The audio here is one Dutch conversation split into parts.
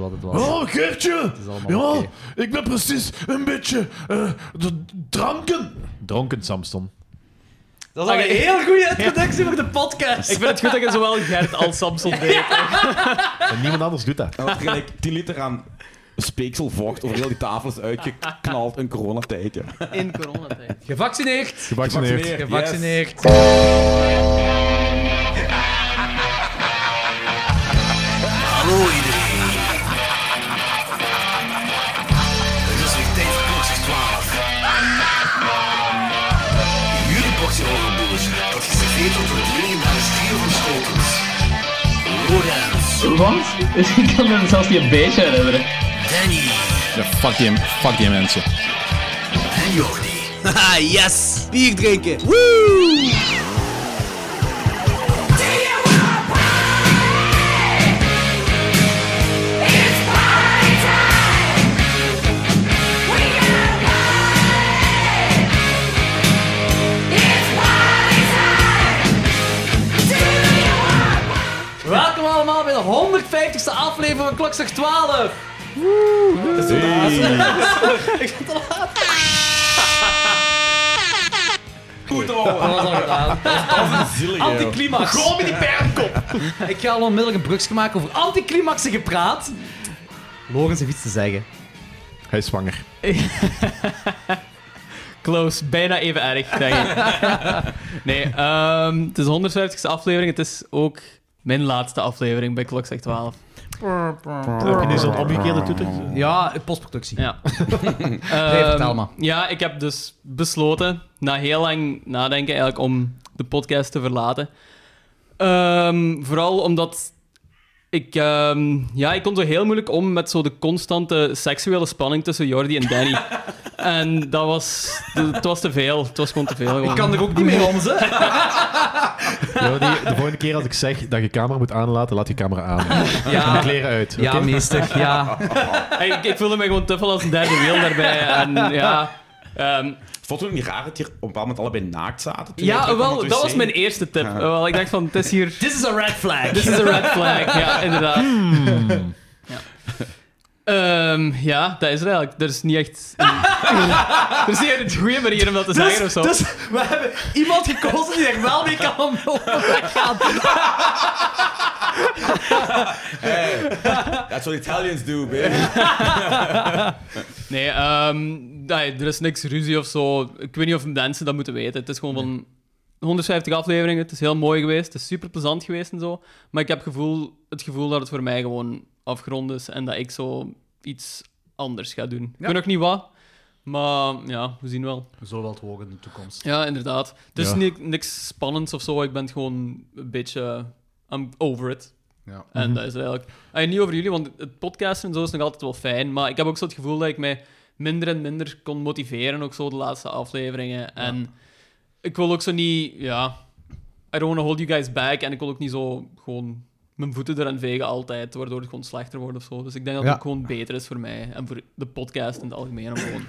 wat het was. Oh, Geertje! is allemaal Ja, oké. ik ben precies een beetje eh, de dranken. Dronken, Samson. Dat is al een heel goede introductie voor de podcast. Ik vind het goed dat je zowel Gert als Samson deed. En niemand anders doet dat. En dan had er gelijk 10 liter aan speekselvocht over heel die tafel is uitgeknald in coronatijd. Ja. in coronatijd. Gevaccineerd. Gevaccineerd. Gevaccineerd. Hallo iedereen. Het is weer tijd voor klokslag 12. Jullie boxje overboers, dat geserveerd wordt door jullie naar de stier van Schotens. Lorenz, Want ik kan me zelfs niet een beetje herinneren. Danny Ja, fuck die, fuck die mensen. en Jordi. Haha, Ah, yes! Bier drinken! Woo! Welkom allemaal bij de 150ste aflevering van Klokslag 12. Oh, Dat was al gedaan. Anticlimax. Gooi me die pernkop. Ik ga al onmiddellijk een brugje maken over anticlimaxen gepraat. Lorenz heeft iets te zeggen. Hij is zwanger. Close, bijna even erg, denk ik. Nee, ehm, het is de 150ste aflevering. Het is ook mijn laatste aflevering bij Klokzeg 12. Heb je nu zo'n omgekeerde toeter? Oh. Ja, Ehm, postproductie. Ja. Nee, vertel maar. Ja, ik heb dus besloten, na heel lang nadenken eigenlijk, om de podcast te verlaten. Ehm, vooral omdat ik, ehm, ja, ik kon zo heel moeilijk om met zo de constante seksuele spanning tussen Jordi en Danny. en dat was, het was te veel. Het was gewoon te veel. Ik kan er ook niet mee om, ze. Jordi, de volgende keer als ik zeg dat je camera moet aanlaten, laat je camera aan. En de kleren uit. Ja, oké? meester. Ja. ik, ik voelde me gewoon te veel als een derde wiel daarbij. En ja... ehm, Vond je het niet raar dat hier op een bepaald moment allebei naakt zaten? toen je ja, terugkwam wel, van dat het was wc? mijn eerste tip. Wel, ik dacht van, het is hier... This is a red flag. This is a red flag, ja, inderdaad. Ja. Ehm, ja, dat is het eigenlijk. Er is niet echt. een- er is niet echt een goede manier om dat te zeggen Dus, of zo. dus we hebben iemand gekozen die er wel mee kan om overweg gaan. That's what Italians do, baby. Nee, ehm, nee, er is niks ruzie of zo. Ik weet niet of mensen dat moeten weten. Het is gewoon van 150 afleveringen. Het is heel mooi geweest. Het is super plezant geweest en zo. Maar ik heb gevoel, het gevoel dat het voor mij gewoon afgerond is en dat ik zo iets anders ga doen. Ik weet nog niet wat. Maar ja, we zien wel. Zo wel het hoog in de toekomst. Ja, inderdaad. Het is Ja. ni- niks spannends of zo. Ik ben het gewoon een beetje. I'm over it. Ja. En dat is eigenlijk. En niet over jullie, want het podcasten en zo is nog altijd wel fijn. Maar ik heb ook zo het gevoel dat ik mij minder en minder kon motiveren. Ook zo de laatste afleveringen. En ik wil ook zo niet. Ja. I don't want to hold you guys back. En ik wil ook niet zo gewoon mijn voeten eraan vegen altijd. Waardoor het gewoon slechter wordt of zo. Dus ik denk dat Ja. het ook gewoon beter is voor mij. En voor de podcast in het algemeen. Om gewoon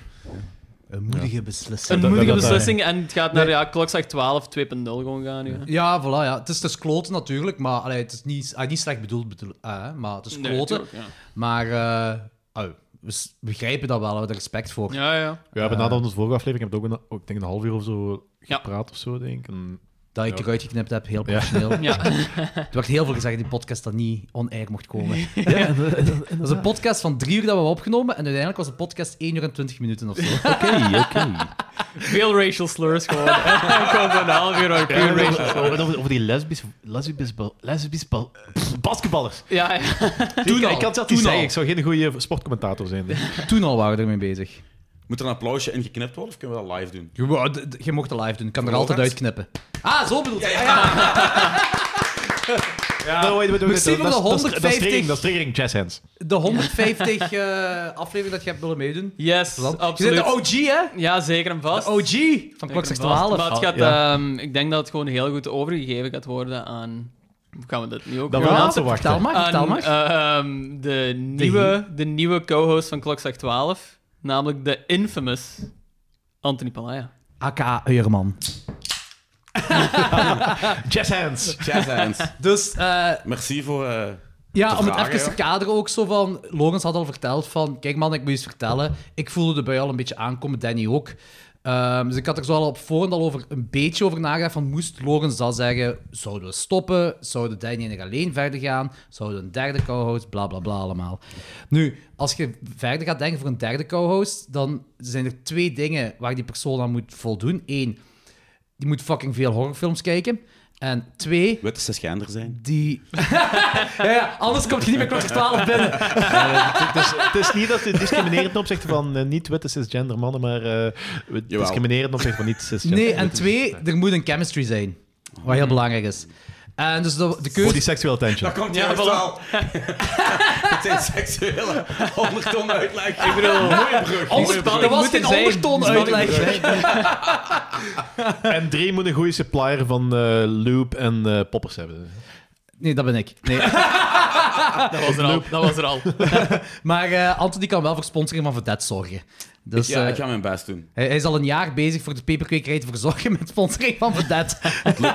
Een moedige beslissing. een dat- moedige dat- dat- beslissing en het gaat naar ja, klokslag 12, 2.0 gewoon gaan nu. hè. Ja, voilà. Ja. Het, is, het is kloten natuurlijk, maar allee, het is niet, ah, niet slecht bedoeld, bedoel, eh, hè, maar het is Nee, kloten. tuurlijk, maar eh, au, we s- begrijpen dat wel, we hebben er respect voor. ja. ja, ja. We hebben na de onze vorige aflevering hebben we ook, een, ook, ik denk een half uur of zo Ja. gepraat of zo, denk ik. En- Dat ik Ja. eruit geknipt heb, heel professioneel. Ja. Er werd heel veel gezegd in die podcast dat niet on-air mocht komen. dat is een podcast van drie uur dat we hebben opgenomen en uiteindelijk was de podcast 1 uur en 20 minuten of zo. Oké, oké. Veel racial slurs gewoon. Ik kom van een half uur over puur racial. Over, over, over die lesbisch, lesbisch, lesbisch bal- pff, basketballers. Ja, ja. Toen, al, ik kan dat toen niet zeggen, al. ik zou geen goede sportcommentator zijn. denk ik. Toen al waren we ermee bezig. Moet er een applausje in geknipt worden of kunnen we dat live doen? Je, wou- d- d- je mocht het live doen, ik kan er Voor altijd Lorenz? uitknippen. Ah, zo bedoeld. No, wait, wait, wait, Merci dat- voor Ah, de dat- dat- 150. Dat is triggering, dat is triggering jazz hands. De 150 eh aflevering dat je hebt willen meedoen. Yes, Je oh, bent absoluut. de OG, hè? Ja, zeker en vast. De OG van Zeker klok 6 en vast. 12. Maar het Ah, gaat, Oh, ja. ehm, ik denk dat het gewoon heel goed overgegeven gaat worden aan... Hoe gaan we dat nu ook Dat doen? we Aan- laten wachten. Vertel maar, vertel aan, maar. eh, ehm, de, nieuwe, de nieuwe co-host van Klokslag 12, namelijk de infamous Anthony Palaya. AK Eurman. Jazz hands. Jazz hands. Dus, eh, Merci voor eh, Ja, om het vragen, even te kaderen ook zo van... Logans had al verteld van... Kijk man, ik moet je iets vertellen. Ik voelde de bui al een beetje aankomen, Danny ook. Ehm, dus ik had er zo al op voorhand al over, een beetje over nagedacht van... Moest Logans dat zeggen? Zouden we stoppen? Zouden Danny en ik alleen verder gaan? Zouden we een derde co-host? Bla, bla, bla allemaal. Nu, als je verder gaat denken voor een derde co-host... Dan zijn er twee dingen waar die persoon aan moet voldoen. Eén, die moet fucking veel horrorfilms kijken. En twee, Witte cisgender zijn. die... ja, ja, anders komt je niet meer kwart voor twaalf binnen. Dus het is niet dat ze discrimineren ten opzichte van eh, niet-witte cisgender mannen, maar eh, we Jawel. discrimineren ten opzichte van niet-cisgender Nee, en twee, er moet een chemistry zijn. Wat heel belangrijk is. En dus de, de Mhm. Voor keuze... die seksuele tension. Dat komt Ja, ja, voilà. wel. Het zijn seksuele ondertonen uitleg. Ik bedoel, mooie brug. Onderspanning Dat was moet geen er zijn. ondertoon uitleg. En drie moet een goede supplier van eh loop en eh, poppers hebben. Nee, dat ben ik. Nee. Dat was er al. Dat was er al. Maar eh Anthony kan wel voor sponsoring van Vedette zorgen. Dus Ja, eh, ik ga mijn best doen. hij, hij is al een jaar bezig voor de peperkwekerij te verzorgen met sponsoring van Vedette.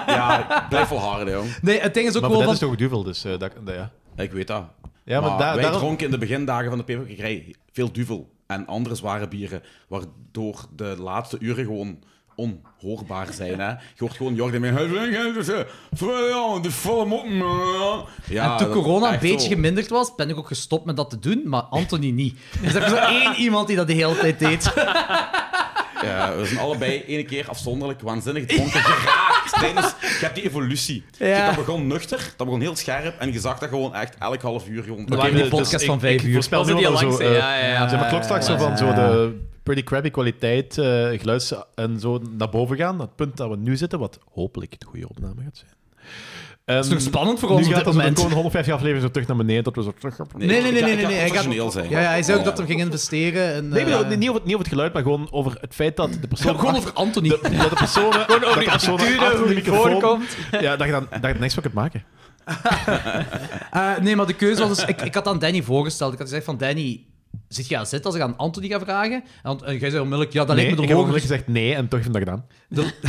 Ja, blijf volharden, jong. Nee, het ding is ook Maar gewoon dat van... is toch duvel, dus eh, dat, dat- ja. Ik weet dat. Ja, maar, maar daar- wij daarom- dronken in de begindagen van de peperkwekerij veel duvel en andere zware bieren, waardoor de laatste uren gewoon onhoorbaar zijn. Hè? Je hoort gewoon Jordi mee. De volle mop. Ja, en toen dat- corona een echt beetje zo. geminderd was, ben ik ook gestopt met dat te doen, maar Anthony niet. Dus er is zo één iemand die dat de hele tijd deed. Ja, we zijn allebei ene keer afzonderlijk waanzinnig dronken geraakt. Tijdens, je hebt die evolutie. Ja. Dat begon nuchter, dat begon heel scherp en je zag dat gewoon echt elk half uur. Gewoon, We waren Oké, een dus podcast ik- van vijf Ik uur. voorspel Was nu het al die zo... langste? eh, Ja, ja, ja. Zeg maar klokslag zo van zo de pretty crappy kwaliteit, eh geluids en zo naar boven gaan. Dat punt dat we nu zitten, wat hopelijk de goede opname gaat zijn. Ehm, En Dat is nog spannend voor nu ons op gaat dit dat we moment. gewoon 150 afleveringen zo terug naar beneden, tot we zo terug op... Nee, nee, nee, ik ga- nee, ik nee, ga hij gaat- professioneel zijn. Oh. Ja, ja, hij zei ook Ja. dat we gingen investeren. En, Nee, ik bedoel, eh, niet- niet, over het, niet over het geluid, maar gewoon over het feit dat de persoon... Gewoon achter- over Anthony. de- dat de persoon... Gewoon over die hoe die voorkomt. Ja, dat je dan dat je er niks van kunt maken. Eh, nee, maar de keuze was dus... Ik, ik had aan Danny voorgesteld. Ik had gezegd van, Danny, zit jij aan zitten als ik aan Anthony ga vragen? En, en jij zei onmiddellijk, ja, dat Nee, lijkt me ik de heb onmiddellijk logische... gezegd nee en toch heb ik dat gedaan.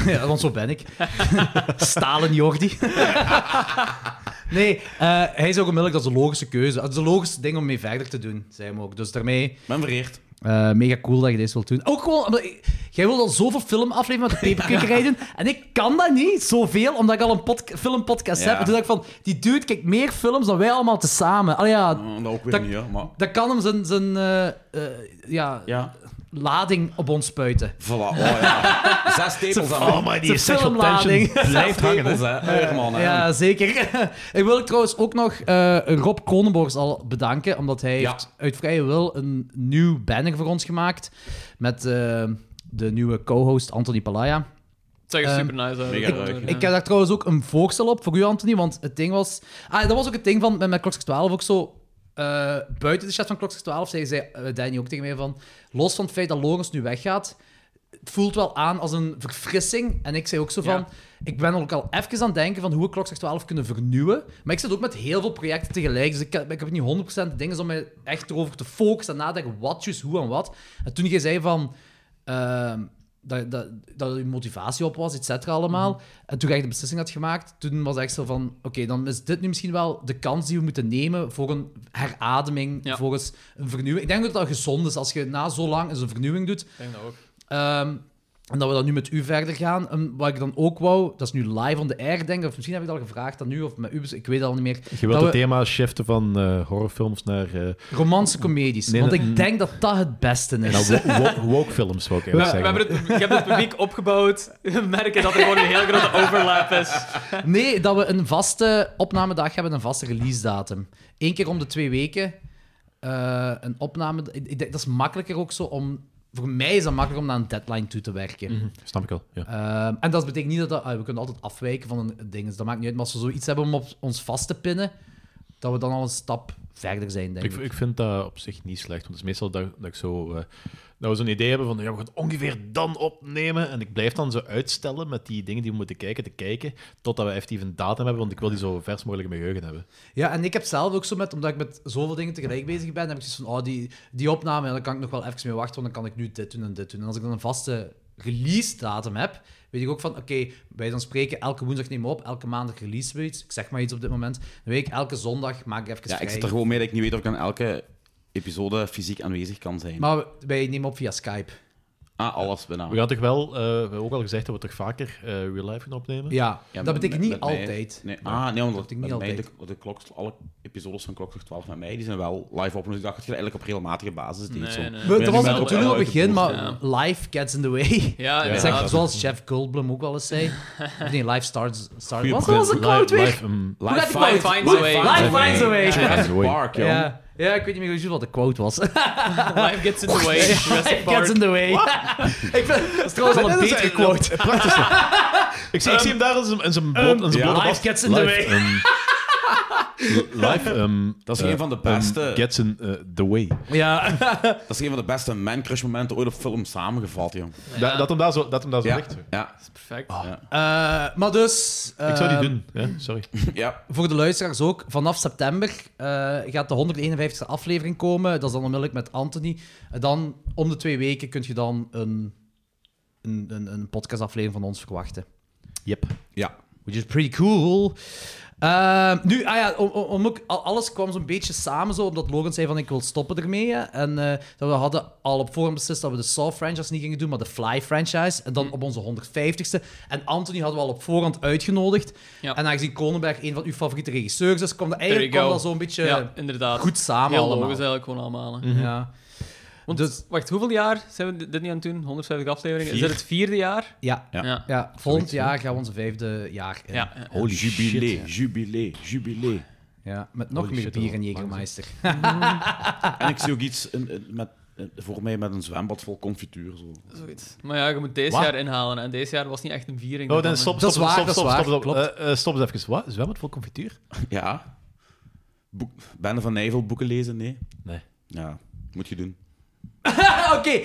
de- ja, want zo ben ik. Stalen Jordi. nee, eh, hij zei ook onmiddellijk, dat is de logische keuze. Dat is de logische ding om mee verder te doen, zei hem ook. Dus daarmee, Ben vereerd. eh, mega cool dat je deze wilt doen. Ook gewoon, omdat ik- jij wilt al zoveel filmafleveringen met de peperkikkerij doen. En ik kan dat niet, zoveel, omdat ik al een podca- filmpodcast Ja. heb. En toen dacht ik van, die dude kijkt meer films dan wij allemaal tezamen. Allee, ja, Eh, Dat ook weer Dat- niet, hè, maar... dat kan hem zijn, zijn eh, eh, ja, Ja. lading op ons spuiten. Voilà, oh ja. Zes tepels aan Oh, maar die Zijn sexual tension filmlading. blijft hangen, hè. Uierman, hè. Ja, zeker. ik wil trouwens ook nog eh, Rob Kronenborgs al bedanken, omdat hij Ja. heeft uit vrije wil een nieuw banner voor ons gemaakt met eh, de nieuwe co-host Anthony Palaya. Het zag er Ehm, super nice uit. mega Ik- leuk, ja. Ik Ik heb heb daar trouwens ook een voorstel op voor u, Anthony. Want het ding was. Ah, dat was ook het ding van met, met Klokslag 12 ook zo. eh, buiten de chat van Klokslag 12 zei, zei eh, Danny ook tegen mij van. Los van het feit dat Logans nu weggaat. Het voelt wel aan als een verfrissing. En ik zei ook zo van. Ja. Ik ben ook al even aan het denken van hoe we Klokslag 12 kunnen vernieuwen. Maar ik zit ook met heel veel projecten tegelijk. Dus ik, heb- ik heb niet 100% dingen om me echt erover te focussen. En nadenken wat, juist, hoe en wat. En toen jij zei van. ehm, dat, dat, dat je motivatie op was, et cetera, allemaal. Mhm. En toen ik de beslissing had gemaakt, toen was ik zo van... Oké, dan is dit nu misschien wel de kans die we moeten nemen voor een herademing, Ja. voor eens een vernieuwing. Ik denk dat dat gezond is als je na zo lang eens een vernieuwing doet. denk dat ook. Ehm, en dat we dan nu met u verder gaan. En wat ik dan ook wou, dat is nu live on the air, denk ik. Of misschien heb ik het al gevraagd aan u, of met u, dus ik weet het al niet meer. Je dat wilt het Nou, we thema shiften van eh, horrorfilms naar eh, romantische comedies. Nee, want dat- ik denk dat dat het beste is. naar nou, wo- wo- woke films, wou ik We, eigenlijk we zeggen. hebben het, je hebt het publiek opgebouwd. We merken dat er gewoon een heel grote overlap is. Nee, dat we een vaste opnamedag hebben, en een vaste release datum. Eén keer om de twee weken. eh, een opname. ik- ik denk- dat is makkelijker ook zo om. Voor mij is dat makkelijker om naar een deadline toe te werken. Hm, Snap ik al, ja. Ehm, en dat betekent niet dat, dat ah, we kunnen altijd afwijken van een ding. Dus dat maakt niet uit. Maar als we zoiets hebben om op ons vast te pinnen, dat we dan al een stap verder zijn, denk Ik, ik. ik vind dat op zich niet slecht, want het is meestal dat, dat ik zo... eh, dat we zo'n idee hebben van, ja, we gaan het ongeveer dan opnemen. En ik blijf dan zo uitstellen met die dingen die we moeten kijken, te kijken, totdat we effectief een datum hebben, want ik wil die zo vers mogelijk in mijn geheugen hebben. Ja, en ik heb zelf ook zo met, omdat ik met zoveel dingen tegelijk bezig ben, heb ik zoiets van, oh, die, die opname, ja, daar kan ik nog wel even mee wachten, want dan kan ik nu dit doen en dit doen. En als ik dan een vaste release-datum heb, weet ik ook van, oké, wij dan spreken elke woensdag nemen we op, elke maandag release we iets. Ik zeg maar iets op dit moment. Dan weet ik, elke zondag maak ik even Ja, ik vrij. zit er gewoon mee dat ik niet weet of ik aan elke episode fysiek aanwezig kan zijn. Maar wij nemen op via Skype. ah, alles bijna. We gaan toch wel, eh, we hebben ook al gezegd dat we toch vaker eh, real life gaan opnemen. Ja, dat Ja, met- betekent met- niet met mij- altijd. nee, Ah, nee, want dat betekent niet met mij altijd. De, de klok, alle episodes van Klokslag 12 met mij, die zijn wel live op. Dus ik dacht dat je dat eigenlijk op regelmatige basis deed. Nee, zo. nee. Ik We- ben We, nu dat was wel het natuurlijk toen wel in het uit de begin, bocht. maar ja. life gets in the way. Ja, Ja. Zeg, inderdaad. zoals Jeff Goldblum ook wel eens zei. Of nee, life starts... starts Goeie wat punt. was de quote weer? live, um, Live Hoe gaat die five- quote? finds a way. Life Live finds a way. find- Ja. Jurassic Park, joh. Ja. ja, ik weet niet meer precies wat de quote was. Life gets in the way. Jurassic Park. Gets in the way. ik vind, dat is trouwens al een Dat is betere eigenlijk quote. Ik zie, ik zie hem daar in zijn- in zijn bot. in zijn ja. Life blote bast. gets in the Live, way. ehm, li- live, ehm, Dat is eh, een van de ehm, beste- gets in eh, the way. Ja. Dat is een van de beste man-crush momenten ooit op film samengevat, joh. Da- dat hem daar zo, dat hem daar zo Ja, ligt. ja, Perfect. Eh, maar dus... Ik zou die eh, doen. Ja, sorry. ja. Voor de luisteraars ook, vanaf september eh, gaat de 151e aflevering komen. Dat is dan onmiddellijk met Anthony. En dan, om de twee weken, kun je dan een, een, een, een podcastaflevering van ons verwachten. Yep. ja. Which is pretty cool. Ehm, nu, ah ja, om, om- om ook, al- alles kwam zo'n beetje samen zo, omdat Logan zei van ik wil stoppen ermee. hè. En eh, dat we hadden al op voorhand beslist dat we de Saw franchise niet gingen doen, maar de Fly franchise. En dan Mm. op onze 150ste. En Anthony hadden we al op voorhand uitgenodigd. Ja. En aangezien Kronenberg een van uw favoriete regisseurs is, kwam dat eigenlijk There kwam you dat go. zo'n beetje ja, inderdaad. goed samen Heel allemaal. Hm. Mhm. logisch eigenlijk gewoon allemaal. hè. Ja. Want, Dus- wacht, hoeveel jaar zijn we dit- dit niet aan het doen? 150 afleveringen. Vier. Is dat het vierde jaar? Ja. Ja. Ja. ja, volgend jaar gaan we onze vijfde jaar in. Ja, ja. Holy jubilee, shit, ja. jubilee, jubilee. Ja, met nog Holy meer shit, bier en dat was Jägermeister. En ik zie ook iets in- in- met, eh, voor mij met een zwembad vol confituur. Zo. Zoiets. Maar ja, je moet deze Wat? jaar inhalen. En deze jaar was niet echt een viering. Oh, ervan, dan hè. stop, Dat stop, is waar, dat stop, is stop, waar, stop, stop. klopt. Eh, eh, stop eens even. Wat? Zwembad vol confituur? Ja. Boek, Bende van Nijvel boeken lezen? Nee. Nee. Ja, moet je doen. Ah, Oké, ehm,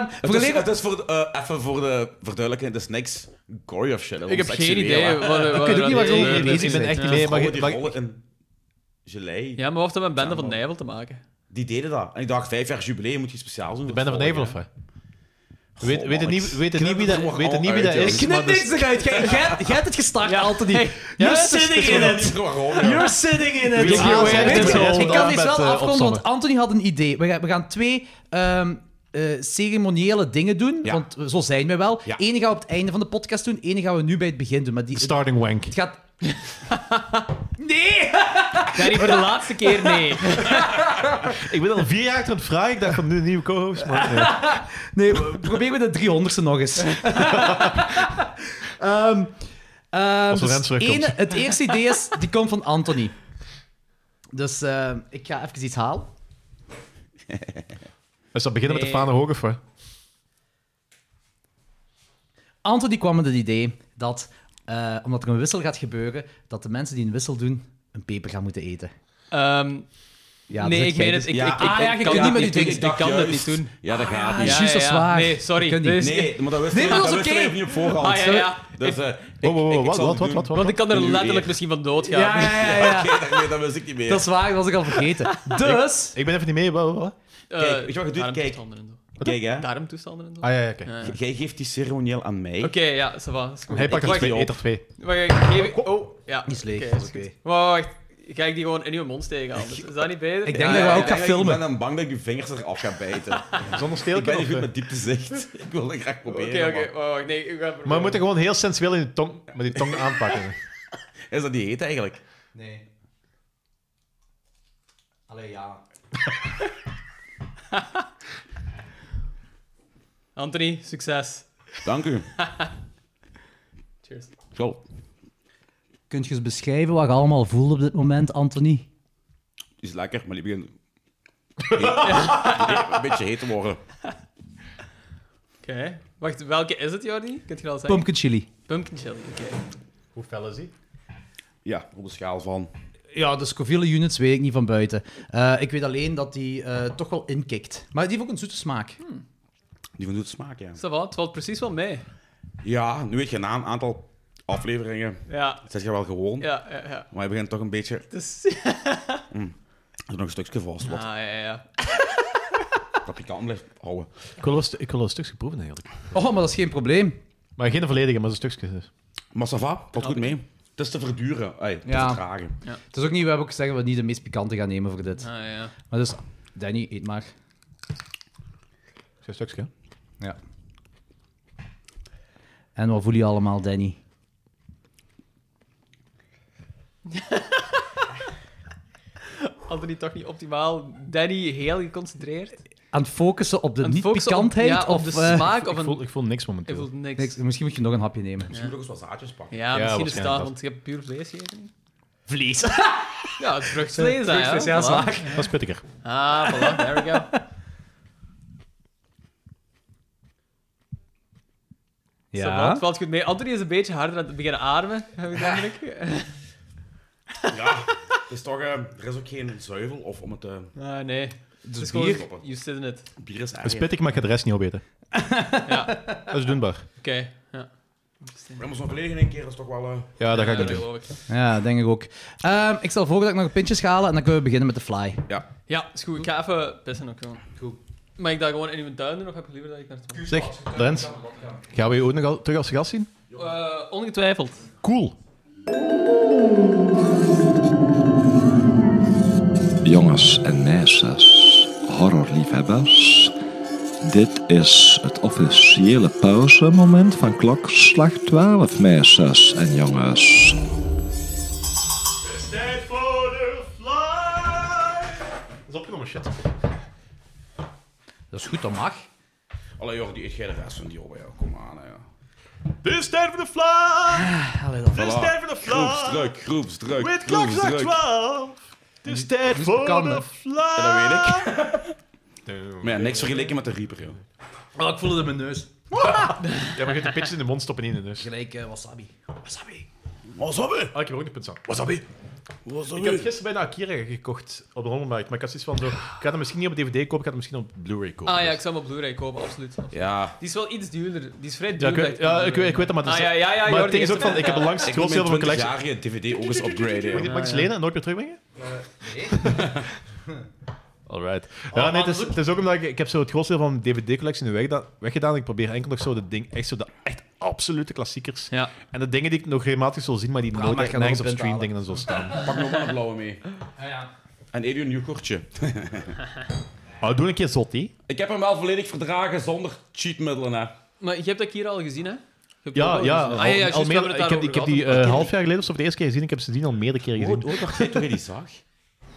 Het is, volledig- het is voor, de- eh, even voor de verduidelijking, het is niks gory of shit. Ik heb geen idee. Wat, wat, weet ook niet waar ze wat- over ik wat- ben bezig ik ben zijn. echt niet Ja. mee. Maar Maar, je, je- die maar, rollen in gelei, Ja, maar wat heeft dat met Bende Ja, van maar- Nijvel te maken? die deden dat. En ik dacht, vijf jaar jubileum moet je speciaal doen. voor ik ben er van het Nijvel of volk, wat? hè. Weet, Goh, weet, het man, niet, ik weet het niet wie knip dat, er nog weet het al niet wie dat uit, is? joh. maar Knip dus- dat is- niks eruit. Jij jij- jij hebt het gestart, Anthony. You're Ja, het is- sitting in knip it. er gewoon, joh. You're sitting in it. Give your way Weet je, this all Ik kan down dit met, wel eh, afronden, want opzommen. Anthony had een idee. We gaan, we gaan twee ehm, eh, ceremoniële dingen doen, Ja. want zo zijn we wel. Ja. Eén gaan we op het einde van de podcast doen, één gaan we nu bij het begin doen. Maar die, het Starting wank. gaat... Nee! Danny, voor de laatste keer nee. Ik ben al vier jaar aan het vragen. Ik dacht van nu een nieuwe co-host. Maar, Nee, probeer met de 300ste nog eens. Ehm, ehm, Als Lorenz dus terugkomt. ene- het eerste idee is, die komt van Anthony. Dus ehm, ik ga even iets halen. Dus dat beginnen met de Nee. Fana Hoge voor. Anthony kwam met het idee dat, eh, omdat er een wissel gaat gebeuren, dat de mensen die een wissel doen, een peper gaan moeten eten. Ehm, Ja, nee, dat is ik meen bij het. de- Ik, Ja. ik, ik, Ah, ja, je ik kunt kan niet met dat die niet dingen. doen. Ik kan dat niet juist. doen. Ja, dat gaat Ah, niet. juist, dat is waar. Nee, Dat sorry. kan niet. Dus- Nee, maar dat wist Nee, maar dat dat is wist oké. ik niet op voorhand. Ah, ja, ja. Dus, eh, ik- Wow, wow, ik- wow, ik wat, zal wat, wat, het doen. wat, wat? Want ik kan er Nu letterlijk eer. misschien van doodgaan. Ja, ja, ja. ja. Oké, dat- nee, dat wist ik niet meer. Dat is waar, dat was ik al vergeten. Dus... Ik ben even niet mee. Wat, wat, wat? Eh, Kijk, weet je wat je doet? darmtoestanden en zo. Kijk, hè. Darmtoestanden en zo. Ah ja, ja, oké. Ja. G- Jij geeft die ceremonieel aan mij. Oké, ja, ça va. is goed. Hij pakt er Wacht, twee, op. eet er twee. Wacht, wacht, geef ik- Oh, ja. Niet leeg, Oké, dat is goed. oké. Wacht, wacht. Ga ik die gewoon in uw mond steken? anders? Dus Is dat niet beter? Ik denk dat we ook gaan ik- filmen. Ik ben dan bang dat ik je vingers eraf ga bijten. Zonder ik ben steeltje. niet goed of, eh? met dieptezicht. Ik wil dat graag proberen. Oké, maar- oké. Wacht, wacht, nee, ik ga het proberen. Maar we moeten gewoon heel sensueel in de tong, met die tong aanpakken. Is dat die heet eigenlijk? Nee. Allee, ja. Anthony, succes. Dank u. Cheers. Zo. Kunt je eens beschrijven wat je allemaal voelt op dit moment, Anthony? Is lekker, maar die begint... Heet- een beetje heet te worden. Oké. Wacht, welke is het, Jordi? Kunt je dat al zeggen? Pumpkin chili. Pumpkin chili, oké. Hoe fel is die? Ja, op de schaal van... Ja, de Scoville units weet ik niet van buiten. Eh, ik weet alleen dat die eh, toch wel inkikt. Maar die heeft ook een zoete smaak. Die van doet smaak, ja. Ça va, het valt precies wel mee. Ja, nu weet je na een aantal afleveringen. Ja, Het is je wel gewoon. ja, ja. ja. Maar je begint toch een beetje... Het is... Er nog een stukje vast. Ah, Wat. ja, ja. paprika blijft houden. Ik wil wel een stu- ik wil wel een stukje proeven eigenlijk. Oh, maar dat is geen probleem. Maar geen volledige, maar een stukje. dus. Maar ça va, valt goed mee. Het is te verduren, ey, te Ja. vertragen. Het is ook niet, we hebben ook gezegd dat we niet de meest pikante gaan nemen voor dit. Ah, ja. Maar dus, Danny, eet maar. Een stukje. hè? Ja. En wat voel je allemaal, Danny? Hadden die toch niet optimaal Danny heel geconcentreerd? Aan het focussen op de Aan het focussen op- niet-pikantheid? ja, op of, de eh, smaak. Of Ik voel, een, ik voel niks ik momenteel. voel niks. niks. misschien moet je nog een hapje nemen. Je moet ook eens wat zaadjes pakken. Ja, Ja, misschien is het waarschijnlijk daar, dat. want je hebt puur vlees gegeten. Vlees. Ja, het vruchtvlees, hè, Vruchtvlees, voilà. ja, zwaar. Dat is pittiger. Ah, voilà, there we go. Ja. Ja. valt goed mee. Anthony is een beetje harder aan het beginnen ademen, heb ik de indruk. Ja, het is toch, eh, er is ook geen zuivel of om het eh, Ah, nee. Het is bier? gewoon- You sit in it. bier is Dat is eigen. pittig, maar ik ga de rest niet opeten. Ja. Dat is doenbaar. Oké, ja. We hebben zo'n verleden in één keer, dat is toch wel... eh, Ja, dat ga ik Ja, niet doen. geloof ik. Ja, denk ik ook. Ehm, ik stel voor dat ik nog een pintje ga halen en dan kunnen we beginnen met de fly. ja. Ja, is goed. Ik ga even pissen ook gewoon. Goed. Mag ik dat gewoon in uw tuin doen of heb je liever dat ik naar het toilet? Zeg, Drens, gaan we je ook nog al- terug als gast zien? Eh, ongetwijfeld. Cool. Jongens en meisjes, horrorliefhebbers. Dit is het officiële pauzemoment van klokslag 12, meisjes en jongens. Dat is opgenomen, shit. Dat is goed, dat mag. Allee, joh, die eet jij de rest van die op, ja. Kom aan, hè, ja. This time for the fly! Ah, Allee, dan. This time for the fly! Groepsdruk, groepsdruk, With klokslag groepsdruk. 12! This time is for bekend, the hè? fly! Ja, dat weet ik. Maar ja, niks vergeleken met de Reaper, joh. Oh, ik voel het in mijn neus. Ja, maar je hebt een pitje in de mond stoppen in de neus. Gelijk eh, wasabi. Wasabi. Wasabi! Ah, ik heb ook een punt aan. Wasabi! Ik heb gisteren bijna Akira gekocht op de rommelmarkt, maar ik had zoiets van zo... Ik ga het misschien niet op DVD kopen, ik ga het misschien op Blu-ray kopen. Ah ja, Dus- ik zou hem op Blu-ray kopen, absoluut. Die Ja, is wel iets duurder. Die is vrij Ja, ik duur. weet, ja, ik, weet- ik weet dat, maar, het is- Ah, ja, ja, ja, maar Jordi het ding is ook heeft van, het. ik heb een langs ik wil scrollseel mijn van mijn collectie. 20-jarige DVD ook eens upgraden, Mag joh. ik dit lenen en nooit meer terugbrengen? Alright. Ja, nee, het, is, het is ook omdat ik, ik heb zo het grootste deel van mijn DVD-collectie nu wegda- weggedaan. Ik probeer enkel nog zo de ding, echt zo de echt absolute klassiekers. Ja. En de dingen die ik nog regelmatig zal zien, maar die nooit maar echt ik ga nog nergens op een punt stream halen. dingen en zo staan. Pak nog maar een blauwe mee. En eet u een nieuw kortje. Maar Ah, doe een keer zot, hè? Ik heb hem wel volledig verdragen zonder cheatmiddelen, hè. Maar je hebt dat hier al gezien, hè? Je hebt ook Ja, al ja. gezien. al- Ah, ja, ja, al juist, we meer, hebben het ik, heb, daarover ik heb gehad. die eh, half jaar geleden of zo voor de eerste keer gezien. Ik heb ze die al meerdere keren gezien. Oh, dacht jij toen je die zag?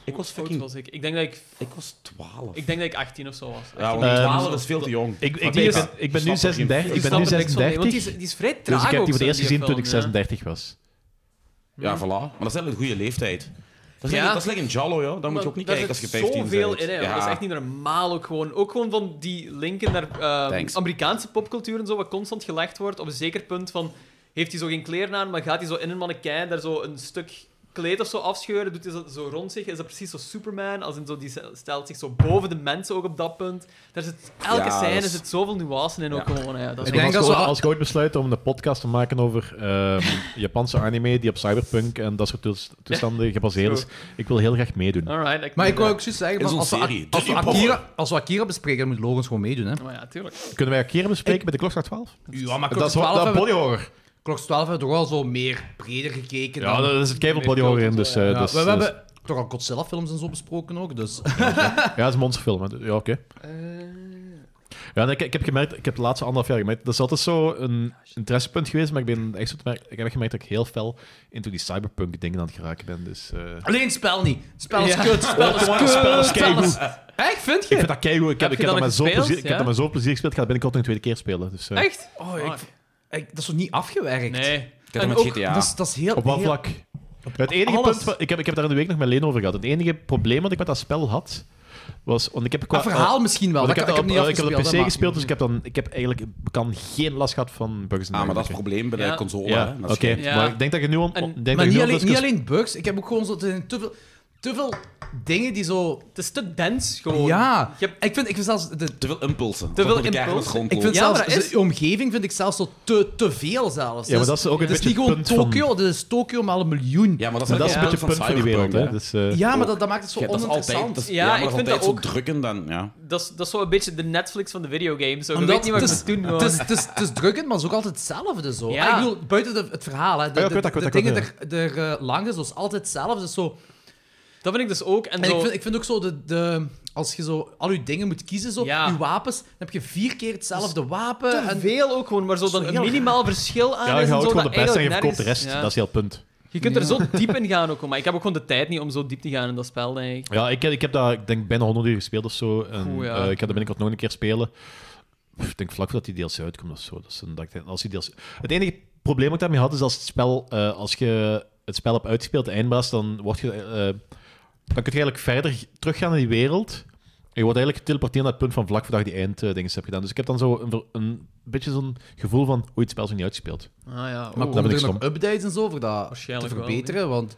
Ik was Hoe oud fucking... was ik? Ik denk dat ik, Ik was 12. ik denk dat ik 18 of zo was. Ja, want Eh, 12 is veel te Ik, jong. ik, Maar ben, die ik is- ben- ik ben nu ik snap er geen 36. Ik ben nu snap er niks van, nee, Want die 36. is, die is vrij traag Dus ik heb die ook, voor zo, het eerst gezien toen film, ik ja. 36 was. Ja, voilà. Maar dat is wel een goede leeftijd. Dat is, Ja. like, dat is like een Jallo, joh. Dan moet je ook niet Maar kijken als je daar 15 zit bent. zoveel in, hè. Ja. Dat is echt niet normaal ook gewoon. Ook gewoon van die linken naar ehm, Thanks. Amerikaanse popcultuur en zo, wat constant gelegd wordt. Op een zeker punt van... Heeft hij zo geen kleren aan, maar gaat hij zo in een mannequin daar zo een stuk kleed of zo afscheuren? Doet hij dat zo rond zich? Is dat precies zo Superman? Als in zo, die stelt zich zo boven de mensen ook op dat punt. Daar zit, elke Ja, dat scène is- zit zoveel nuance in ook Ja. gewoon. Ja, dat is Ik denk als, dat we zo- als ik ooit besluit om een podcast te maken over ehm, Japanse anime die op cyberpunk en dat soort toes- toestanden gebaseerd is, ik wil heel graag meedoen. Alright, ik Maar ik wil wou ook zoiets zeggen, van, In zo'n als, we, serie. als, we Disney Akira, als we Akira bespreken, dan moet Logans gewoon meedoen. Hè? Maar ja, tuurlijk. Kunnen wij Akira bespreken bij de klok naar 12? Ja, maar Dat is wel- dat bodyhorror. Klok 12 hebben we toch al zo meer breder gekeken. Ja, dan- dat is het kevel bodyhorror in. Dus, eh, Ja, dus, we, we dus- hebben toch al Godzilla-films en zo besproken ook, dus... ja, dat is een monsterfilm. hè. Ja, oké. Ja, nee, ik, ik heb gemerkt, ik heb de laatste anderhalf jaar gemerkt, dat is altijd zo een interessepunt geweest, maar ik, ben echt zo te merken- ik heb echt gemerkt dat ik heel fel into die cyberpunk dingen aan het geraken ben. Dus, eh, Alleen het spel niet. Het spel is Ja. kut, het spel is kut. spel is keigoed. Echt, vind Ik je? vind dat keigoed. Ik heb, Heb ik heb, je dat dat, nog met zo gespeeld? plezier, ik Ja? heb dat met zoveel plezier gespeeld. Ik ga dat binnenkort nog een tweede keer spelen. Dus, eh, Echt? Oh, ik, ik- dat is toch niet afgewerkt? Nee. Ik heb En hem ook- met GTA. Dat, is, dat is heel... Op wat heel- vlak? Het enige alles. punt, van- ik, heb, ik heb daar in de week nog met Leen over gehad. Het enige probleem dat ik met dat spel had, was... Want ik heb qua, Qua verhaal misschien wel. want Dat ik, heb dat ik op, niet eh, ik heb dat op afgespeeld, PC hè, maar- gespeeld, dus ik heb, dan, ik heb eigenlijk ik kan geen last gehad van Bugs Ah, maar dat is het Bunny. probleem bij de Ja. console, Ja, hè. Dat oké. is geen- Ja. Maar ik denk dat je nu... On, En- ik dus- denk dat je Maar nu niet on- alleen, dat is- niet alleen bugs. Ik heb ook gewoon zo... er zijn Te veel... te veel dingen die zo... Het is te dens gewoon. Ja, Je hebt- ik vind, ik vind zelfs... De, Te veel impulsen. veel Dat elkaar impulsen. rond ik vind lopen. Ja, maar zelfs, dat is- de omgeving vind ik zelfs zo te, te veel zelfs. Dus Ja, maar dat is ook een het is beetje niet gewoon het punt van- Tokio, dit is Tokio maar een miljoen. Ja, maar dat is, Maar dat ook is een het beetje het punt van die wereld. Hè? Cyberpunk, Dus, eh, Ja, maar dat, dat maakt het zo Ja, dat is altijd, oninteressant. dat is, Ja, ja, maar ik dat is vind altijd dat zo ook. drukkend dan. Ja. Dat is, dat is zo'n beetje de Netflix van de videogames. Zo. Je Omdat weet niet wat het je is- moet doen. Het gewoon. is, het, is, het is drukkend, maar het is ook altijd hetzelfde. Zo. Ja. Ah, ik bedoel, buiten de- het verhaal, hè. de, ja, ik de, weet dat, ik de weet dat, ik dingen weet er, er eh, langs is, dat is altijd hetzelfde. Dus zo, Dat vind ik dus ook. En, En zo, ik vind, ik vind ook zo, de, de, als je zo al je dingen moet kiezen, zo, Ja. je wapens, dan heb je vier keer hetzelfde te wapen. En, veel ook gewoon, maar zo Zo dan een heel minimaal verschil aan ja, is. je en houdt zo, gewoon de dat beste en je eigenlijk verkoopt de rest. nergens- ja. Dat is heel het punt. Je kunt er zo diep in gaan ook, maar ik heb ook gewoon de tijd niet om zo diep te gaan in dat spel, denk ik. Ja, ik, heb- ik heb dat, ik denk, bijna 100 uur gespeeld of zo. En, Oeh, ja. eh, ik ga dat binnenkort nog een keer spelen. Pff, Ik denk vlak voordat die DLC uitkomt of zo. Dat is een, dat ik denk, als die DLC... Het enige probleem dat ik daarmee had, is als, het spel, eh, als je het spel hebt uitgespeeld, de eindbaas, dan, word je, eh, dan kun je eigenlijk verder teruggaan in die wereld. En je wordt eigenlijk geteleporteerd naar het punt van vlak voordat je die einddingen hebt gedaan. Dus ik heb dan zo een, ver- een beetje zo'n gevoel van, oei, het spel is nog niet uitgespeeld. Ah ja, maar dat komen ben er ik nog updates en zo voor dat te Waarschijnlijk wel, verbeteren? want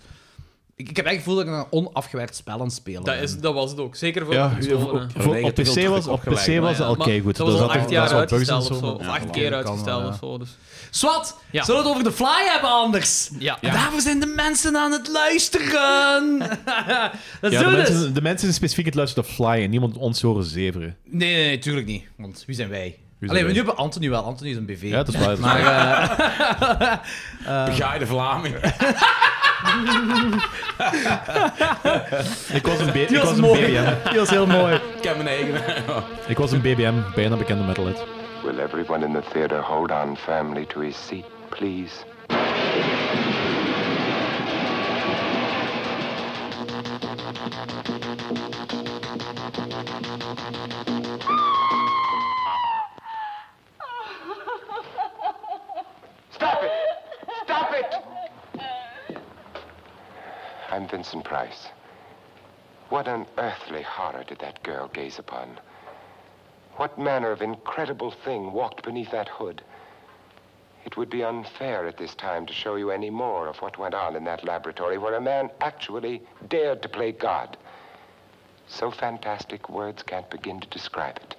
ik, ik heb echt het gevoel dat ik een onafgewerkt spel aan het spelen dat, ben. is, dat was het ook. Zeker voor Ja, de consoles, hè. voor- Ja, op dat PC is was, op opgeleid, PC was maar het Ja, al maar keigoed. Dat was al er acht zaten- er jaar zaten wat bugs en uitgesteld of zo. maar- Of Ja, acht voilà. keer Dat kan uitgesteld wel, of zo. Dus. Swat, Ja. zullen we het over de fly hebben anders? Ja. En Daarvoor zijn de mensen aan het luisteren. Let's Ja, do de, this. mensen, de mensen specifiek het luisteren naar Fly en niemand ons horen zeveren. Nee, nee, nee, tuurlijk niet. Want wie zijn wij? zijn Alleen, wij? nu hebben we Anthony wel. Anthony is een BV. Ja, dat is waar. Maar, eh, Begaaide Vlaming. ik was een, B- ik was was een mooi. BBM. Die was heel mooi. Ik heb mijn eigen. Ik was een BBM, bijna bekende metalhead. Will everyone in the theater hold on firmly to his seat, please? Stop it! Stop it! I'm Vincent Price. What unearthly horror did that girl gaze upon? What manner of incredible thing walked beneath that hood? It would be unfair at this time to show you any more of what went on in that laboratory where a man actually dared to play God. So fantastic, words can't begin to describe it.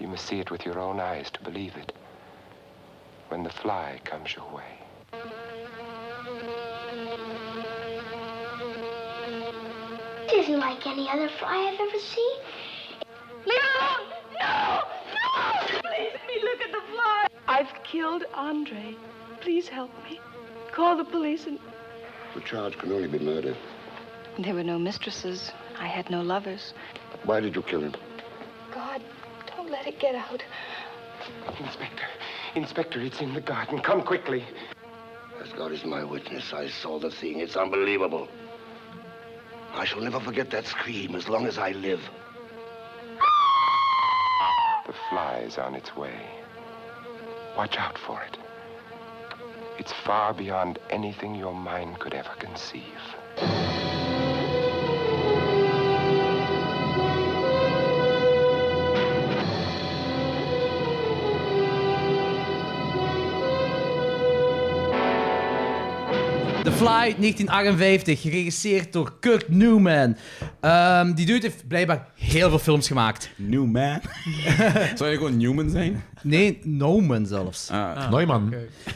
You must see it with your own eyes to believe it. When the fly comes your way. It isn't like any other fly I've ever seen. No! No! No! Please, let me look at the fly. I've killed Andre. Please help me. Call the police and. The charge can only be murder. There were no mistresses. I had no lovers. Why did you kill him? God, don't let it get out. Inspector, Inspector, it's in the garden. Come quickly. As God is my witness, I saw the thing. It's unbelievable. I shall never forget that scream as long as I live. The fly is on its way. Watch out for it. It's far beyond anything your mind could ever conceive. The Fly 1958, geregisseerd door Kurt Newman. Ehm, die dude heeft blijkbaar heel veel films gemaakt. Newman. Zou je gewoon Newman zijn? Nee, Newman zelfs. Ah. Neumann.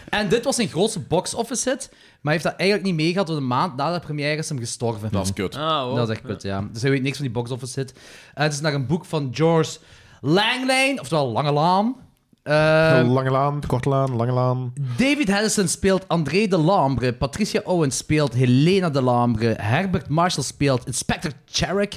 En dit was zijn grootste box-office hit, maar hij heeft dat eigenlijk niet meegehad, want een maand na de première is hem gestorven. Dat is kut. Ah, wow. Dat is echt kut, ja. Dus hij weet niks van die box-office hit. Eh, het is naar een boek van George Langlane, oftewel Lange Laan. Ehm, lange laan, korte laan, lange laan. David Harrison speelt André de Lambre. Patricia Owens speelt Helena de Lambre. Herbert Marshall speelt Inspector Cherrick.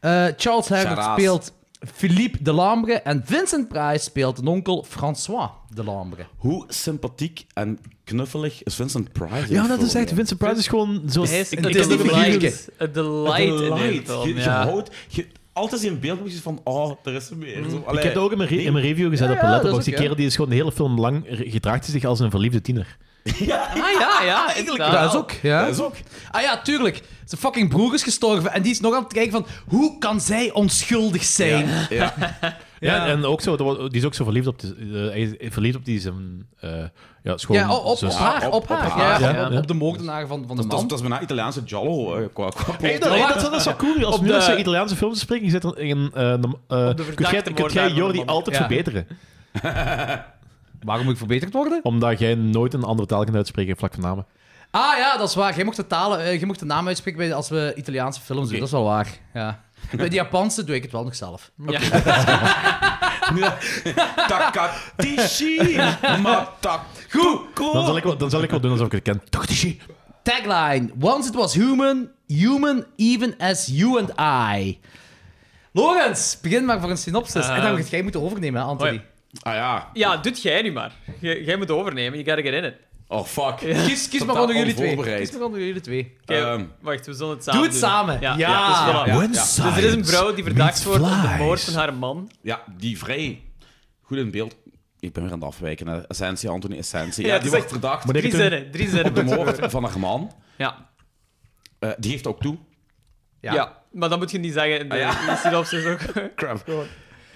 Eh, Charles Herbert Charaas. speelt Philippe de Lambre. En Vincent Price speelt een onkel François de Lambre. Hoe sympathiek en knuffelig is Vincent Price? Ja, dat is echt. Vincent Price is gewoon zo. Hij is ik- een ik kan niet begrijpen- delight. Een delight in dit light. film, Je, je ja. houdt... Je, altijd in beeld moet je van, oh, er is er meer. Zo, Ik allee. heb dat ook in mijn, re- in mijn review gezet op ja, dat is Letterboxd. Die ook, ja. kerel die is gewoon de hele film lang re- gedraagt hij zich als een verliefde tiener. Ah ja, ja, eigenlijk Dat is ook, ja. Dat is ook. Ah ja, tuurlijk. Zijn fucking broer is gestorven en die is nog aan het kijken van... Hoe kan zij onschuldig zijn? Ja. Ja, en ook zo, dat wa- die is ook zo verliefd op, die, eh, hij is verliefd op die zijn eh, ja, schoon Ja, op, op, op zus. Ah, haar. Op, haar. Ja, op- Ja, op, ja. op de moordenaar van, van de Dat is, man. dat is bijna Italiaanse giallo. eh, qua, qua Hey, dat, hey, dat, dat is wel cool. Als Op we nu de- als ze Italiaanse films spreken, je zit er in... eh de, eh, de kun jij, verdachte kun moordenaar jij van de Jordi man. altijd Ja. verbeteren? Waarom moet ik verbeterd worden? Omdat jij nooit een andere taal kan uitspreken in vlak van namen. Ah ja, dat is waar. Jij mocht de, talen, eh, jij mocht de naam uitspreken bij, als we Italiaanse films doen. Dat is wel waar. Ja. Bij de Japanse doe ik het wel nog zelf. Takatishi Mataku. Dan zal ik, wel- dan zal ik wel doen alsof ik het ken. Tachtishi. Tagline: Once it was human, human even as you and I. Logans, begin maar voor een synopsis. en dan gaat jij moeten overnemen, hè, Anthony. oh Ah ja. Ja, doet jij nu maar. Jij jij moet overnemen, je gotta get in it. Oh fuck. Kies, kies maar Totaal onder jullie twee. onvoorbereid. Kies maar onder jullie twee. Oké, Ehm. wacht, we zullen het samen het doen. samen. Ja, Ja. dus, voilà. Ja, Dus er is een vrouw die verdacht wordt op de moord van haar man. Ja, die vrij goed in beeld. Ik ben weer aan het afwijken. hè. Essentie, Anthony, essentie. Ja, Ja, het die is wordt verdacht Moet ik Drie het doen? zinnen, drie zinnen. op de moord van haar man. Ja. Eh, die geeft ook toe. Ja. maar dat moet je niet zeggen in de, Ah, ja. in de synopsis ook. Crap.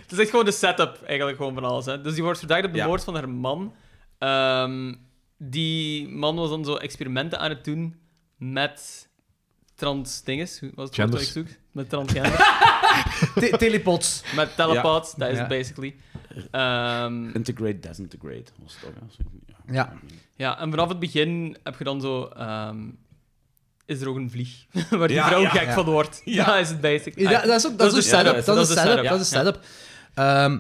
Het is echt gewoon de setup eigenlijk gewoon van alles. Hè. Dus die wordt verdacht op de Ja. moord van haar man. Ehm, die man was dan zo experimenten aan het doen met trans dinges. Hoe was het woord dat ik Genders. zoek? Met transgender. Te- telepods. met telepaths, dat is het Ja. basically. Ehm, Integrate, desintegrate. Was het ook, hè? Zo- ja. Ja. ja, en vanaf het begin heb je dan zo... ehm, is er ook een vlieg waar die Ja, vrouw ja. gek Ja. van wordt. Ja. Dat is het basic. Ja, dat is ook dat is de setup, setup. Dat is de de setup. setup, Dat is de ja. setup. Ehm,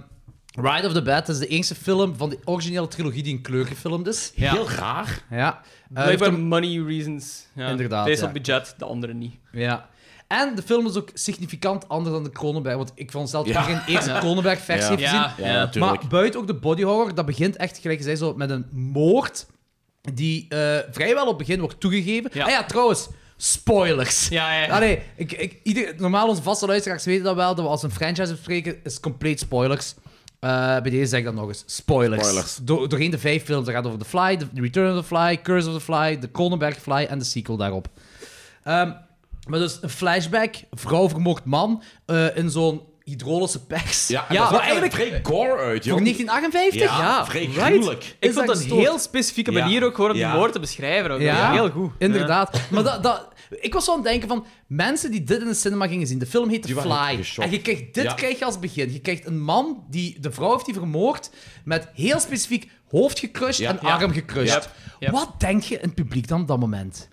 Ride of the Bad is de enige film van de originele trilogie die in kleur gefilmd is. Ja. Heel raar. Ja. Eh, heeft Blijkbaar hem- money reasons. Ja. Inderdaad, Deze ja. had budget, de andere niet. ja. En de film is ook significant anders dan de Cronenberg. Want ik vond zelf Ja. dat ik geen eerste Ja. Cronenberg-versie Ja. heb gezien. Ja, natuurlijk. Maar buiten ook de body horror, dat begint echt, gelijk je zei, zo met een moord die eh, vrijwel op het begin wordt toegegeven. Ja. Ah ja, trouwens, spoilers. Ja, ja. Allee, ik, ik, ieder, normaal onze vaste luisteraars weten dat wel, dat we als we een franchise bespreken, is compleet spoilers. Eh, bij deze zeg ik dat nog eens. Spoilers. Spoilers. Door, doorheen de vijf films. Dat gaat over The Fly, The Return of the Fly, Curse of the Fly, The Cronenberg Fly en de sequel daarop. Ehm, maar dus een flashback, vrouw vermoord man, eh, in zo'n hydrolische pers. Ja, en maar dat zag er eigenlijk... vrij gore uit, joh. Voor 1958? Ja, Ja, vrij right? gruwelijk. Ik Is vond dat een gestoord? heel specifieke Ja. manier ook gewoon om die Ja. woorden te beschrijven. Ook. Ja. Ja. Heel goed. Inderdaad. Maar dat, dat, ik was zo aan het denken van mensen die dit in de cinema gingen zien. De film heet The Die waren Fly. geschokt. En je krijgt dit Ja. krijg je als begin. Je krijgt een man die de vrouw heeft die vermoord met heel specifiek hoofd gecrushed Ja. en Ja. arm gecrushed. Yep. Yep. Wat denk je in het publiek dan op dat moment?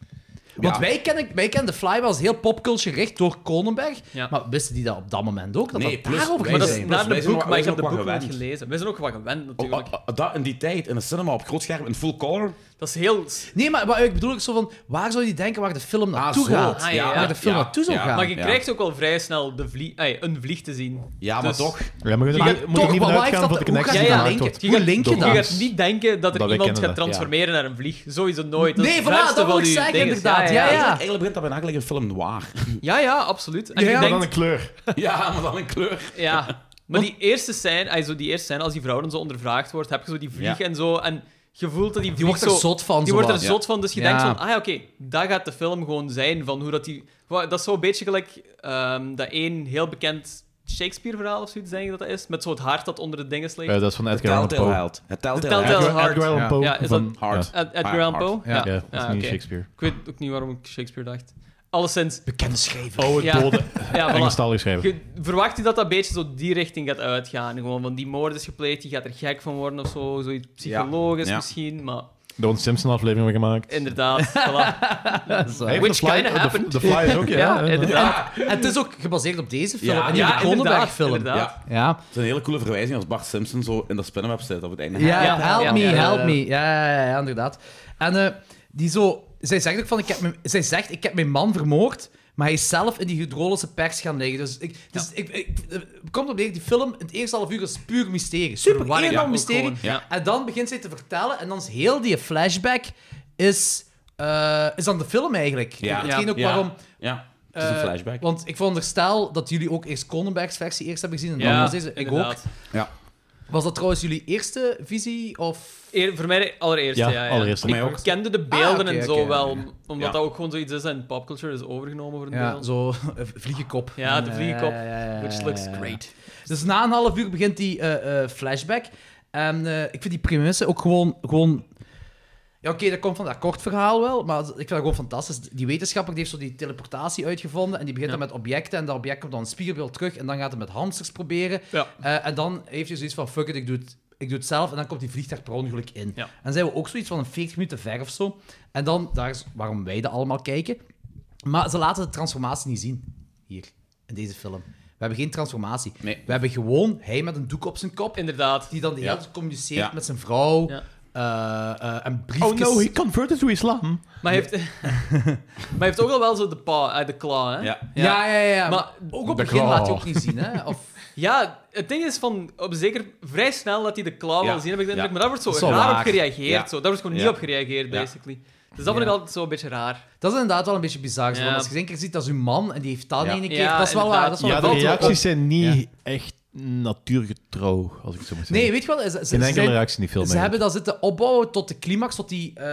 Want Ja. wij, kennen, wij kennen The Fly wel als heel popculture gericht door Kronenberg. Ja. Maar wisten die dat op dat moment ook? Dat Nee, dat plus daarover wij ging Maar dat zijn- zijn? is plus naar wij de zijn boek, ook- maar wij ik zijn heb de ook boek wel niet gewend. gelezen. We zijn ook wel gewend, Oh, natuurlijk. oh, oh, dat in die tijd, in de cinema, op groot scherm, in full color. Dat is heel... Nee, maar wat ik bedoel ik zo van, waar zou je denken waar de film naartoe zo. gaat? Ah, ja, ja. Waar de film Ja, naartoe zou ja. gaan. Maar je Ja. krijgt ook al vrij snel de vlie... ai, een vlieg te zien. Ja, maar Dus toch. Ja, maar Maar je moet- moet er toch, niet maar van waar heeft uitgaan dat- voor de hoe connectie gaat die dat gemaakt linken? wordt. Hoe link je Je dat? gaat niet denken dat er Dat wij iemand kennen gaat dat, ja. transformeren naar een vlieg. Sowieso nooit. Dat is Nee, het voilà, verste dat wil van ik je zeggen, dinges. inderdaad. Ja, ja. Eigenlijk, eigenlijk begint dat bijna gelijk een film noir. Ja, ja, absoluut. En Ja, je maar Dan denkt... een kleur. ja, maar dan in kleur. Ja. Maar die eerste scène, ai, zo die eerste scène, als die vrouw dan zo ondervraagd wordt, heb je zo die vlieg Ja. en zo... En je voelt dat die vlieg Die wordt er zo- zot van. Die wordt er zowat. zot van, dus je Ja. denkt van, ah ja, oké, dat gaat de film gewoon zijn, van hoe dat die... Wa- Dat is zo'n beetje gelijk ehm, dat één heel bekend Shakespeare-verhaal of zoiets, denk ik dat dat is, met zo het hart dat onder de dingen sleept. Ja, dat is van Het Edgar Allan Telltale Poe. Held. Het Telltale Telltale Held. Held. Hard. Edgar Allan Ja. Poe Ja, is van dat- Hard. Ed- Ah, Edgar Allan hard. Poe? Eh, Ja. Ja, dat is Ah, niet oké. Shakespeare. Ik weet ook niet waarom ik Shakespeare dacht. Alleszins... Bekende schrijver. Oh, het Ja. bode. Ja, voilà. Engelstalig schrijven. Je- verwacht je dat dat een beetje zo die richting gaat uitgaan? Gewoon van die moord is gepleegd, die gaat er gek van worden of zo. Zoiets psychologisch Ja. misschien, maar De Owen Simpson aflevering hebben gemaakt. inderdaad. voilà. Hij heeft Which de Fly- kinda de- happened. De Fly is ook, ja. Ja, hè. inderdaad. En het is ook gebaseerd op deze film. Ja, en die ja, Cronenberg inderdaad, film. inderdaad. Ja. Ja. Het is een hele coole verwijzing als Bart Simpson zo in de spinnenweb zit op het einde. Ja, Ja, help ja, me, ja, ja. help me. Ja, ja, ja, ja, inderdaad. En eh, die zo... Zij zegt ook van, ik heb mijn, zij zegt, ik heb mijn man vermoord, maar hij is zelf in die hydrolische pers gaan liggen. Dus ik... Dus ik, ik- eh, het komt op neer, die film, in het eerste half uur is puur mysterie. Super, Verwarring, helemaal ja, ook mysterie. gewoon, ja. En dan begint zij te vertellen, en dan is heel die flashback is, eh, is dan de film eigenlijk. Ja. Hetgeen ook Ja. waarom... Ja, het is een Eh, flashback. Want ik veronderstel dat jullie ook eerst Cronenberg's versie eerst hebben gezien en dan Ja, was deze. Ik inderdaad. ook. Ja. Was dat trouwens jullie eerste visie? Of... Eer- voor mij de allereerste, Ja, ja. ja, allereerste. Voor mij Ik ook. kende de beelden Ah, oké, en zo oké, ja, wel, ja. omdat Ja. dat ook gewoon zoiets is en popculture is overgenomen voor een Ja, deel. zo een vliegenkop. Ja, de vliegenkop, Ja, ja, ja, ja, which looks ja, ja. great. Dus na een half uur begint die eh, eh, flashback. En eh, ik vind die premisse ook gewoon... gewoon... Ja, oké, dat komt van dat kort verhaal wel, maar ik vind dat gewoon fantastisch. Die wetenschapper die heeft zo die teleportatie uitgevonden en die begint Ja. dan met objecten en dat object komt dan een spiegelbeeld terug en dan gaat hij met hamsters proberen. Ja. Eh, en dan heeft hij zoiets van, fuck it, ik doe het, ik doe het zelf. En dan komt die vliegtuig per ongeluk in. Ja. En dan zijn we ook zoiets van een 40 minuten ver of zo. En dan, daar is waarom wij dat allemaal kijken. Maar ze laten de transformatie niet zien. Hier, in deze film. We hebben geen transformatie. Nee. We hebben gewoon hij met een doek op zijn kop. Inderdaad. Die dan de hele Ja. tijd communiceert Ja. met zijn vrouw. Ja. eh, eh, en Oh briefjes. no, he converted to Islam. Maar hij heeft, maar hij heeft ook al wel zo de pa, eh, de klauw, hè? Ja. Ja, ja, ja. ja. Maar Maar ook op de het begin claw. laat hij ook niet zien. Hè? Of, Ja, het ding is van, op zeker vrij snel dat hij de klauw Ja. wel zien, heb ik de indruk. Ja. Maar daar wordt zo Dat is wel raar op waar. gereageerd. Ja. Zo. Daar wordt gewoon Ja. niet op gereageerd, Ja. basically. Dus dat vind Ja. ik altijd zo een beetje raar. dat is inderdaad wel een beetje bizar. zo, Ja. want Als je één keer ziet, dat is uw man en die heeft dat Ja. ene keer. Ja, dat is wel waar. inderdaad. Dat is wel Ja, dat de valt wel op. reacties zijn niet echt natuurgetrouw, als ik het zo moet zeggen. Nee, weet je wel? Ze, ze, Geen ze enkele zijn- reactie in die film. Ze hebben dat zitten opbouwen tot de climax, tot die eh,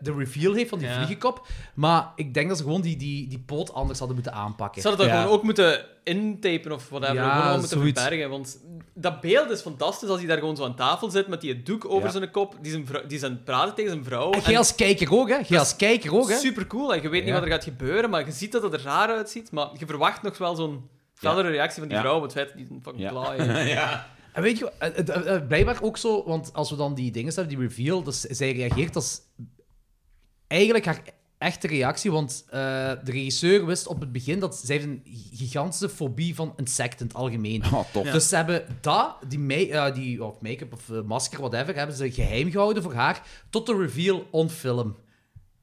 de reveal heeft van die Ja. vliegenkop. Maar ik denk dat ze gewoon die, die, die poot anders hadden moeten aanpakken. Ze hadden dat Ja. gewoon ook moeten intapen of whatever. Ja, gewoon om het te zoiets. verbergen. Want dat beeld is fantastisch als hij daar gewoon zo aan tafel zit met die doek over zijn kop. Die zijn, vrou- die zijn praten tegen zijn vrouw. En jij als kijker ook, hè? Jij als kijker ook, hè? Super cool. En je weet niet Ja. wat er gaat gebeuren, maar je ziet dat het er raar uitziet. Maar je verwacht nog wel zo'n fellere reactie van die Ja. vrouw op het feit dat die een fucking Ja. klauw heeft. ja. En weet je, eh, eh, eh, blijkbaar ook zo, want als we dan die dingen hebben, die reveal, dus zij reageert als eigenlijk haar echte reactie, want eh, de regisseur wist op het begin dat zij heeft een gigantische fobie van insecten in het algemeen. Oh, tof. Dus ze hebben dat, die, mei- eh, die of make-up of eh, masker, whatever, hebben ze geheim gehouden voor haar tot de reveal on film.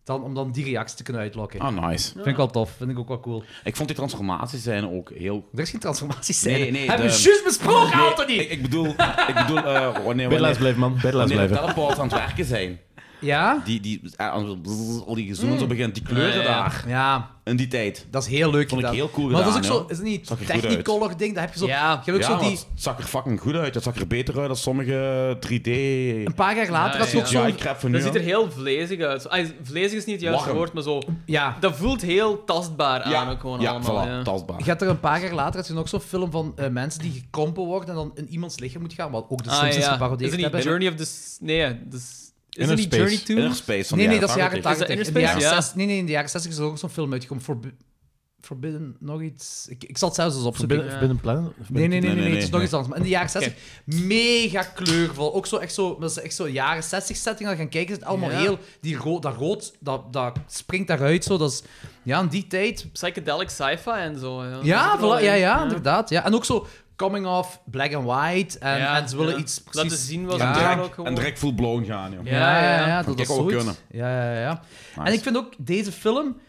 Dan, om dan die reactie te kunnen uitlokken. Ah, nice. Vind ik wel tof, vind ik ook wel cool. Ik vond die transformaties zijn ook heel... Er is geen transformatie Nee, nee, Hebben we de- juist besproken, Anthony! Ik, ik bedoel, ik bedoel eh, wanneer, Bedelaars wanneer, wanneer blijven, man. Bedelaars de blijven. teleports aan het werken zijn. Ja? Die, die, eh, al die gezoen en zo begint, die kleuren Ja, ja, ja. daar, Ja, in die tijd. dat is heel leuk Vond ik gedaan. heel cool Maar dat is gedaan, ook zo, joh. is het niet Zag er goed uit. technicolor ding, dat heb je zo... Ja. je hebt ook ja, zo maar die... het zag er fucking goed uit. Het zag er beter uit dan sommige 3D... Een paar jaar later Ja, was je ook Ja, zo... ik crap van nu. Dat ziet er hè. heel vlezig uit. Ay, Vlezig is niet het juiste Warm. woord, maar zo. Ja. Dat voelt heel tastbaar aan ja, ook gewoon ja, allemaal. voilà, ja. tastbaar. Je hebt er een paar jaar later had je nog zo'n film van eh, mensen die gekrompen worden en dan in iemands lichaam moet gaan, wat ook de Ah, Simpsons ja. Is geparodieerd het hebben. niet Journey of the... S- Nee, dus... Is Inner het niet Space. Journey to? Inner Space van nee, de nee, dat is jaren 80. 80. Is dat In de Inner jaren Space? Ja. 60 nee, nee, in de jaren 60 is er ook zo'n film uitgekomen. Forbi- Forbidden, nog iets. Ik, ik zal het zelfs eens opzoeken. Binnen, binnen plannen? Nee, nee, nee, nee, nee, Nee, nee, het is nog nee. iets anders. Maar in de jaren 60, mega kleurvol. Ook zo, echt zo, dat is echt zo jaren 60 setting. Als je gaan kijken, is het allemaal Ja. heel, die rood, dat rood, dat, dat springt daaruit zo. Dat is, ja, in die tijd. Psychedelic sci-fi en zo. Ja, Ja, Dat zit er wel voilà, ja, in. ja, inderdaad. Ja. En ook zo coming off, black and white. En, Ja, en ze willen ja. iets precies... Laten zien wat ze Ja. doen Direct- ook gewoon. En direct full blown gaan, joh. Ja, ja, ja, Vond dat ik is ook wel zoiets. Ja, ja, ja. Nice. En ik vind ook deze film...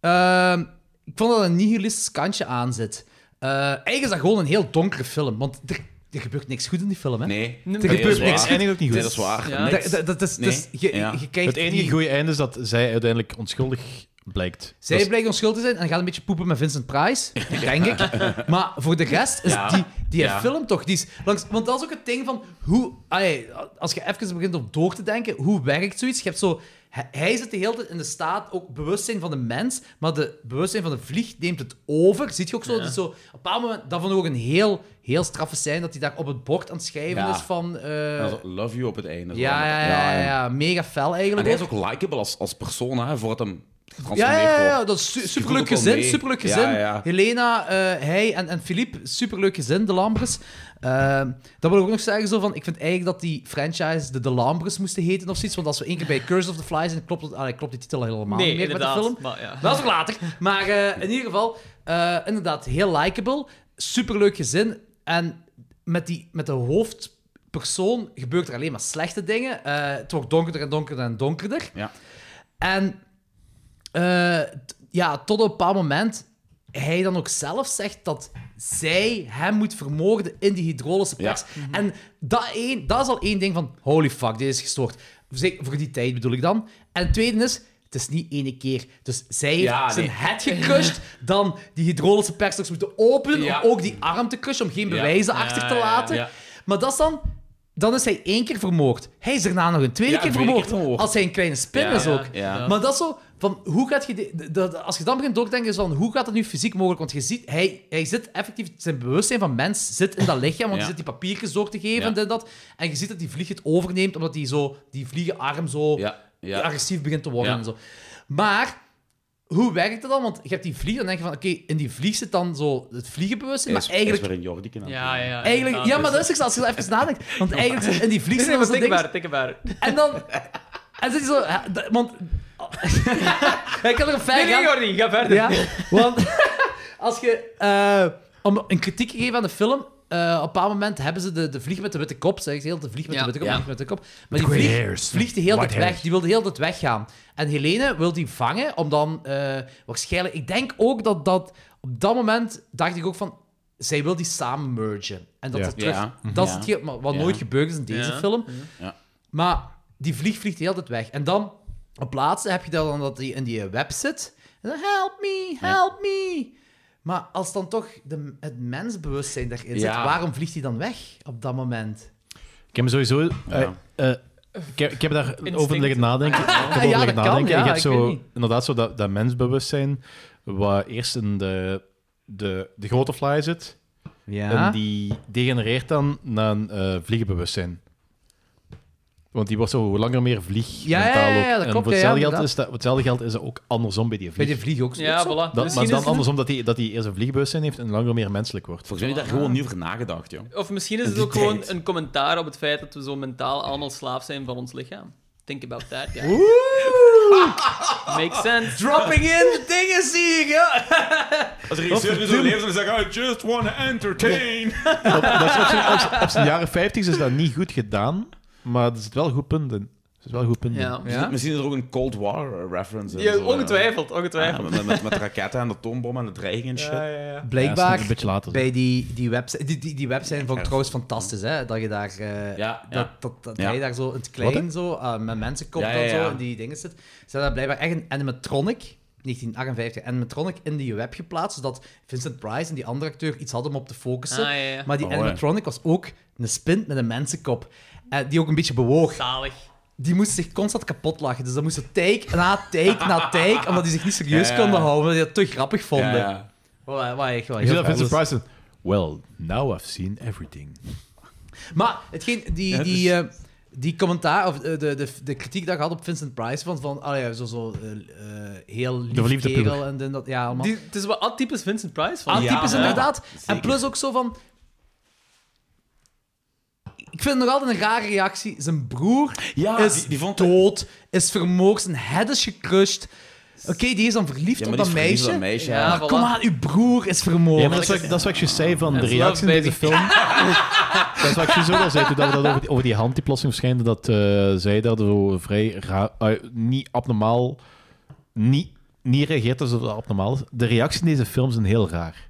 ehm, ik vond dat er een nihilistisch kantje aan zit. Eh, eigenlijk is dat gewoon een heel donkere film, want er, er gebeurt niks goed in die film, hè? Nee, Er nee, dat gebeurt is niks. waar. eindigt ook niet Nee, goed. dat is waar. Ja. Nee. Dat, dat, dat is, Nee, dus je, ja. je kijkt Het enige die- goede einde is dat zij uiteindelijk onschuldig blijkt. Zij Dat is- blijkt onschuldig te zijn en gaat een beetje poepen met Vincent Price, denk ik. Maar voor de rest is Ja. die, die Ja. film toch... Die is langs, want dat is ook het ding van... Hoe, allee, als je even begint op door te denken, hoe werkt zoiets? Je hebt zo... hij- Hij zit de hele tijd in de staat, ook bewustzijn van de mens, maar de bewustzijn van de vlieg neemt het over. Ziet je ook zo? dat is zo op een bepaald moment, dat vond ik ook een heel, heel straffe scène, dat hij daar op het bord aan het schrijven Ja. is van... eh, En dan zo, Love you op het einde. zo. ja, ja, ja, ja, ja, mega fel En eigenlijk. hij ook. is ook likable als, als persoon, hè, voor het hem Ja, getransformeerd ja, ja, ja, wordt. dat is su- voelt superleuk ook wel gezin. mee. Superleuk Ja, gezin. ja. Helena, eh, hij en, en Philippe, superleuk gezin, de Lambres. Eh, dat wil ik ook nog zeggen. Zo van, ik vind eigenlijk dat die franchise de De Lambres moesten heten of zoiets. Want als we één keer bij Curse of the Fly zijn, klopt, het, allee, klopt die titel helemaal Nee, niet Ah, meer met de inderdaad. film. Maar, ja. Dat is ook later. Maar eh, in ieder geval, eh, inderdaad, heel likable. Superleuk gezin. En met, die, met de hoofdpersoon gebeurt er alleen maar slechte dingen. Eh, het wordt donkerder en donkerder en donkerder. Ja. En eh, t- ja, tot op een bepaald moment hij dan ook zelf zegt dat zij hem moet vermoorden in die hydrolyse pers. En dat, één, dat is al één ding van, holy fuck, dit is gestoord. Zeker voor die tijd bedoel ik dan. En het tweede is, het is niet ene keer. Dus zij heeft Ja, zijn nee. het gecrushed, dan die hydrolyse pers nog eens moeten openen Ja. om ook die arm te crushen, om geen bewijzen achter te ja, ja. laten. Ja. Maar dat is dan... Dan is hij één keer vermoord. Hij is daarna nog een tweede Ja, keer een tweede vermoord. keer vermoord. Als hij een kleine spin Ja, is ja, ook. ja. Maar dat is zo... Van, hoe gaat je de- de- de- als je dan begint doordenken, is van hoe gaat dat nu fysiek mogelijk? Want je ziet, hij, hij zit effectief, zijn bewustzijn van mens zit in dat lichaam, want Ja. hij zit die papiertjes door te geven Ja. en dit en dat. En je ziet dat die vlieg het overneemt, omdat die, zo, die vliegenarm zo Ja, ja. agressief begint te worden Ja. en zo. Maar hoe werkt dat dan? Want je hebt die vlieg, dan denk je van, oké, in die vlieg zit dan zo het vliegenbewustzijn, maar eigenlijk... weer een Jordi aan. Ja, ja, ja. Eigenlijk, ja, dus- maar dat is het, als je even nadenkt. Want eigenlijk zit in die vlieg Nee, zit nee, dan maar zo'n ding- tikkenbaar, tikkenbaar. En dan... En zit je zo... ja, d- Want... Ik kan er een Nee, fijn nee, gaan. Jordi, ga verder. Ja, want als je... eh, om een kritiek te geven aan de film... eh, op een bepaald moment hebben ze de, de vlieg met de witte kop. Zeggen ze heel de vlieg met Ja. de witte kop, Ja. vlieg met de witte kop. Maar die vlieg vliegt de hele tijd weg. Die wil de hele tijd weggaan. En Helene wil die vangen om dan eh, waarschijnlijk... Ik denk ook dat dat... Op dat moment dacht ik ook van... Zij wil die samen mergen. En dat Ja. ze terug... Ja. Dat is Ja. het ge- maar wat Ja. nooit gebeurd is in deze Ja. film. Ja. Maar die vlieg vliegt de hele tijd weg. En dan op laatste heb je dat dan dat hij in die web zit. En dan, help me, help me. Maar als dan toch de, het mensbewustzijn daarin zit, Ja. waarom vliegt hij dan weg op dat moment? Ik heb me sowieso... eh, Ja. eh, ik, heb, ik heb daar over Instinct. liggen nadenken. Ik heb over dat liggen kan, nadenken. ja, ik heb ik weet zo, niet. inderdaad zo dat, dat mensbewustzijn, wat eerst in de, de, de grote fly zit, en die degenereert dan naar een eh, vliegenbewustzijn. Want die wordt zo hoe langer meer vlieg. Ja, ja, ja, ja, dat en klopt, voor ja, hetzelfde, geld inderdaad. is dat, voor hetzelfde geld is dat ook andersom bij die Bij vlieg. die vlieg ook zo. Ja, voilà. Dat, maar Misschien dan is- andersom dat hij dat die eerst een vliegenbewustzijn heeft en langer meer menselijk wordt. Volgens mij heb je daar gewoon niet over nagedacht, joh. Of misschien is het Die ook gewoon tijd. een commentaar op het feit dat we zo mentaal allemaal slaaf zijn van ons lichaam. Think about that, guys. Makes sense. Dropping in dingen zie ik, ja. Als regisseur nu zo leeft, dan zeg "Oh, ik, I just wanna entertain. Op, dat is op, zijn, op, zijn- op zijn jaren 50 is dat niet goed gedaan, maar er zit wel goed punt in. Er zit wel goed punt in. Ja. Misschien is er ook een Cold War reference in. Ja, zo, eh. ongetwijfeld, Ja, ongetwijfeld. met, met, met raketten en de toonbom en de dreiging en shit. Ja, dat Blijkbaar is een beetje later. bij die, die website... Die, die, die website vond ik trouwens fantastisch, hè. Dat je daar... eh, Ja, ja. Dat, dat, dat Ja. hij daar zo in het Wat, klein, zo, eh, met mensen komt Ja, ja, en zo, ja. in die dingen zit. Ze hebben daar blijkbaar echt een animatronic, 1958, animatronic in die web geplaatst, zodat Vincent Price en die andere acteur iets hadden om op te focussen. Ah, ja, ja. Maar die Oh, ja. animatronic was ook een spin met een mensenkop. eh, die ook een beetje bewoog. Zalig. Die moest zich constant kapot lachen. Dus dat moest zo take na take na take, omdat die zich niet serieus Ja, ja. konden houden, omdat die dat te grappig vonden. Ja, ja. Wat, wat echt wel Ik heel zie dat fijn Vincent was. Price en- Well, now I've seen everything. Maar hetgeen, die, Ja, dus- die, eh, die commentaar, of eh, de, de, de kritiek dat ik had op Vincent Price, van, van ah ja, zo, zo eh, eh, heel De lief verliefde kerel puber. en dit en dat. Ja, allemaal. Die, het is wat atypisch Vincent Price van. Atypisch Ja, inderdaad. En zeker. plus ook zo van... Ik vind het nog altijd een rare reactie. Zijn broer Ja, is die- die vond- dood, is vermoord, zijn head is gecrushed. Oké, die is dan verliefd Ja, op maar dat die is verliefd meisje. op dat meisje, ja. ja. Maar voilà. kom aan, uw broer is vermoord. Ja, maar dat is, wat, dat is wat ik je zei van de That's reactie in love, deze film. dat is wat ik je zo al zei, toen dat we dat over die, over die hand die plotseling verschijnde, dat eh, zij daar zo vrij ra- eh, niet abnormaal, niet, niet reageert alsof dat abnormaal is. De reacties in deze film zijn heel raar.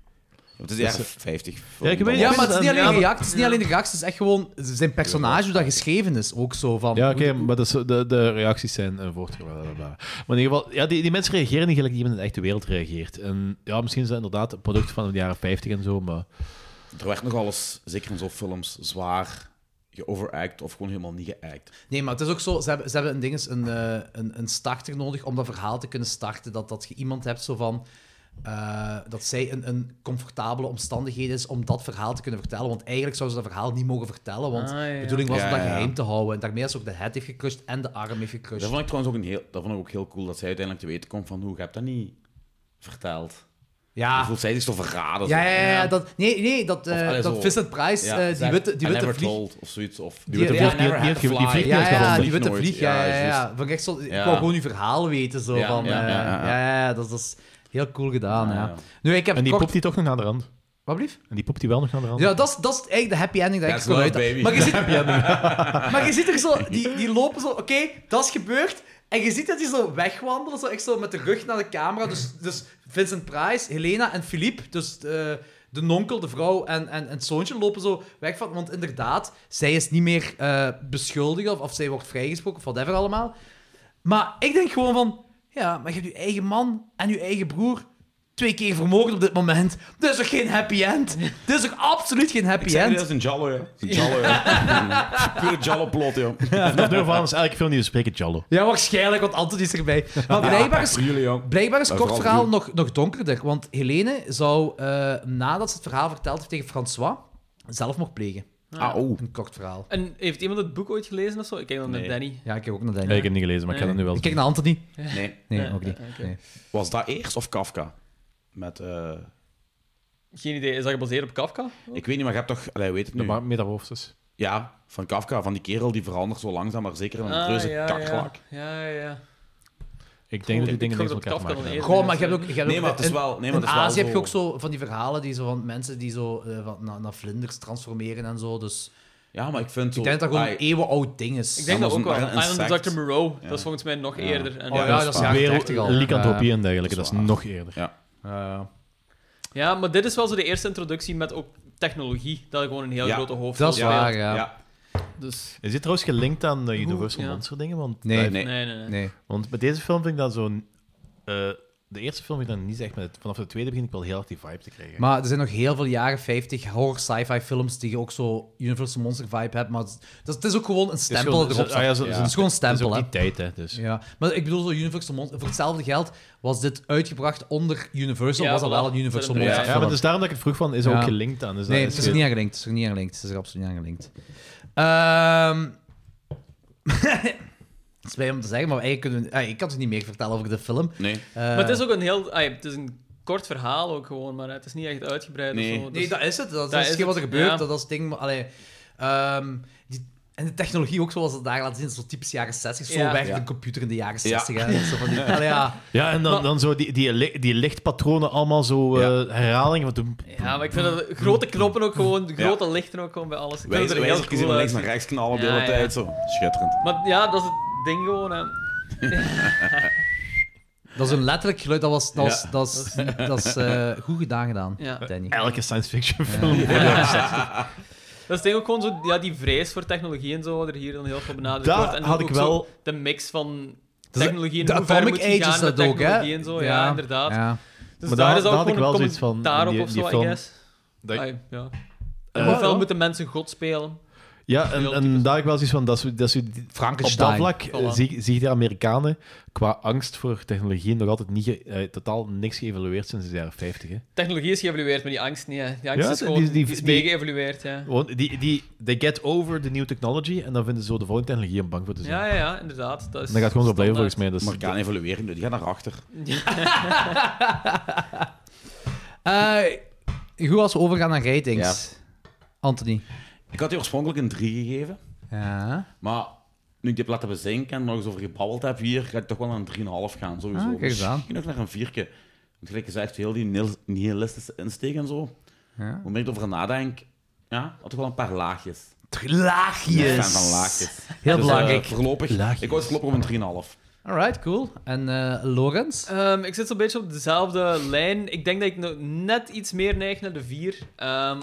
Het is de jaren 50. Ja, ik weet- Ja, Is maar het is niet alleen ja, de maar- reactie. Het is niet alleen de reactie. Het is echt gewoon zijn personage, hoe dat geschreven is. Ook zo van... Ja, oké, maar dat is, de, de reacties zijn eh, voort. blablabla. Maar in ieder geval, ja, die, die mensen reageren niet gelijk die men in de echte wereld reageert. En ja, misschien is dat inderdaad een product van de jaren 50 en zo, maar... Er werd nog alles, zeker in zo'n films, zwaar geoveract of gewoon helemaal niet geact. Nee, maar het is ook zo, ze hebben, ze hebben een, ding is een, eh, een, een starter nodig om dat verhaal te kunnen starten. Dat, dat je iemand hebt zo van, eh, dat zij een, een comfortabele omstandigheid is om dat verhaal te kunnen vertellen. Want eigenlijk zou ze dat verhaal niet mogen vertellen, want Ah, ja. de bedoeling was om Ja, dat ja. geheim te houden. En daarmee is ook de head heeft gecrushed en de arm heeft gecrushed. Dat vond ik trouwens ook, een heel, dat vond ik ook heel cool, dat zij uiteindelijk te weten komt van hoe, je hebt dat niet verteld. Ja. Voelt zij zich zo verraden? Ah. Ja, zo. ja, ja, dat, nee, nee, dat, eh, Of, allee, dat zo- Vincent Price, Ja, eh, zeg, die witte, die I witte never vlieg... told of zoiets. Of, Die witte Ja, vlieg- I never die- had die- a die fly. vlieg- Ja, ja, ja, gevonden. die witte Nooit, vlieg. Ja, ja, ja. juist. Van, echt zo, ik Ja. wou gewoon uw verhaal weten. Zo, Ja, van, ja, eh, ja, ja, ja, ja. ja, dat, is- dat is heel cool gedaan. Ja, ja. ja. Nu, ik heb En die kort... poept die toch nog naar de rand. Wat blieft? En die poept die wel nog naar de rand. Ja, dat is, dat is eigenlijk de happy ending dat ik That's kon not uit. baby. Maar je ziet, maar je ziet er zo, die, die lopen zo, oké, dat is gebeurd. En je ziet dat die zo wegwandelen, zo echt zo met de rug naar de camera. Dus, dus Vincent Price, Helena en Philippe, dus eh, de nonkel, de vrouw en, en, en het zoontje, lopen zo weg van. Want inderdaad, zij is niet meer eh beschuldigd of, of zij wordt vrijgesproken of whatever allemaal. Maar ik denk gewoon van, ja, maar je hebt je eigen man en je eigen broer. twee keer vermogen op dit moment. Dit is toch geen happy end? Dit is toch absoluut geen happy Ik zeg, end? dat is een Jallo, ja. Dat is Een Jallo, ja. Pure Jallo-plot, joh. Vanaf nu van is elke film die we spreken Jallo. Ja, waarschijnlijk, want Anton is erbij. Maar blijkbaar is, voor jullie, ja. blijkbaar is Maar kort vooral verhaal voor nog, nog donkerder. Want Helene zou, eh, nadat ze het verhaal verteld heeft tegen François, zelfmoord plegen. Ah, oh. Een kort verhaal. En heeft iemand het boek ooit gelezen of zo? Ik kijk dan naar Danny. Ja, ik heb ook naar Danny. Nee, ik heb hem niet gelezen, maar ik ga dat nu wel ik zien. kijk naar Anthony. Nee. Nee, ook niet. Nee. Was dat eerst of Kafka? Met, eh, Geen idee. Is dat gebaseerd op Kafka? Oh. ik weet niet, maar je hebt toch... Allee, weet het De nu. ma- metamorfoses. Ja, van Kafka, van die kerel die verandert zo langzaam, maar zeker in een reuze Ah, ja, ja. kakkelak. ja, ja. Ik denk dat die dingen Ik niks gok met elkaar te dat Kafka maken dan hebben. Goh, maar je hebt ook... Je hebt Nee, ook- maar het is in- wel... Nee, maar in het is wel Azië heb je zo- ook zo van die verhalen die zo van mensen die zo eh, van, naar, naar vlinders transformeren en zo. Dus Ja, maar ik vind zo... ik denk dat dat gewoon Ai, een eeuwenoud ding is. Ik denk dat was ook wel. maar een Island of insect. Dr. Moreau. Dat is volgens mij nog eerder. En Oh ja, dat is waar. jaren Weer 30 al. lycanthropie en dergelijke, dat dat is is nog eerder. Ja. Ja, maar dit is wel zo de eerste introductie met ook technologie. Dat gewoon een heel Ja. grote hoofd Dat is Ja. waar, ja. Ja. Dus, Is dit trouwens gelinkt aan de Universal ja. Monster dingen? Want, eh, Nee. Nee. nee, nee, nee. Nee. want met deze film vind ik dat zo'n... eh, de eerste film vind ik dat niet echt, maar het- vanaf de tweede begin ik wel heel erg die vibe te krijgen. Maar er zijn nog heel veel jaren 50 horror sci-fi films die je ook zo Universal Monster vibe hebt. Maar het is- dat, het is ook gewoon een Het is stempel gewoon- dat erop. ah staat. ja, zo- Het zo- is gewoon een dat is stempel, ook hè. die tijd, hè. Dus. Ja, maar ik bedoel, zo Universal Monster, voor hetzelfde geld was dit uitgebracht onder Universal, Ja, was dat voilà. wel een Universal Ja, Monster Ja, film. maar dus daarom dat ik het vroeg van, is Ja. er ook gelinkt aan? Dus Nee, dat het is er niet aan gelinkt. Het is er niet aan gelinkt. Het is er absoluut niet aan gelinkt. Ehm, Het is blij om te zeggen, maar eigenlijk kunnen we- ah, ik kan dus niet meer vertellen over de film. Nee. Maar het is ook een heel... ah, het is een kort verhaal ook gewoon, maar het is niet echt uitgebreid Nee. of zo. Dus- Nee, dat is het. Dat, Dat is is hetgeen het, wat er gebeurt. ja. Dat, dat is het ding. maar, Allee, ehm, die, en de technologie ook zoals ze het daar laten zien, is zo typisch jaren 60. Zo Ja. werkt Ja. een computer in de jaren Ja. 60. hè. Zo van die, allee, ja. Ja, en dan, Maar- dan zo die, die, li- die lichtpatronen allemaal zo eh, herhalingen. Want toen, Ja, maar ik vind dat grote knoppen ook gewoon, grote lichten ook gewoon bij alles. Ik vind Wij dat er zijn heel cool cool van links uit. naar rechts knallen de Ja, hele ja. tijd. Zo. Schitterend. Maar ja, dat is het ding gewoon. Hè. Dat is een letterlijk geluid. Dat, was, dat, was, Ja. dat is, dat is eh, goed gedaan gedaan, Ja. Danny. elke science fiction film. Dat is denk ik ook gewoon zo, ja, die vrees voor technologie en zo, wat er hier dan heel veel benadrukt Daar wordt. En dan had ik ook zo wel- de mix van Dat is- technologie en de hoe ver Atomic moet je Age gaan is met dat ook, hè? technologie en zo. Ja, inderdaad. ja. Dus Maar daar, daar- is ook daar had gewoon ik wel een zoiets van, commentaar die- op of die zo, film- I guess. Dat- Ah, ja. Eh, Hoeveel ja. moeten mensen God spelen? Ja, en, Veel en types. daar heb ik wel zoiets van, dat ze, dat ze die- op dat Frankenstein. vlak eh, Voilà. zie, zie je de Amerikanen qua angst voor technologie nog altijd niet, ge- eh, totaal niks geëvalueerd sinds de jaren 50. Hè. Technologie is geëvalueerd, maar die angst niet. Hè. Die angst Ja, is die- gewoon die- die, die- is die- meegeëvalueerd. Ja. Gewoon, die, die, they get over the new technology en dan vinden ze zo de volgende technologie om bang voor te zijn. ja, ja, ja, inderdaad. Dat is En dat gaat gewoon zo blijven volgens standaard. mij. Dus, Maar ik kan evalueren, die gaat naar achter. Eh, goed als we overgaan naar ratings. Anthony. Ik had die oorspronkelijk een 3 gegeven. Ja. Maar nu ik dit heb laten bezinken en nog eens over gebabbeld heb hier, ga ik toch wel naar een 3,5 gaan, sowieso. Ah, kijk eens aan. Misschien ook naar een 4. Want gelijk gezegd, heel die nihil- nihilistische insteek en zo. Ja. Hoe meer ik erover nadenk, ja, had toch wel een paar laagjes. Ik ben fan Laagjes. van laagjes. Heel Dus, belangrijk. eh, voorlopig, Laagjes. ik was voorlopig op een 3,5. Alright, cool. En eh Lorenz? Ehm, ik zit zo'n beetje op dezelfde lijn. Ik denk dat ik nog net iets meer neig naar de 4.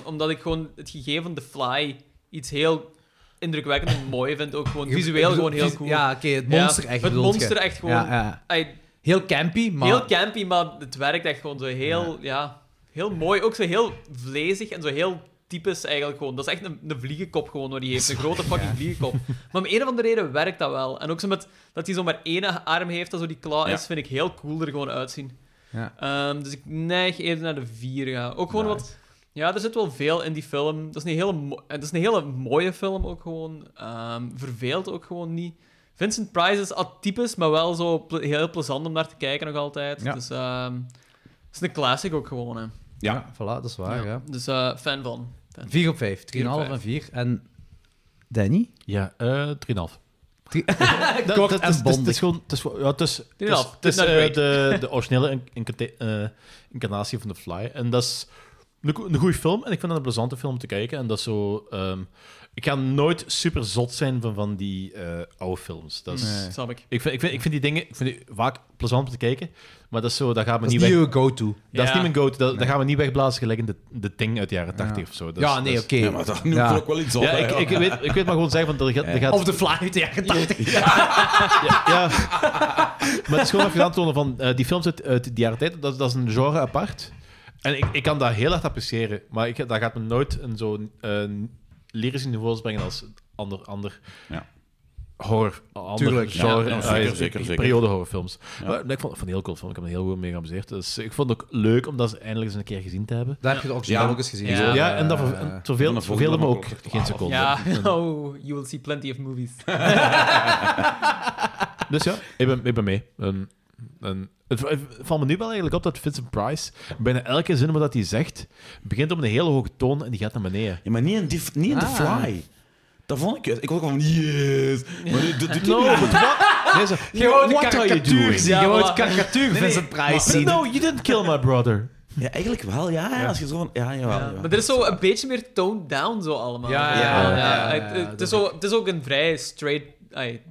omdat ik gewoon het gegeven van The Fly iets heel indrukwekkend en mooi vind. Ook gewoon visueel gewoon heel cool. Ja, oké, het Ja, monster echt. Het bedoelt monster je. echt gewoon... Ja, ja. Ai, Heel campy, maar... Heel campy, maar het werkt echt gewoon zo heel... Ja. heel mooi. Ook zo heel vlezig en zo heel typisch eigenlijk gewoon. Dat is echt een, een vliegenkop gewoon wat hij heeft. Een grote fucking vliegenkop. Maar om een of andere reden werkt dat wel. En ook zo met dat hij zo maar één arm heeft, dat zo die klauw Ja. is, vind ik heel cool er gewoon uitzien. Ja. Ehm, dus ik neig even naar de vier. Ja. Ook gewoon wat. Ja, er zit wel veel in die film. Dat is een hele, mo- eh, dat is een hele mooie film ook gewoon. Ehm, verveelt ook gewoon niet. Vincent Price is atypisch, maar wel zo ple- heel plezant om naar te kijken nog altijd. Ja. Dus ehm, het is een classic ook gewoon. Hè. Ja. Ja, voilà, dat is waar, ja. Dus eh, fan van. Fan. 4 op 5. 3,5 Vier op vijf. en 4. En Danny? Ja, eh 3,5. Drie- Dat- Kort dat- en het is- Het bondig. is gewoon... Het is, gewoon- ja, het is, het is, 3,5. het is, Not eh, great. de, de originele in- incante- eh, incarnatie van The Fly. En dat is een, go- een goede film en ik vind het een plezante film om te kijken. En dat is zo. ehm, ik ga nooit super zot zijn van, van die eh, oude films. Dat is, Nee. Snap ik. Ik vind, ik, vind, ik vind die dingen ik vind die vaak plezant om te kijken, maar dat is zo. Dat gaat me Dat is niet niet weg. uw go-to. Dat is Ja. niet mijn go-to. Dat, dat gaan we niet wegblazen gelijk in de, de Ting uit de jaren 80 of zo. Dat is- Ja, nee, dat is- oké. Ja, maar dat noemt Ja. ook wel iets op, Ja, hè, ik, ja. ik, weet, ik weet maar gewoon zeggen, van er gaat, er gaat Of de fly uit de jaren 80. ja, ja. Maar het is gewoon even aan te tonen van eh, die films uit, uit die jaren tijd, dat, dat is een genre apart. En ik, ik kan dat heel erg appreciëren, maar ik, dat gaat me nooit een zo'n eh lyrisch niveau brengen als ander, ander Ja. horror, ander Tuurlijk. genre, Ja, ja, eh, zeker, zeker, zeker. periode horrorfilms. Ja. Maar ik vond, ik vond het een heel cool film, ik heb me heel goed mee geamuseerd. Dus ik vond het ook leuk om dat eens eindelijk eens een keer gezien te hebben. Daar heb je de origineel Ja. ook eens gezien. Ja, Ja, en dat eh, ver- en het verveel- dan de volgende verveelde me nog ook ook. geen seconde. Ja, En- oh, you will see plenty of movies. Dus ja, ik ben, ik ben mee. En, en het, v- het valt me nu wel eigenlijk op dat Vincent Price bijna elke zin wat hij zegt, begint op een hele hoge toon en die gaat naar beneden. Ja, maar niet in, die, niet in The Ah. Fly. Dat vond ik... Ik was ook van, yes. Maar dit- dit doet hij No, niet. but what? Nee, zo, Gewoon Oh. de what are you karikatuur doing? zien, Ja, gewoon de voilà. karikatuur Nee, nee, Vincent Price maar- zien. No, you didn't kill my brother. Ja, eigenlijk wel, ja. ja, Als je zo van... Ja, jawel. jawel. Maar er is zo een beetje meer toned down, zo allemaal. Ja, ja, ja, ja, ja, Het- het- Het is zo- het is ook een vrij straight, ay,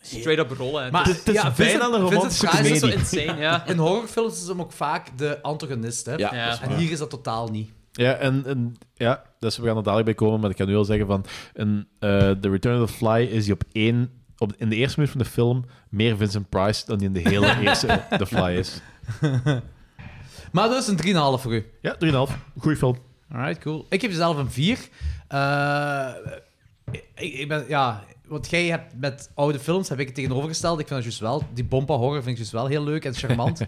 straight up rol. hè. Maar ja, Vincent- Vincent Price Het is zo insane, ja. In horrorfilms is hem ook vaak de antagonist, hè? Ja, Ja. dat is En waar. hier is dat totaal niet. Ja, en, en ja, dus we gaan er dadelijk bij komen, maar ik kan nu al zeggen van in eh, The Return of the Fly is hij op één, op, in de eerste minuut van de film meer Vincent Price dan die in de hele eerste The Fly is. Maar dat is een 3,5 voor u. Ja, 3,5. Goeie film. Alright, cool. Ik heb zelf een 4. Eh, ik, ik ben, ja, want jij hebt met oude films heb ik het tegenovergesteld. Ik vind dat juist wel. Die bompa horror vind ik juist wel heel leuk en charmant.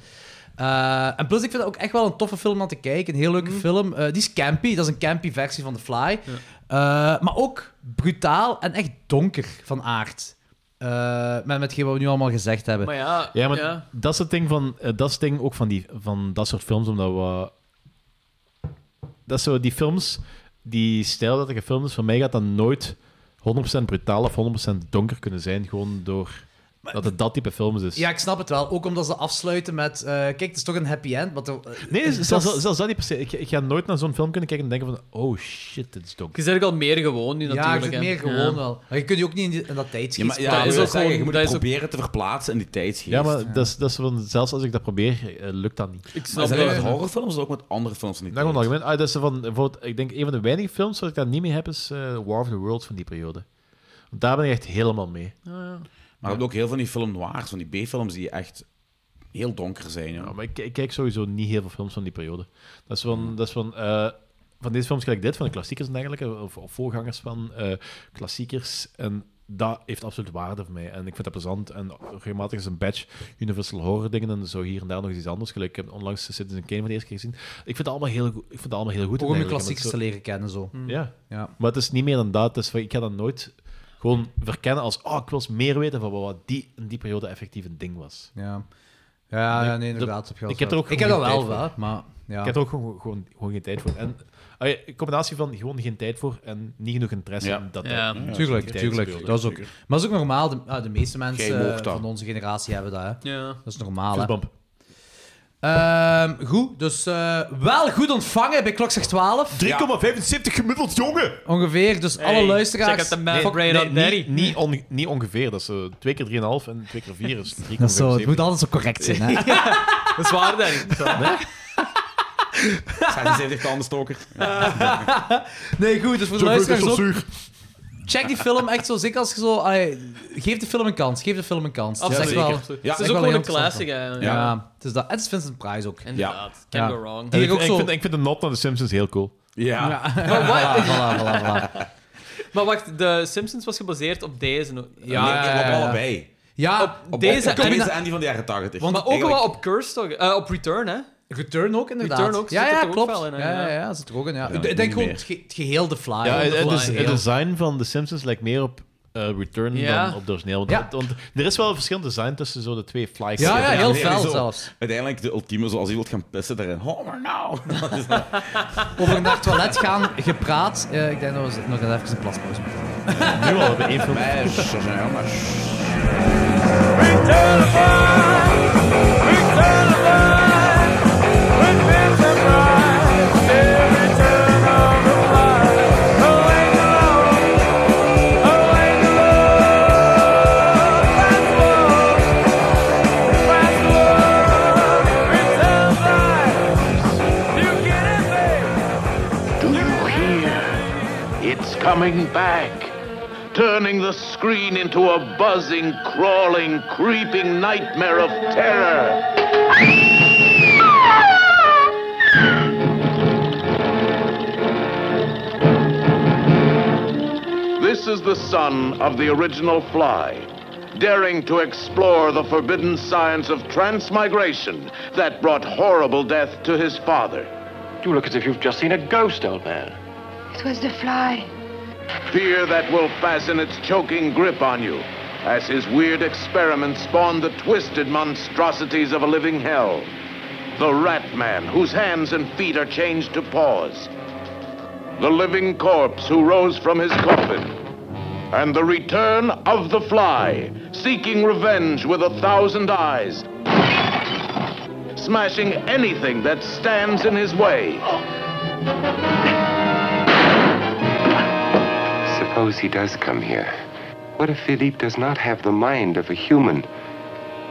Eh, en plus, ik vind het ook echt wel een toffe film om aan te kijken. Een heel Mhm. leuke film. Eh, die is campy. Dat is een campy versie van The Fly. Eh, maar ook brutaal en echt donker van aard. Eh, met hetgeen wat we nu allemaal gezegd hebben. Maar ja, Ja, maar ja. dat is het ding van eh, dat is het ding ook van die van dat soort films omdat we dat is zo die films die stijl dat er gefilmd is voor mij gaat dat nooit 100% brutaal of 100% donker kunnen zijn gewoon door dat het dat type films is. Ja, ik snap het wel. Ook omdat ze afsluiten met... eh, kijk, het is toch eh, een happy end. Want, Nee, zelfs, zelfs dat niet per se. Ik, ik ga nooit naar zo'n film kunnen kijken en denken van oh shit, dit is donker. Je bent ook al meer gewoon nu Ja, ik natuurlijk. zit hè. meer gewoon Ja. wel. Maar je kunt je ook niet in, die- in dat Ja, tijdsgeest... maar, ja, plaatsen. ik wil zeggen, je moet het proberen te verplaatsen in die tijdsgeest. Ja, maar Dat is, dat is van, zelfs als ik dat probeer, eh, lukt dat niet. Ik Maar is dat alleen met horrorfilms of ook met andere films niet? Nou, gewoon algemeen. Ah, dat is van, bijvoorbeeld, ik denk een van de weinige films waar ik dat niet mee heb, is eh, War of the Worlds van die periode. Want daar ben ik echt helemaal mee. ja. Maar je hebt ook heel veel van die film noirs, van die B-films die echt heel donker zijn. Ja. Ja, Nou, maar ik, ik kijk sowieso niet heel veel films van die periode. Dat is van, Hmm. dat is van, eh, van deze films gelijk dit, van de klassiekers en dergelijke, of, of voorgangers van eh, klassiekers. En dat heeft absoluut waarde voor mij. En ik vind dat plezant. En regelmatig is een badge Universal Horror dingen en zo hier en daar nog eens iets anders. Gelijk, ik heb onlangs Citizen Kane voor de eerste keer gezien. Ik vind dat allemaal heel, goed- ik vind dat allemaal heel goed. Ook om je eigenlijk, klassiekers omdat te het zo- Hm. leren kennen, zo. Ja. Ja. Maar het is niet meer dan dat. Dus van, ik ga dat nooit gewoon verkennen als, oh, ik wil eens meer weten van wat die in die periode effectief een ding was. Ja. Ja, Ik- ja, nee, dat- inderdaad. heb je wel ik heb er zo. ook ik heb gewoon dat geen wel, tijd voor. wel, maar... Ja. Ik heb er ook gewoon, gewoon, gewoon geen tijd voor. En ah ja, een combinatie van gewoon geen tijd voor en niet genoeg interesse Ja. in dat. Ja, dat- dat tuurlijk, die tuurlijk. tijdsbeelden. Dat is ook, maar dat is ook normaal. De, ah, de meeste Jij mensen moogt eh, dat. van onze generatie hebben dat. Hè. Ja. Dat is normaal. Hè. Fistbump. Ehm, goed, dus eh, wel goed ontvangen bij Klokslag 12. 3,75 gemiddeld, jongen! Ongeveer, dus alle luisteraars... Fuck, nee, nee, niet- niet, niet, on- niet ongeveer. Dat is eh, twee keer 3,5 en twee keer 4 is 3,75. Dat is zo, het moet altijd zo correct zijn. Hè? Dat is waar, Danny. Zijn ze echt anders stoker? Nee, goed, dus voor de Zo goed is luisteraars zo ook, Check die film echt zo, zeker als je zo... allee, geef de film een kans, geef de film een kans. Het is Absoluut. echt wel- Ja, zeker. echt wel Het is ook gewoon heel een classic, interessant. hè, ja. Ja, het is dat. Het is Vincent Price ook. Inderdaad. Can't go wrong. En Hier ik, ook ik zo- vind, ik vind de not naar de Simpsons heel cool. Ja. Maar wat? Voilà, voilà, voilà, voilà. Maar wacht, de Simpsons was gebaseerd op deze. Ja, Nee, op allebei. Ja, op, Op deze op, op en... deze en die van de jaren 80. maar ook wel op Curse, toch? Eh, op Return, hè? Return ook, inderdaad. Return ook, ja, zit ja, er ook klopt. wel in, hè, ja, ja, ja. ja, zit er ook in. Ja. Ja, ik niet denk gewoon meer. het, ge- het geheel de fly. ja, gewoon het, de het fly is- het geheel. design van de Simpsons lijkt meer op eh, Return Ja. dan op de origineel. Want, Ja. want er is wel een verschil in design tussen zo de twee flies. Nee, zo- Uiteindelijk de ultieme, zoals je wilt gaan pissen daarin. Oh, maar nou! Over naar het toilet gaan, gepraat. Eh, ik denk dat we nog even een plaspauze moeten hebben. Nu al, hebben één film. Return It's coming back, turning the screen into a buzzing, crawling, creeping nightmare of terror. This is the son of the original fly, daring to explore the forbidden science of transmigration that brought horrible death to his father. You look as if you've just seen a ghost, old man. It was the fly. Fear that will fasten its choking grip on you as his weird experiments spawn the twisted monstrosities of a living hell. The rat man, whose hands and feet are changed to paws. The living corpse who rose from his coffin. And the return of the fly, seeking revenge with a thousand eyes, smashing anything that stands in his way. Suppose he does come here. What if Philippe does not have the mind of a human,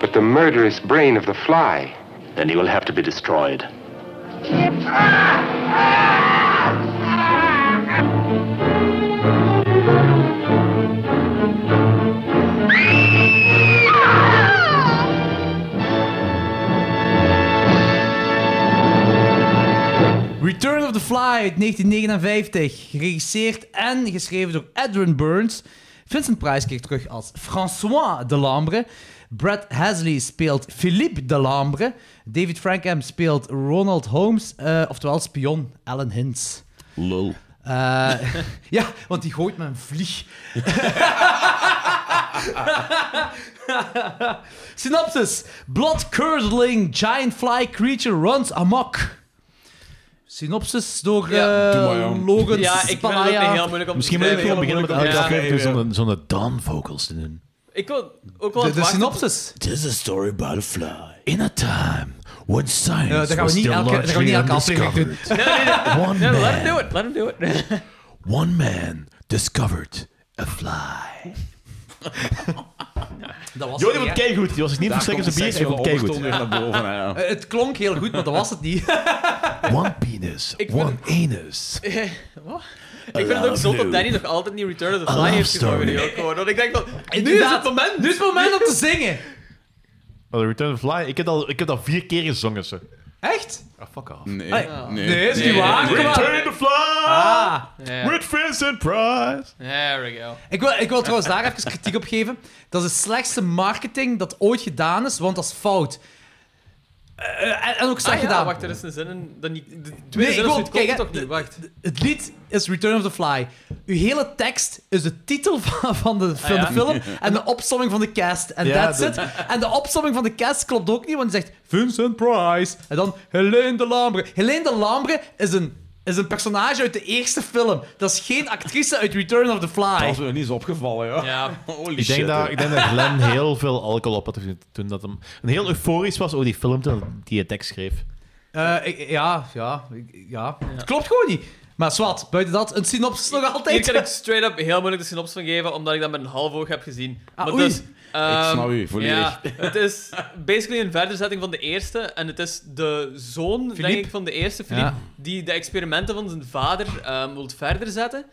but the murderous brain of the fly? Then he will have to be destroyed. Return of the Fly uit 1959, geregisseerd en geschreven door Edwin Burns. Vincent Price keert terug als François Delambre. Brad Hasley speelt Philippe Delambre. David Frankham speelt Ronald Holmes, eh, oftewel spion Alan Hintz. Lul. Eh, ja, want die gooit met een vlieg. Synopsis: Blood-curdling giant fly creature runs amok. Synopsis door eh, Logan Ja, ik vind het ook Spalaya. niet heel moeilijk om Misschien moet ik gewoon beginnen met Ja. uitschrijven zonder, zonder dan vocals te doen. Ik wil ook wel wachten tot- Tis a story about a fly. In a time when science Ja, dat gaan we was niet still elke- dat gaan we niet elke largely aflevering doen. undiscovered. Nee, nee, nee. One Nee, let man, him do it. Let him do it. Eh, one man discovered a fly. Dat was het Jordi vond niet, hè? keigoed. Die was zich niet Daar verstikken komt zijn bier. seks Hij vond van het keigoed. ondertoon weer naar boven, hè, Eh, Het klonk heel goed, maar dat was het niet. One penis, Ik one anus. Eh, Wat? I Ik vind het ook love zo dat you. Danny nog altijd niet Return of the I Fly love heeft gezongen. story. die ook gewoon. Want ik denk dat nu is Inderdaad. het moment. Nu is het moment om te zingen. Oh, The Return of the Fly, ik heb, al, ik heb dat vier keer gezongen, ze. Echt? Ah, fuck off. Nee. Nee. Nee, is niet waar. Kom maar. Return the Fly! Ah. Ja. With Vincent Price. There we go. Ik wil, ik wil trouwens daar even kritiek op geven. Dat is de slechtste marketing dat ooit gedaan is, want dat is fout. Eh, eh, en, en ook slecht Ah, ja, gedaan. wacht, er is een zin in. Dat niet, de Nee, tweede ik zin wil- is kijk, hè, toch niet? Wacht. Het lied is Return of the Fly. Uw hele tekst is de titel van, van, de, van ja? de film en de opsomming van de cast. En Ja, that's dat- it. En de opsomming van de cast klopt ook niet, want die zegt Vincent Price. En dan Helene de Lambre. Helene de Lambre is een, is een personage uit de eerste film. Dat is geen actrice uit Return of the Dat Fly. is me nog niet eens opgevallen, ja. Holy Ik denk, shit, dat, hè. ik denk dat Glenn heel veel alcohol op had toen- toen dat hem... En heel euforisch was over die film toen die het tekst schreef. Eh, ik- ja, ja, ik- ja, Het klopt gewoon niet. Maar zwart, buiten dat, een synopsis nog altijd. Hier kan ik straight up heel moeilijk de synopsis van geven, omdat ik dat met een half oog heb gezien. Ah, maar oei. dus, ehm, Ik snap u, volledig. Ja, het is basically een verderzetting van de eerste. En het is de zoon, denk ik, van de eerste, Philippe, Ja. die de experimenten van zijn vader ehm wil verder zetten.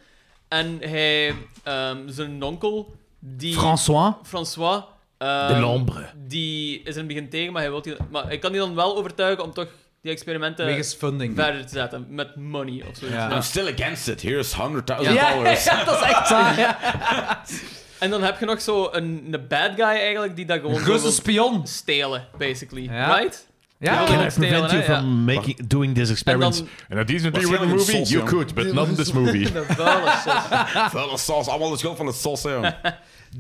En hij, ehm, zijn onkel, die... François. François. ehm, De Lambre. Die is er in het begin tegen, maar hij, wil die, maar hij kan die dan wel overtuigen om toch die experimenten Wegens funding. verder te zetten. Met money of zoiets. I'm still against it. Here's 100.000 Ja. dollars. Ja, dat is echt waar, En dan heb je nog zo een, een bad guy eigenlijk die dat gewoon Een zo Russen wil spion. stelen, basically. Ja. Right? Ja, Die wil Can gewoon I prevent hè, you ja. from making, doing this experiment? En dan- And a decent Waarschijnlijk written een movie? sos, You ja. could, but not in this movie. De vuile sos. Vuile saus, allemaal de schuld van de sos, hè, jong.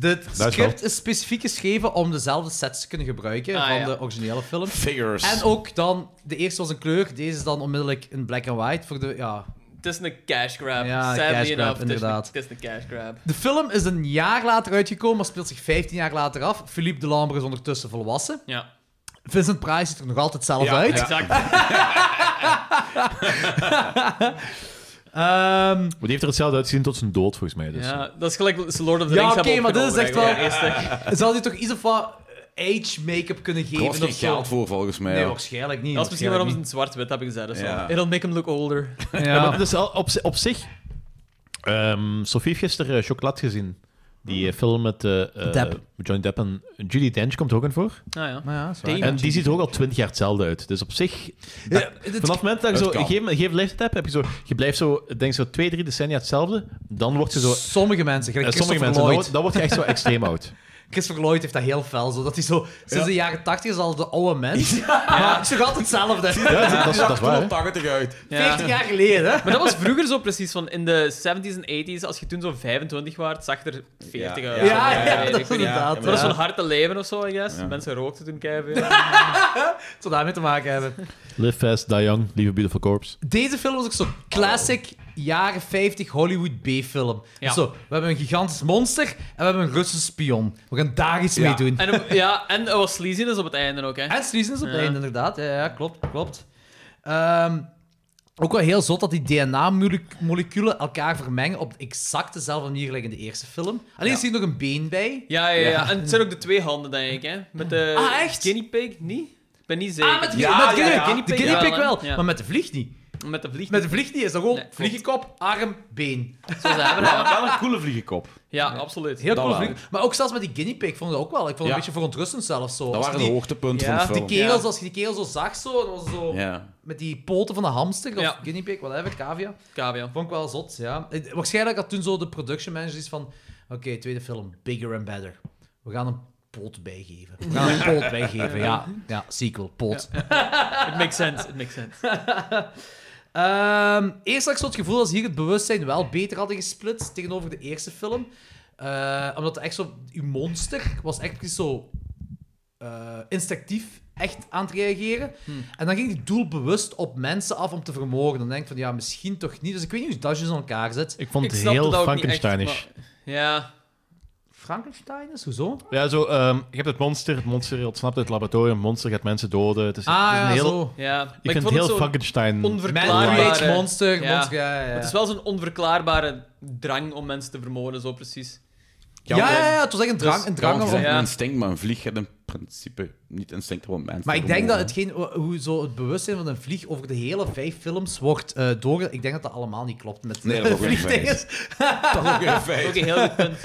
Het wel- script is specifiek geschreven om dezelfde sets te kunnen gebruiken Ah, van ja. de originele film. Figures. En ook dan, de eerste was een kleur, deze is dan onmiddellijk een black and white voor de, ja... Het is een cash grab. Ja, Sadly cash grab, enough, het is een- inderdaad. Het is een cash grab. De film is een jaar later uitgekomen, maar speelt zich 15 jaar later af. Philippe Delambre is ondertussen volwassen. Ja. Vincent Price ziet er nog altijd zelf Ja, uit. exact. Ehm, Maar die heeft er hetzelfde uitgezien tot zijn dood, volgens mij. Dus. Ja, dat is gelijk Lord of the ja, Rings oké, hebben maar dit is echt wel... opgenomen, eigenlijk, eerst. Zou hij toch iets of wat eh, age make-up kunnen geven? was geen of zo? geld voor, volgens mij. Nee, ja. waarschijnlijk niet. Dat is misschien waarschijnlijk waarom ze niet. het zwart-wit hebben gezet. dus Ja. wel. It'll make him look older. Ja. maar dat is al op, zi- op zich Ehm, Sophie heeft gisteren eh, Chocolat gezien. Die eh, film met eh, eh, Depp. Johnny Depp en Judy Dench komt er ook in voor. Ah ja. Maar ja, dat is waar. En die ziet er ook al twintig jaar hetzelfde uit. Dus op zich, dat- vanaf het moment dat je Eh, het zo kan. een gegeven, een gegeven leeftijd hebt, heb je, zo, je blijft zo, ik denk zo twee, drie decennia hetzelfde. Dan word je zo... Sommige mensen, gelijk Eh, sommige Christopher mensen, dan, Lloyd. wo- dan word je echt zo extreem oud. Christopher Lloyd heeft dat heel fel, zo, dat hij zo... Sinds Ja. de jaren 80 is al de oude mens, maar het is toch altijd hetzelfde. er 80 uit. 40 jaar geleden, hè? Maar dat was vroeger zo precies van in de 70s en 80s. Als je toen zo 25 was, zag je er 40 Ja. uit. Ja, ja, ja, dat is inderdaad, Maar dat is ja. zo'n harde leven of zo, I guess. Mensen rookten toen keihard. Het zou daarmee te maken hebben. Live fast, die young, lieve beautiful corpse. Deze film was ook zo'n classic jaren 50 Hollywood B-film. Dus Ja. Zo, we hebben een gigantisch monster en we hebben een Russisch spion. We gaan daar iets mee doen. En, ja, en er was sleaziness op het einde ook, hè. En Streisand is op het Ja. einde, inderdaad. Ja, ja klopt, klopt. Ehm, ook wel heel zot dat die DNA-moleculen elkaar vermengen op exact dezelfde manier gelijk in de eerste film. Alleen is hier nog een been bij. Ja, ja, ja. En het zijn ook de twee handen, denk ik, hè. Met de Ah, echt? guinea pig, niet? Ik ben niet zeker. Ah, met de, ja, met de, guinea- de guinea pig hè. wel, Ja. maar met de vlieg niet. Met de vlieg Met de vlieg niet, is dat gewoon Nee, klopt. vliegenkop, arm, been. Zo ze hebben, hè. Wel een coole vliegenkop. Ja, absoluut. Heel Dat cool wel. vlieg. Maar ook zelfs met die guinea pig vond ik dat ook wel. Ik vond het Ja. een beetje verontrustend zelfs zo. Dat Als je waren de die- hoogtepunten Ja. van de Die film. kerels, Ja. als je die kerel zo zag, zo, dat was zo Ja. met die poten van de hamster of Ja. guinea pig, whatever, cavia. Cavia. Vond ik wel zot, ja. Eh, Waarschijnlijk had toen zo de production manager iets van... Oké, tweede film, bigger and better. We gaan een poot bijgeven. We gaan een poot bijgeven, ja. Ja, sequel, poot. It makes sense, it makes sense. Ehm, eerst had ik zo het gevoel dat ze hier het bewustzijn wel beter hadden gesplitst tegenover de eerste film. Eh, omdat echt zo... Uw monster was echt precies zo eh, instinctief echt aan het reageren. En dan ging die doelbewust op mensen af om te vermogen. Dan denk ik van, ja, misschien toch niet. Dus ik weet niet hoe dat dus in elkaar zit. Ik vond Ik het snapte heel dat ook niet echt, Frankensteinish. maar- Ja. Frankenstein is? Hoezo? Ja, zo, ehm, je hebt het monster, het monster ontsnapt uit het laboratorium, het monster gaat mensen doden. Het is, Ah, het is ja, een heel, zo. Ja. Maar Ik, vind het vond heel zo Frankenstein. onverklaarbare... Man makes monster, eh, Ja. monster, ja, ja, ja. Het is wel zo'n onverklaarbare drang om mensen te vermoorden, zo precies. Ja, ja, ja, het was echt een drang. Dus- een drang Drang om- is een Ja. instinct, maar een vlieg heeft in principe niet instinct om mensen Maar te ik denk dat vermoorden. hetgeen, hoe zo het bewustzijn van een vlieg over de hele vijf films wordt eh door... Ik denk dat dat allemaal niet klopt met Nee, dat is ook weer een vliegtijgers. Dat is ook weer een feit. Ook een heel goed punt.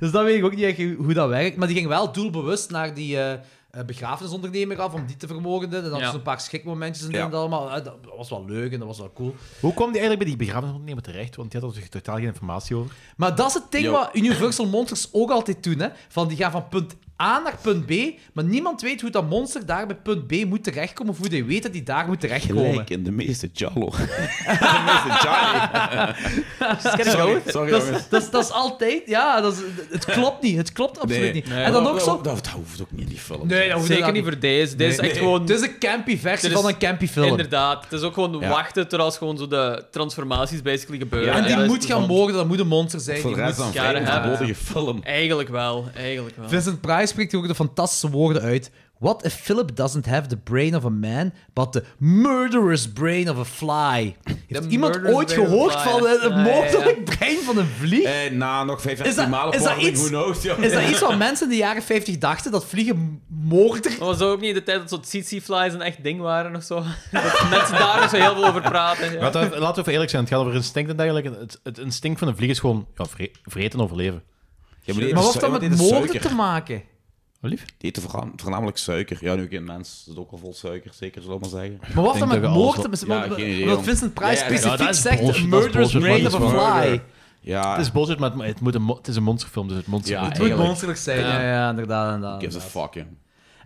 Dus dat weet ik ook niet echt hoe hoe dat werkt. Maar die ging wel doelbewust naar die eh, eh, begrafenisondernemer af om die te vermogenden. En dan Ja. zo'n paar schrikmomentjes en Ja. dat allemaal. Eh, Dat was wel leuk en dat was wel cool. Hoe kwam die eigenlijk bij die begrafenisondernemer terecht? Want die had er totaal geen informatie over. Maar dat is het ding Yo. wat Universal Monsters ook altijd doen. Hè? Van die gaan van punt A naar punt B, maar niemand weet hoe dat monster daar bij punt B moet terechtkomen of hoe die weet dat die daar moet terechtkomen. Gelijk in de meeste Jallo. de meeste Charlie. Sorry, sorry Dat jongens. is, dat, is, dat is altijd, ja, dat is, het klopt niet. Het klopt absoluut Nee. niet. Nee, en dan Dat- ook zo. Dat, dat hoeft ook niet in die film. Nee, dat hoeft Zeker inderdaad niet voor deze. Deze is Nee. echt gewoon... Het is een campy versie Dit is- van een campy film. Inderdaad. Het is ook gewoon Ja. wachten terwijl gewoon zo de transformaties basically gebeuren. en die Ja, moet dus gaan dan- mogen, dat moet een monster zijn. Voor de die rest dan moet- Karen vrij hebben. overbodige film. Eigenlijk wel, eigenlijk wel. Vincent Price spreekt hier ook de fantastische woorden uit. What if Philip doesn't have the brain of a man, but the murderous brain of a fly? Heeft iemand murderous ooit brain of a gehoord fly, van ja. een een Ja, ja, ja. mogelijk brein van een vlieg? Eh, na nog Is 15 dat- malen is dat poging, iets- who knows, joh. Is dat iets wat mensen in de jaren 50 dachten? Dat vliegen moorder... Maar was dat ook niet de tijd dat zo'n tsitsi flies een echt ding waren of zo? Dat mensen daar nog zo heel veel over praten. Ja. Laten we, laten we even eerlijk zijn, het gaat over instinct en dergelijke. Het, het instinct van een vlieg is gewoon ja, vre- vreten en overleven. Ja, Maar die wat eten heeft dat su- met die eten moorden suiker. te maken? Wat Oh, lief? Die eten voorna- voornamelijk suiker. Ja, nu ook in mens is het ook al vol suiker, zeker, zullen we maar zeggen. Maar wat Ik dan met denk dat je alles moord? wel- Ja, geen idee, Omdat jong. Vincent Price Ja, ja, ja. specifiek Ja, dat is zegt: bullshit, dat is Murderous bullshit, Brain maar of dat a is waar. Fly. Ja, Het is bullshit, maar het, het moet een, mo- het is een monsterfilm, dus het monster Ja, moet Het moet Eigenlijk. monsterlijk zijn. Ja, ja, inderdaad. inderdaad, gives a inderdaad. fuck, in.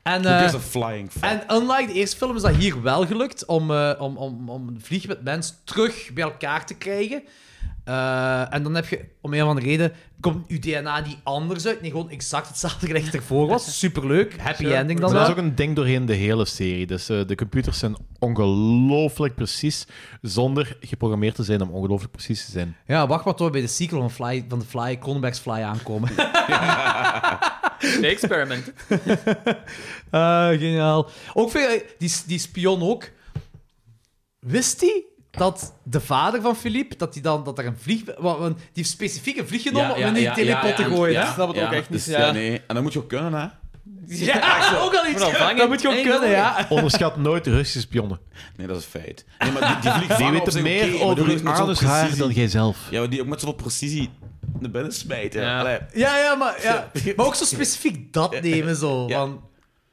En, Who eh, gives a flying fuck? en unlike de eerste film is dat hier wel gelukt om, eh om, om, om een vlieg met mens terug bij elkaar te krijgen. Eh, en dan heb je, om een of andere reden, komt uw DNA niet anders uit. Nee, gewoon exact hetzelfde gelijk ervoor was. Superleuk. Happy Sure. ending dan Maar dat wel. is ook een ding doorheen de hele serie. Dus eh, de computers zijn ongelooflijk precies, zonder geprogrammeerd te zijn om ongelooflijk precies te zijn. Ja, wacht maar tot we bij de sequel van, Fly, van de Fly, Cronenberg's Fly aankomen. De experiment. Ah, geniaal. Ook vind ik- die, die spion ook. Wist hij dat de vader van Philippe, dat, die dan, dat er een vlieg... wa- want Die heeft specifiek een vlieg genomen om in die telepot te gooien. hè? snap het ook echt niet, Dus, ja. ja. nee. En dat moet je ook kunnen, hè. Ja, ook al iets. Dat moet je ook kunnen, ja. Onderschat nooit de Russische spionnen. Nee, dat is een feit. Nee, maar die, die vliegt Die weten meer over hun anus haar dan jijzelf. Ja, maar die ook met zoveel precisie naar binnen smijten. Ja. Allee. Ja, ja, maar, ja. maar ook zo specifiek dat nemen, zo. Van,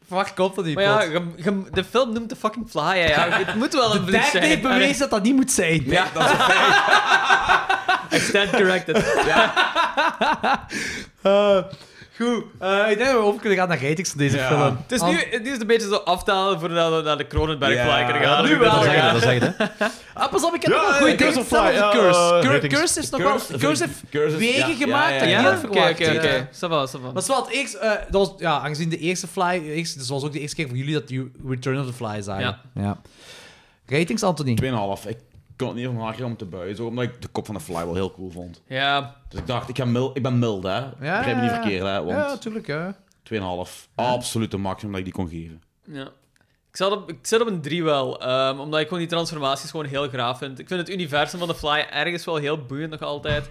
waar komt dat niet Maar ja, je- je- de film noemt de fucking fly. hè, Ja. Het moet wel een De vlieg tijd zijn. heeft bewezen dat dat niet moet zijn. Ja, dat is I stand corrected. Eh, goed, Eh, ik denk dat we over kunnen gaan naar ratings van deze film. Het is nu, het is een beetje zo aftalen voordat we naar de Kronenberg Ja. fly kunnen gaan. Ja, nu wel, Dat is ja. echt- Dat zeg je, hè? Ah, pas op, ik heb Ja, nog een ja, goede ding Curse of Fly, verteld over ja, Curse. eh, Cur- ratings. Curse heeft nog wel... Curse- Curse heeft Curse- wegen ja, gemaakt ja, dat ja, ik ja. niet had Oké, verwacht. oké, oké. Ja. Ça va, ça va. Maar zowel het eerste, eh, dat was, ja, aangezien de eerste Fly... de eerste- Dus was ook de eerste keer voor jullie dat you Return of the Fly zagen. Ja. Ratings, Anthony? 2,5. Ik kon het niet van lachen om te buizen, zo, omdat ik de kop van de fly wel heel cool vond. Ja. Dus ik dacht, ik, ga mild, ik ben mild, hè. Begrijp me niet verkeerd, hè. Ja, Want tuurlijk, hè. 2,5. Absoluut de maximum dat ik die kon geven. Ja. Ik zat op, ik zit op een 3 wel, ehm, omdat ik gewoon die transformaties gewoon heel graaf vind. Ik vind het universum van de Fly ergens wel heel boeiend nog altijd.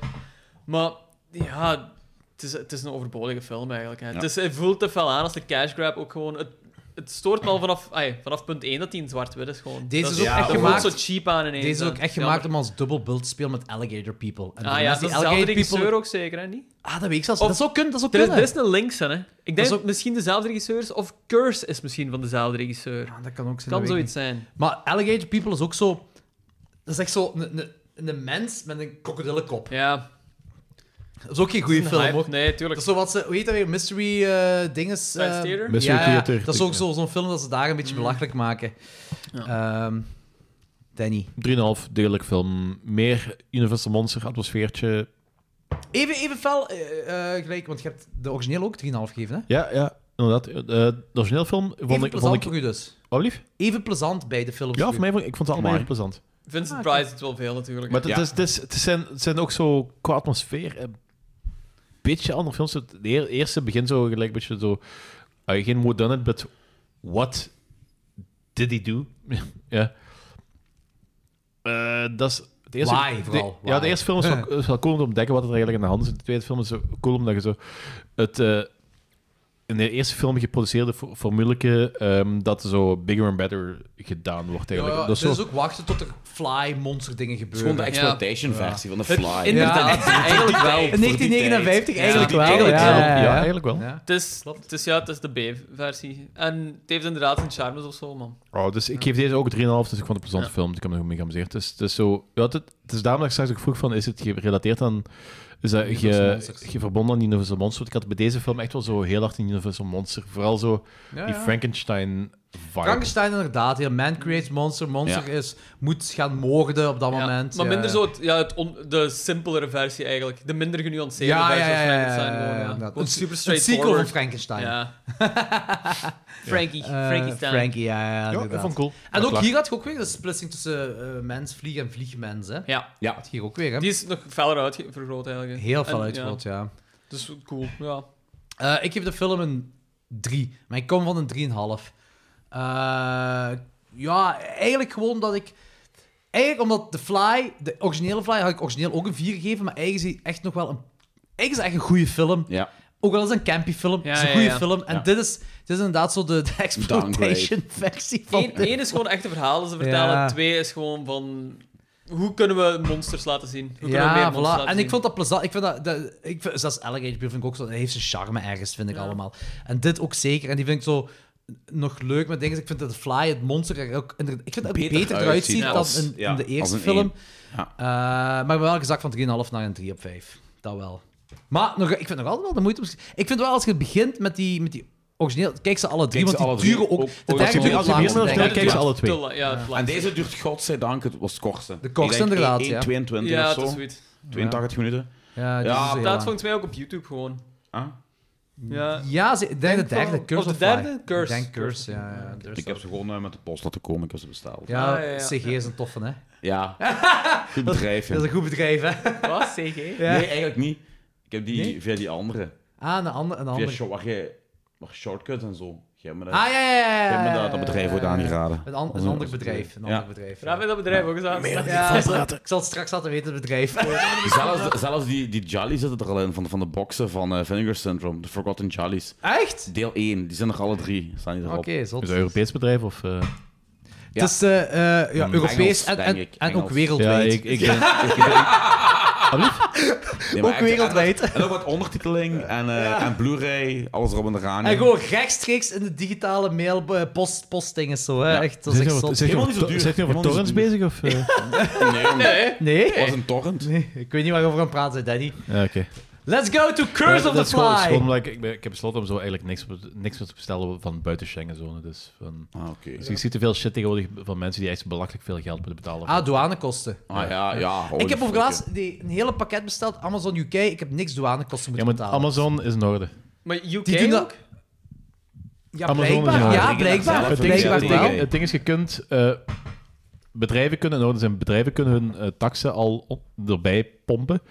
Maar ja, het is, het is een overbodige film eigenlijk. Hè. Het, is, het voelt te fel aan als de cash grab ook gewoon... Het, het stoort me al vanaf, ai, vanaf punt 1 dat hij in zwart-wit is gewoon. Deze Dat is ook dat echt voelt gemaakt... zo cheap aan ineens. Deze is ook hè. echt Jammer. gemaakt om als dubbel build te spelen met Alligator People. En eh, Ah dan ja, is die dat is dezelfde Alligator regisseur People... ook zeker, hè? Niet? Ah, dat weet ik zelfs. Of- dat zou kunnen, dat zou Er is, kunnen. er is een link, hè? Ik denk is ook- misschien dezelfde regisseur is, of Curse is misschien van dezelfde regisseur. dat kan ook zijn. Kan zoiets zijn. Maar Alligator People is ook zo... Dat is echt zo een, een, een mens met een krokodillenkop. Ja. Dat is ook geen Dat goede is een film, hype. hoor. Nee, tuurlijk. Dat is zo wat ze... Hoe heet dat weer? Mystery eh dinges... eh, Science Theater? Mystery ja, ja, ja. Theater, Dat is ook ja. zo- zo'n film dat ze daar een beetje Mm. belachelijk maken. Ehm, Danny. 3,5, degelijk film. Meer Universal Monster, atmosfeertje. Even, even fel eh, eh, gelijk, want je hebt de origineel ook 3,5 gegeven, hè? Ja, ja, inderdaad. Eh, de origineel film vond Even ik... plezant Vond ik voor u dus. Oh, lief? Even plezant bij de films. Ja, voor voor u. mij vond ik, ik vond het allemaal Maar- erg plezant. Vincent Ah, Price is het wel veel natuurlijk. Maar het, is, het, is, het, zijn, het zijn ook zo qua atmosfeer een beetje andere films. Het eer- eerste begin zo gelijk een beetje zo... eh, geen what done it, but what did he do? ja. Eh, dat is... Het eerste, Why, de- vooral, Ja, why. de eerste film is wel, is wel cool om te ontdekken wat er eigenlijk aan de hand is. De tweede film is zo cool omdat je zo... Het, eh, in de eerste film geproduceerde fo- formuleke ehm, dat zo bigger and better gedaan wordt Ja, eigenlijk. ja, dat is dus zo- ook wachten tot er fly monster dingen gebeuren. gewoon de exploitation-versie van de Fly. Inderdaad, eigenlijk wel. In 1959 eigenlijk wel. Eigenlijk ja, wel. ja, ja. Ja, eigenlijk wel. Ja. Het is, het is, ja, het is de B-versie. En het heeft inderdaad zijn charmes of zo, man. Oh, dus ik geef deze ook 3,5, dus ik vond het een plezante Ja. film. Dus ik heb me er goed mee geamuseerd. Dus, dus zo, ja, het, het is daarom dat ik straks ook vroeg van, is het gerelateerd aan... Is dat Universal ge, Monsters. ge verbonden aan Universal Monster? Want ik had bij deze film echt wel zo heel hard een Universal Monster. Vooral zo Ja, die ja. Frankenstein-vibe. Frankenstein inderdaad. Ja. Man creates monster. Monster is, moet gaan moorden op dat moment. Maar ja. minder zo het, ja, het on- de simpelere versie eigenlijk. De minder genuanceerde Ja, ja, versie ja. van ja, ja, Frankenstein. ja, gewoon, ja, ja. inderdaad. Gewoon Een- super Een sequel van straightforward. Frankenstein. Ja. Eh, Frankie. Frankie Stein. Frankie, ja, ja, ik inderdaad. vond het cool. En Ja, ook klaar. hier had je ook weer de splitsing tussen eh, mens, vlieg en vliegmens. Hè? Ja. ja. Had je hier ook weer, hè? Die is nog feller uitvergroot eigenlijk. Heel En, veel uitgevoerd, ja. Dus cool, ja. Eh, ik geef de film een 3, maar ik kom van een 3,5. Eh ja, eigenlijk gewoon dat ik. Eigenlijk omdat de Fly, de originele Fly, had ik origineel ook een 4 gegeven, maar eigenlijk is die echt nog wel een. Eigenlijk is het echt een goede film. Ja. Ook al is het een campy film, het is een ja, goede ja. film. En Ja. dit, is, dit is inderdaad zo de, de exploitation versie van. Eén, één is gewoon echte verhalen ze vertellen. Ja. Twee is gewoon van... Hoe kunnen we monsters laten zien? Hoe kunnen we meer Ja, monsters voilà. laten En zien? ik vond dat plezant. Ik vind dat, dat ik vind, zelfs Alligator Bill vind ik ook zo. Dat heeft zijn charme ergens, vind ik allemaal. En dit ook zeker. En die vind ik zo nog leuk met dingen. Ik vind dat de Fly, het monster, er ook, inderdaad- ik vind dat het Beter beter eruit uitziet ziet dan als- in, ja, in de als eerste een film. één. Ja. Eh, maar wel gezakt van 3,5 naar een 3 op 5. Dat wel. Maar nog, ik vind nog altijd wel de moeite. om- Ik vind wel als je begint met die. Met die Origineel, kijk ze alle drie, Kijk ze want alle die drie. duren ook. Ook- De ook- derde als je- duurt als je langer begint dan met de de derde. derde, alle twee. Te la- ja, het En laatste. deze duurt, godzijdank, het was het kortste. De kortste inderdaad, ja. 1,22 Ja, of dat is zo. zoiets. 82 minuten. Ja, die is heel Dat lang. is volgens mij ook op YouTube gewoon. Ah? Ja. Ja, ze- ik denk de wel. derde. Curse Of de Fly. derde? Curse. Ik denk Curse, ja. ja. Dus Ik heb ze gewoon eh, met de post laten komen, ik heb ze besteld. Ja, Ah, ja, ja. CG is een toffe, hè? Ja. Goed bedrijf, ja. Dat is een goed bedrijf, hè? Wat? CG? Ja. Nee, eigenlijk niet. Ik heb die Nee? via die andere. Ah, een andere. Een Via andere. show, waar je waar shortcuts en zo. Jij hebt me dat, Ah, ja, ja, ja, jij hebt me ja, dat, ja, dat bedrijf ooit aangeraden. Een, an- een ander bedrijf. Een ander bedrijf. Raaf heeft dat bedrijf ook eens aan. Ja, ik zal het straks laten weten, het bedrijf. Zelfs, zelfs die, die Jollies zitten er al in, van, van de boxen van eh, Vinegar Syndrome, The Forgotten Jollies. Echt? Deel 1, die zijn er alle drie, staan die erop. Oké, zot. Is Dus dat een Europees bedrijf of... eh? Ja. Het is eh, eh, ja, Hmm. Europees Engels, en, en, denk ik, en ook Engels. wereldwijd. Ja, ik- ik denk- ik denk- Nee, maar Ook echt, wereldwijd. En, en ook wat ondertiteling en, eh, en Blu-ray, alles erop en eraan. En gewoon rechtstreeks in de digitale mail eh, post, postingen zo. Hè. Ja. Echt, dat is Zeg echt maar, zot. zeg maar, Helemaal niet zo duur. Zijn we over Helemaal torrents niet bezig? Of, eh? Nee, nee. Nee? was een torrent. Nee, ik weet niet waarover we gaan praten, Danny. eh? Ja, oké. Let's go to Curse Ja, of dat the is gewoon- is Fly! gewoon, like, ik, ben- ik heb besloten om zo eigenlijk niks, niks meer te bestellen van buiten Schengenzone. Dus, van, Ah, dus ik zie te veel shit tegenwoordig van mensen die echt belachelijk veel geld moeten betalen. Ah, douanekosten. Ah, ja, ja, holy ik heb fuck, over laatst die- een hele pakket besteld, Amazon UK. Ik heb niks douanekosten Ja, moeten maar betalen. Amazon is in orde. Maar UK Die doen dat- ook? Ja, Amazon is in blijkbaar. orde. Ja, blijkbaar. Het ding is- blijkbaar het ding- wel. Het ding is, je kunt... eh, bedrijven kunnen in orde zijn. Bedrijven kunnen hun eh, taxen al op- erbij pompen.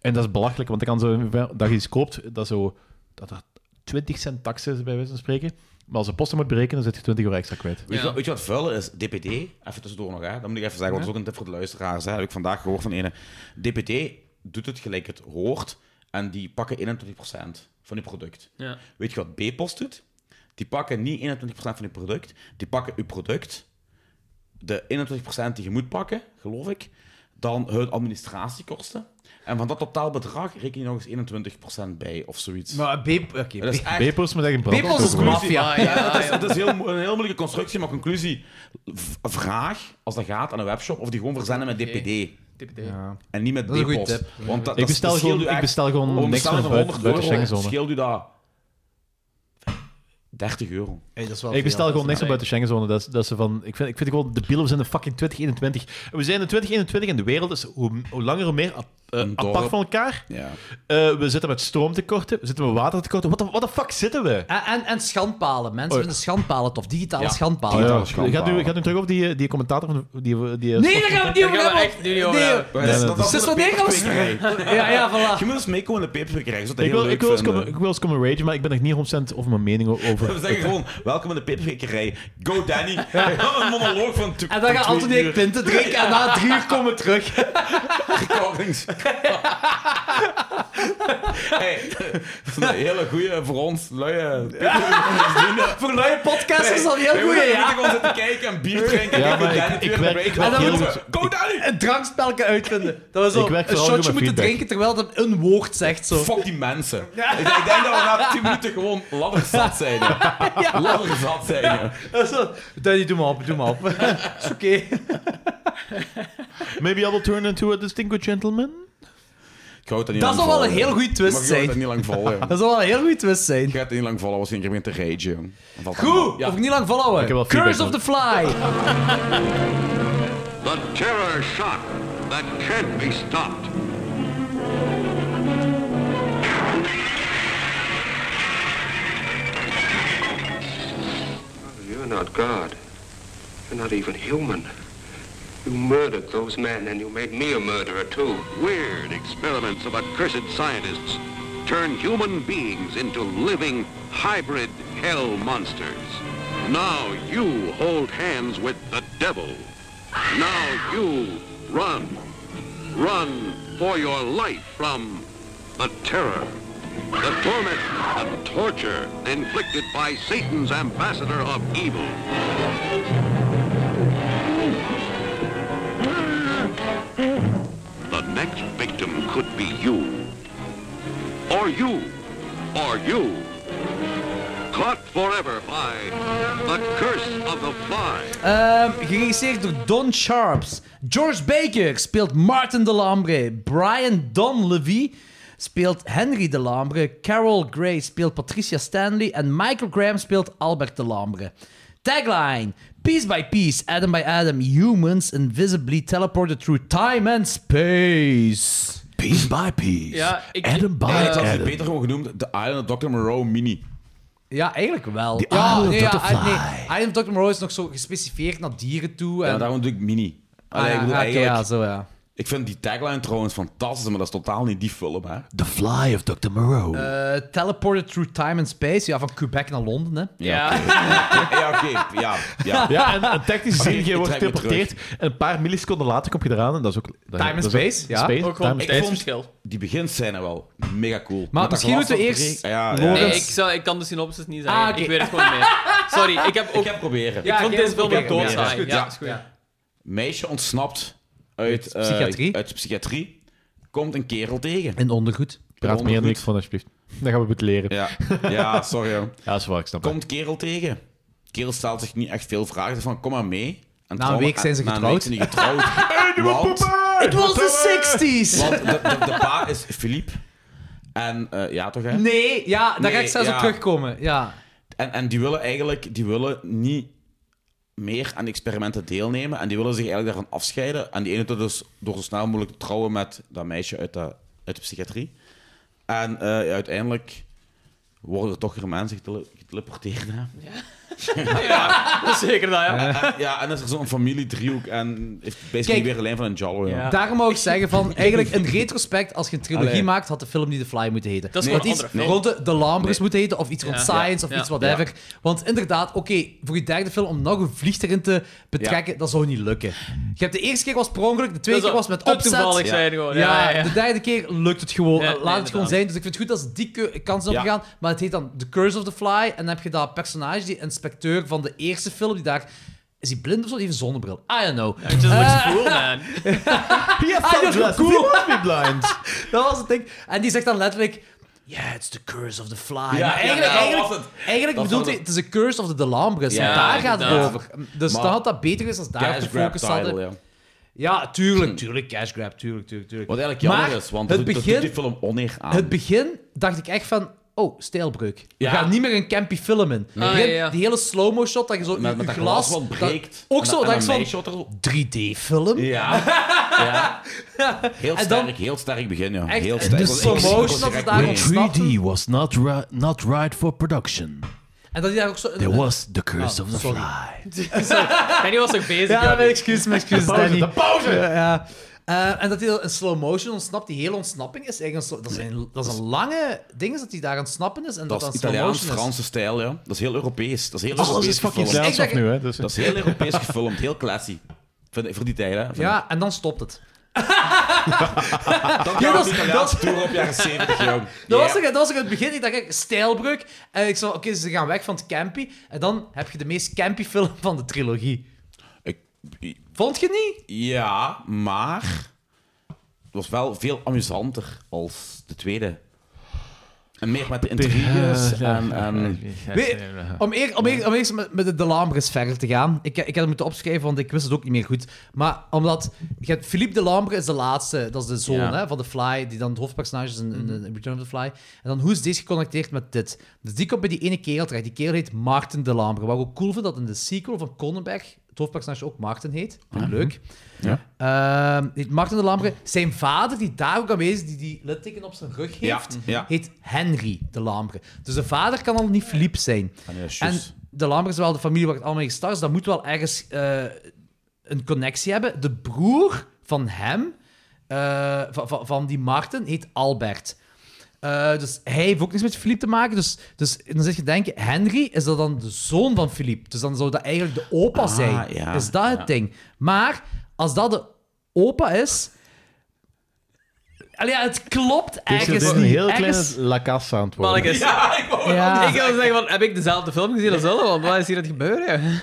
En dat is belachelijk, want dan kan zo dat je iets koopt, dat, zo, dat er 20 cent taxen is, bij wijze van spreken. Maar als de posten moet berekenen, dan zit je 20 euro extra kwijt. Weet, je, wat- weet je wat vuil is? DPD, even tussendoor nog, hè? dat moet ik even zeggen, want dat is ook een tip voor de luisteraars. Hè? Heb ik vandaag gehoord van ene. DPD doet het gelijk het hoort en die pakken 21% van je product. Ja. Weet je wat B-post doet? Die pakken niet 21% van je product, die pakken je product, de 21% die je moet pakken, geloof ik, dan hun administratiekosten. En van dat totaalbedrag reken je nog eens 21% bij of zoiets. Maar B... Oké, Dat is echt- Bepels moet echt een brand People's opgeroepen worden. Ja, ja, het is, het is heel, mo- een heel moeilijke constructie, maar conclusie. v- Vraag, als dat gaat, aan een webshop of die gewoon verzenden met DPD. DPD. En niet met Dat is een b goede post tip. Want dat, Ik dat bestel scheelt gewoon- u ik echt- bestel gewoon om niks bestellen van van buiten- 100 buiten euro, Schengenzone. scheelt u dat 30 euro. ik bestel gewoon niks op buiten Schengenzone. Dat, is- dat ze van, ik, vind, ik vind gewoon de we zijn in fucking 2021. En We zijn in 2021 en de wereld is hoe, hoe langer hoe meer ap- eh, Een dorp. apart van elkaar. Ja. Eh, we zitten met stroomtekorten, we zitten met watertekorten. Wat de what the fuck zitten we? En, en, en schandpalen. Mensen Oh. vinden schandpalen tof. Digitale Ja. schandpalen. Oh, ja. Gaat u, gaat u terug over die, eh, die commentator van de- die, eh, die Nee, daar gaan we het niet over Daar gaan we hebben. echt nu niet over Nee, hebben. Nee, nee, dat- Zus, wanneer gaan we- Ja, ja, voilà. Je moet eens meekomen in de peperkwekerij. Ik zou dat Ik heel wil, leuk ik, wil eens vinden. komen, ik wil eens komen ragen, maar ik ben nog niet 100% over mijn mening o- over. We zeggen gewoon, welkom in de peperkwekerij. Go Danny. een monoloog van En dan gaat Anthony en ik pinten drinken en na drie uur komen we terug. Recordings. hey, dat is een hele goede voor ons luie... Voor luie podcasters is dat een heel goeie, We ja. moeten gewoon zitten kijken en bier drinken. Ja, en maar Danny ik- weer ik een werk- break ik laten. werk En dan heel moeten we- Go Danny! Een drankspelke uitvinden. Dat we zo Ik werk een vooral goed shotje met moeten feedback. drinken terwijl dat een woord zegt. Zo. Fuck die mensen. Ik, denk- ik denk dat we na 10 minuten gewoon ladderzat zijn. Ja. Ladderzat zijn. Dat is wel- Danny, doe maar op, doe maar op. is oké. Maybe I will turn into a distinguished gentleman. Ik hou het niet Dat lang zal wel vol, een heel joh. goede twist Maar je houdt zijn. het niet lang vol, joh. Dat zal wel een heel goede twist zijn. Je gaat het niet lang vol, was geen keer meer te ragen, jong. Dan valt dat Goed, wel. Ja. of niet lang volhouden. Ik heb wel Curse of feedback the Fly. The terror shock that can't be stopped. You're not God. You're not even human. You murdered those men, and you made me a murderer, too. Weird experiments of accursed scientists turn human beings into living hybrid hell monsters. Now you hold hands with the devil. Now you run. Run for your life from the terror, the torment, the torture inflicted by Satan's ambassador of evil. The next victim could be you. Or you. Or you. Caught forever by the curse of the fly. Uh, Ehm, geregisseerd door Don Sharps. George Baker speelt Martin Delambre. Brian Don Levy speelt Henry Delambre. Carol Gray speelt Patricia Stanley. En Michael Graham speelt Albert Delambre. Tagline: Piece by piece, atom by atom, humans invisibly teleported through time and space. Piece by piece. Ja, ik- Adam by eh, Adam. beter gewoon genoemd de Island of Dr. Moreau Mini. Ja, eigenlijk wel. The ja, Isle of ja, Butterfly. nee, Island of Dr. Moreau is nog zo gespecificeerd naar dieren toe. En... Ja, daarom doe ik Mini. Ah, ja, ik bedoel oké, eigenlijk- ja, zo ja. Ik vind die tagline trouwens fantastisch, maar dat is totaal niet die film, hè. The Fly of Dr. Moreau. Eh, teleported through time and space. Ja, van Quebec naar Londen, hè. Ja, oké. Ja, oké. Ja, ja. Ja, en, en technisch gezien, Oké, je ik wordt trek me geteleporteerd. En een paar milliseconden later kom je eraan. En dat is ook... dat- Time and dat is ook- space, ja. Ook time gewoon- and ik space. vond- Die beginscène wel mega cool. Met dat misschien glas moeten we dat eerst breekt. Ja, ja, ja. Nee, ik, zou, ik kan de synopsis niet zeggen. Ah, oké. Ik weet het gewoon niet meer. Sorry, ik Oh. heb ook... Ik heb proberen. ik vond oké, deze film ook oké, oké. doodzaai. Is goed, Ja, ja. is goed. Meisje ontsnapt uit, eh, psychiatrie. uit psychiatrie. Komt een kerel tegen. In ondergoed. Praat meer dan ik van, alsjeblieft. Dan gaan we het leren. Ja, ja sorry. jong. Ja, dat is waar, ik snap het. Komt kerel tegen. Kerel stelt zich niet echt veel vragen. Zegt van, kom maar mee. En Na een trouw- week zijn ze na een getrouwd. week zijn die getrouwd. Want- It was the 60s! Want de, de, de pa is Philippe. En eh, ja, toch hè? Nee, ja, daar ga Nee, ik zelfs ja. op terugkomen. Ja. En, en die willen eigenlijk die willen niet meer aan experimenten deelnemen. En die willen zich eigenlijk daarvan afscheiden. En die ene doet dus door zo snel mogelijk te trouwen met dat meisje uit de, uit de psychiatrie. En eh, ja, uiteindelijk worden er toch weer mensen getele- geteleporteerd. Hè? Ja, zeker dat, ja. En, en- ja, en is er zo'n familiedriehoek. En heeft basically Kijk. weer een lijn van een Jallo. Ah. Ja. Daarom wou ik zeggen van, eigenlijk in retrospect, als je een trilogie Allee. maakt, had de film niet The Fly moeten heten. Dat is had gewoon iets een andere rond de, de Lambres Nee. moeten heten, of iets rond Ja. Science, Ja. of iets Ja. whatever. Want inderdaad, oké, voor je derde film om nog een vlieg erin te betrekken, dat zou niet lukken. Je hebt de eerste keer was per ongeluk, de tweede Dat keer was zou met te opzet. toevallig zijn gewoon. Ja, ja, ja. de derde keer lukt het gewoon. Ja, Eh, nee, Laat het gewoon inderdaad. zijn. Dus ik vind het goed dat ze die keu- kans Ja. opgegaan. Maar het heet dan The Curse of the Fly. En dan heb je dat personage, die inspecteur van de eerste film, die daar... Is hij blind of zo? Die heeft een zonnebril. I don't know. It just looks cool, man. Ah, dat is wel cool. Be blind. Dat was het ding. En die zegt dan letterlijk... Yeah, it's the curse of the fly. Maar eigenlijk ja, eigenlijk, was het. eigenlijk Dat bedoelt was hij, het is the curse of the Delambres. Ja, en daar gaat het inderdaad. over. Dus Maar- dan had dat beter geweest als daar op Cash de grab focus title, hadden. ja. Hm. Ja, tuurlijk, tuurlijk, cash grab, tuurlijk, tuurlijk, tuurlijk. Wat eigenlijk jammer Maar is, want het het doet, begin- dat doet die film oneer aan. Het begin dacht ik echt van... Oh, stijlbreuk. Ja. We gaan niet meer een campy film in. Nee. Begin- Ah, ja, ja. Die hele slow-mo shot, dat je zo met, met je dat glas, glas... wat breekt. dat- ook zo, dat dat ik zo... zo... 3D-film? Ja. ja. Heel En sterk, dan- heel sterk begin, ja. Echt, heel sterk. de Ik was- ik- ik was slow-motion dat direct het daar mee. ontstaan- 3D was not, not right for production. En dat die daar ook zo... eh, was the curse Oh, of the sorry. fly. En die was toch bezig, Ja, Gabby? mijn excuus, mijn excuus, Danny. De pauze! Ja, ja. Eh, en dat hij in slow motion ontsnapt. Die hele ontsnapping is eigenlijk... Een slo- dat, is een, dat is een lange ding, is dat hij daar aan het snappen is. En dat, Dat is dan slow Italiaans, motion is. Oh, Franse stijl, ja. Dat is heel Europees. Dat is heel Alles Europees is fucking gefilmd. Italiaans Ik dacht- af nu, hè. Dus, Dat is heel Europees gefilmd, heel classy. Vind ik- voor die tijd, hè. Vind Ja, en dan stopt het. ik. Ja, Dat ja, dat dat is- Italiaans tour op jaren 70, jong. Dat, Ja. was er, dat was er in het begin. Ik dacht, kijk, stijlbreuk. En ik zei, oké, ze gaan weg van het campy. En dan heb je de meest campy film van de trilogie. Ik- Vond je niet? Ja, maar... Het was wel veel amusanter als de tweede. En meer met de intriges en... en Weet- om eerst om eer- om eerst met, met de De Lambres verder te gaan. Ik, ik had het moeten opschrijven, want ik wist het ook niet meer goed. Maar omdat... Je hebt Philippe De Lambre is de laatste. Dat is de zoon Ja. Mhm. hè, van de Fly, die dan het hoofdpersonage is in, in- in Return of the Fly. En dan hoe is deze geconnecteerd met dit? Dus die komt bij die ene kerel terecht. Die kerel heet Martin De Lambre. Wat ik ook cool vind, dat in de sequel van Cronenberg het hoofdpersonage ook Martin heet. Vind ik Mhm. leuk. Ehm, heet Martin de Lambre. Zijn vader, die daar ook aanwezig is, die die litteken op zijn rug Ja, heeft, ja. heet Henry de Lambre. Dus de vader kan al niet Philippe zijn. en, ja, juist. En de Lambre is wel de familie waar het allemaal mee gestart is. Dat moet wel ergens eh, een connectie hebben. De broer van hem, eh, van, van, van die Martin, heet Albert. Eh, dus hij heeft ook niks met Philippe te maken. Dus, dus dan zit je denken, Henry is dat dan de zoon van Philippe. Dus dan zou dat eigenlijk de opa Ah, zijn. ja, is dat ja. het ding? Maar als dat de opa is... Allee, ja, het klopt Dus het ergens is niet. een heel Ergens- kleine La Casa aan het worden. Mannekes. Ja. Ik wil zeggen, van, heb ik dezelfde film gezien als Zullen? Want wat is hier aan het gebeuren? ja?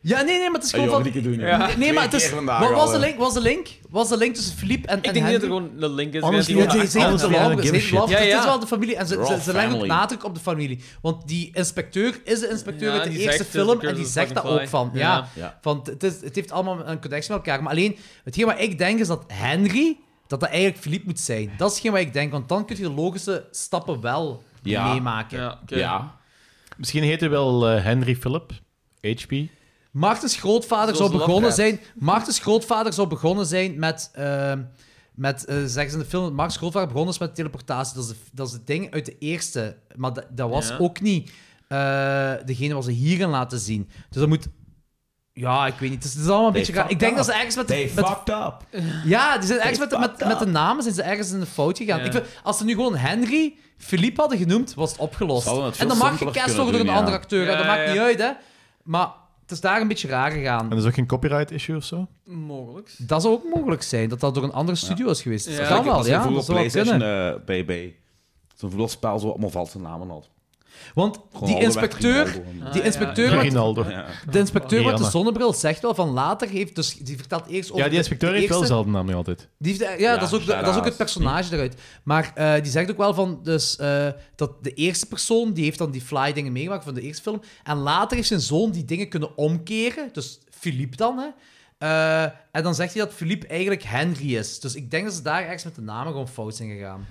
ja, nee, nee, maar het is Hey, gewoon Ah, joh, van... die keer doen, Ja. ja. Nee, nee, maar het is... Twee keer vandaag Wat was al, de hè. link? Was de link? Was de link tussen Philippe en Ik en denk niet dat er Henry? gewoon een link is. Honestly, Ik Ja, denk die Honestly, dat zijn I de don't Vlaanderen, give a zijn shit. Vlaanderen. Ja, Het is ja. wel de familie en ze, We're ze, all ze leggen ook family. nadruk op de familie. Want die inspecteur is de inspecteur Ja, uit de die eerste zegt, eh, film The en die Curse zegt of dat the ook Firefly. van. Ja. Ja. Ja. Want het, is, het heeft allemaal een connectie met elkaar. Maar alleen, hetgeen wat ik denk is dat Henry, dat dat eigenlijk Philippe moet zijn. Dat is hetgeen wat ik denk, want dan kun je de logische stappen wel Ja. meemaken. Ja, oké. Ja. Misschien heet hij wel eh, Henry Philip, HP. Martens grootvader Zoals zou de begonnen zijn. Lovecraft. Martens grootvader zou begonnen zijn met. ehm, met eh, zeggen ze in de film. dat Martens grootvader begonnen is met teleportatie. Dat is, de, dat is het ding uit de eerste. Maar dat, dat was Ja. ook niet. eh, degene wat ze hierin laten zien. Dus dat moet. Ja, ik weet niet. Het is, het is allemaal een They beetje raar. Ik fucked denk dat up. ze ergens met... They met- fucked up. Ja, die zijn ergens They met, met, fucked met de up. namen zijn ze ergens in de fout gegaan. Ja. Ik vind- als ze nu gewoon Henry, Philippe hadden genoemd, was het opgelost. Ze hadden het En dan veel mag je simpeler cast kunnen worden door een doen, andere ja. acteur. hè. Ja, dat ja, maakt niet ja. uit, hè. Maar het is daar een beetje raar gegaan. En dat is ook geen copyright issue of zo? Mogelijk. Dat zou ook mogelijk zijn, dat dat door een andere studio is geweest. Ja. Dat kan wel, ja. Vroeger Dat op zou wel PlayStation kunnen. eh, bij, bij zo'n voetbalspel zo allemaal valse namen had. eh, Want die inspecteur, Ah, die inspecteur, met, de inspecteur met de zonnebril zegt wel van later heeft dus die vertelt eerst over Ja, die de- inspecteur de heeft wel eerste- dezelfde naam nu altijd. Die heeft, ja, Ja, dat, is ook de- dat is ook het personage eruit. Maar eh, die zegt ook wel van, dus, eh, dat de eerste persoon, die heeft dan die fly dingen meegemaakt van de eerste film. En later heeft zijn zoon die dingen kunnen omkeren. Dus Philippe dan, hè. Eh, en dan zegt hij dat Philippe eigenlijk Henry is. Dus ik denk dat ze daar ergens met de namen gewoon fout zijn gegaan.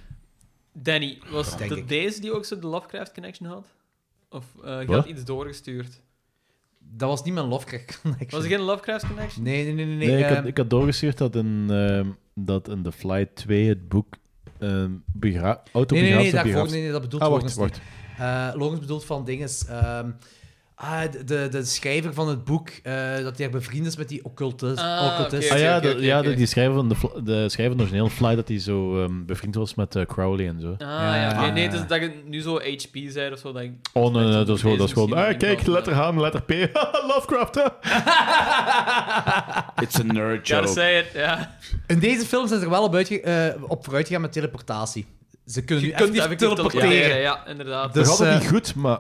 Danny, was Denk dat ik. deze die ook zo de Lovecraft Connection had? Of eh je Wat? had iets doorgestuurd? Dat was niet mijn Lovecraft Connection. Was er geen Lovecraft Connection? Nee, nee, nee. nee, Nee, ik, eh, had, ik had doorgestuurd dat in, ehm, dat in The Flight 2 het boek ehm Nee, begra- nee, autobiografisch nee, daarvoor, begraafd- nee, nee, dat bedoelt ah, wacht, Logans wacht. niet. Eh, Logans bedoelt van dingen... ehm, ah, de, de, de schrijver van het boek, eh, dat hij bevriend is met die occultist. occultist. ah, ja, de- ja de- die schrijver van de, fl- de schrijver van de originele Fly, dat hij zo ehm, bevriend was met eh, Crowley en zo. Ah, ja. oké. Nee, het is dat je nu zo HP zei of zo. Dat ik... Oh, nee, nee, dat is gewoon... Dat is gewoon misschien ah, kijk, letter H en letter P. Lovecraft, hè? It's a nerd Ja, joke. dat zei het, ja. In deze film zijn ze er wel op, uitge- eh, op vooruit gegaan met teleportatie. Ze kunnen Je nu kunt effectief effectief teleporteren. teleporteren, ja, inderdaad. Dat gaat ook eh, niet goed, maar...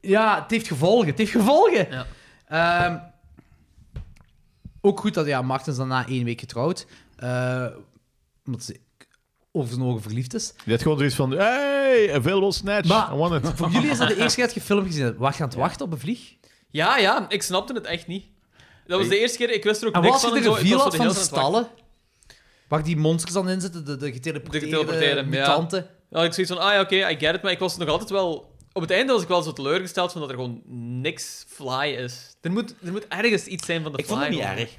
Ja, het heeft gevolgen. Het heeft gevolgen. Ehm, ook goed dat ja, Martens daarna één week getrouwd. eh, omdat ze over zijn ogen verliefd is. Je had gewoon zoiets van... Hey, available snatch. I want it. Voor jullie is dat de eerste keer dat je film gezien hebt. Wacht aan het wachten op een vlieg. Ja, ja, ik snapte het echt niet. Dat was de eerste keer, ik wist er ook En niks wat als van. je zo, de ik reveal was had zo van de hele tijd aan het stallen? Waar die monsters dan in zitten, de, de geteleporteerde, wachten. De teleporteren, mutanten. ja. Dan had ik zoiets van, ah ja, oké, I get it. Maar ik was nog altijd wel... Op het einde was ik wel zo teleurgesteld van dat er gewoon niks fly is. Er moet, er moet ergens iets zijn van de Ik fly. vond het niet gewoon. erg.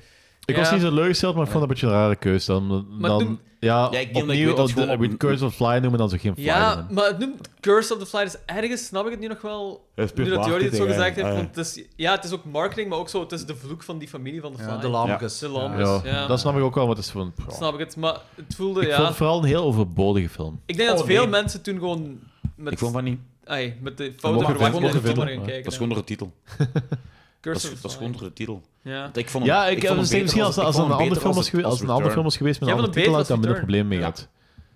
Ik Ja. was niet zo teleurgesteld, maar ik vond dat een beetje een rare keuze. Dan, Maar dan, toen- ja, Ja, ik denk dat ik opnieuw weet dat de- gewoon- we Curse of Fly noemen, dan zo geen Fly Ja, noemen. maar het noemt Curse of the Fly, dus ergens snap ik het nu nog wel. Het is puur nu dat Jordi het zo marketing, hè. gezegd heeft. Ah, ja. Want het is, ja, het is ook marketing, maar ook zo, het is de vloek van die familie van de Fly. Ja, de lammetjes. De Ja, lammetjes, dus, ja. Dat snap ik ook wel, want het is van... pff, Snap ik het, maar het voelde, Ik ja... vond het vooral een heel overbodige film. Ik denk dat Oh, veel nee. mensen toen gewoon... Met, Ik vond van niet. Ai, met de Dat foute mocht verwachting naar de gewoon door de film maar film, gaan ja. kijken. Dat is gewoon door de titel. dat, Curse is, of dat is gewoon door de titel. Ja. Want Ik vond hem, Ja, ik, eh, vond hem misschien beter als, als, ik een vond hem andere film beter was geweest, als een andere film was geweest met een Jij andere vond titel, hem had ik daar minder beter probleem mee gehad.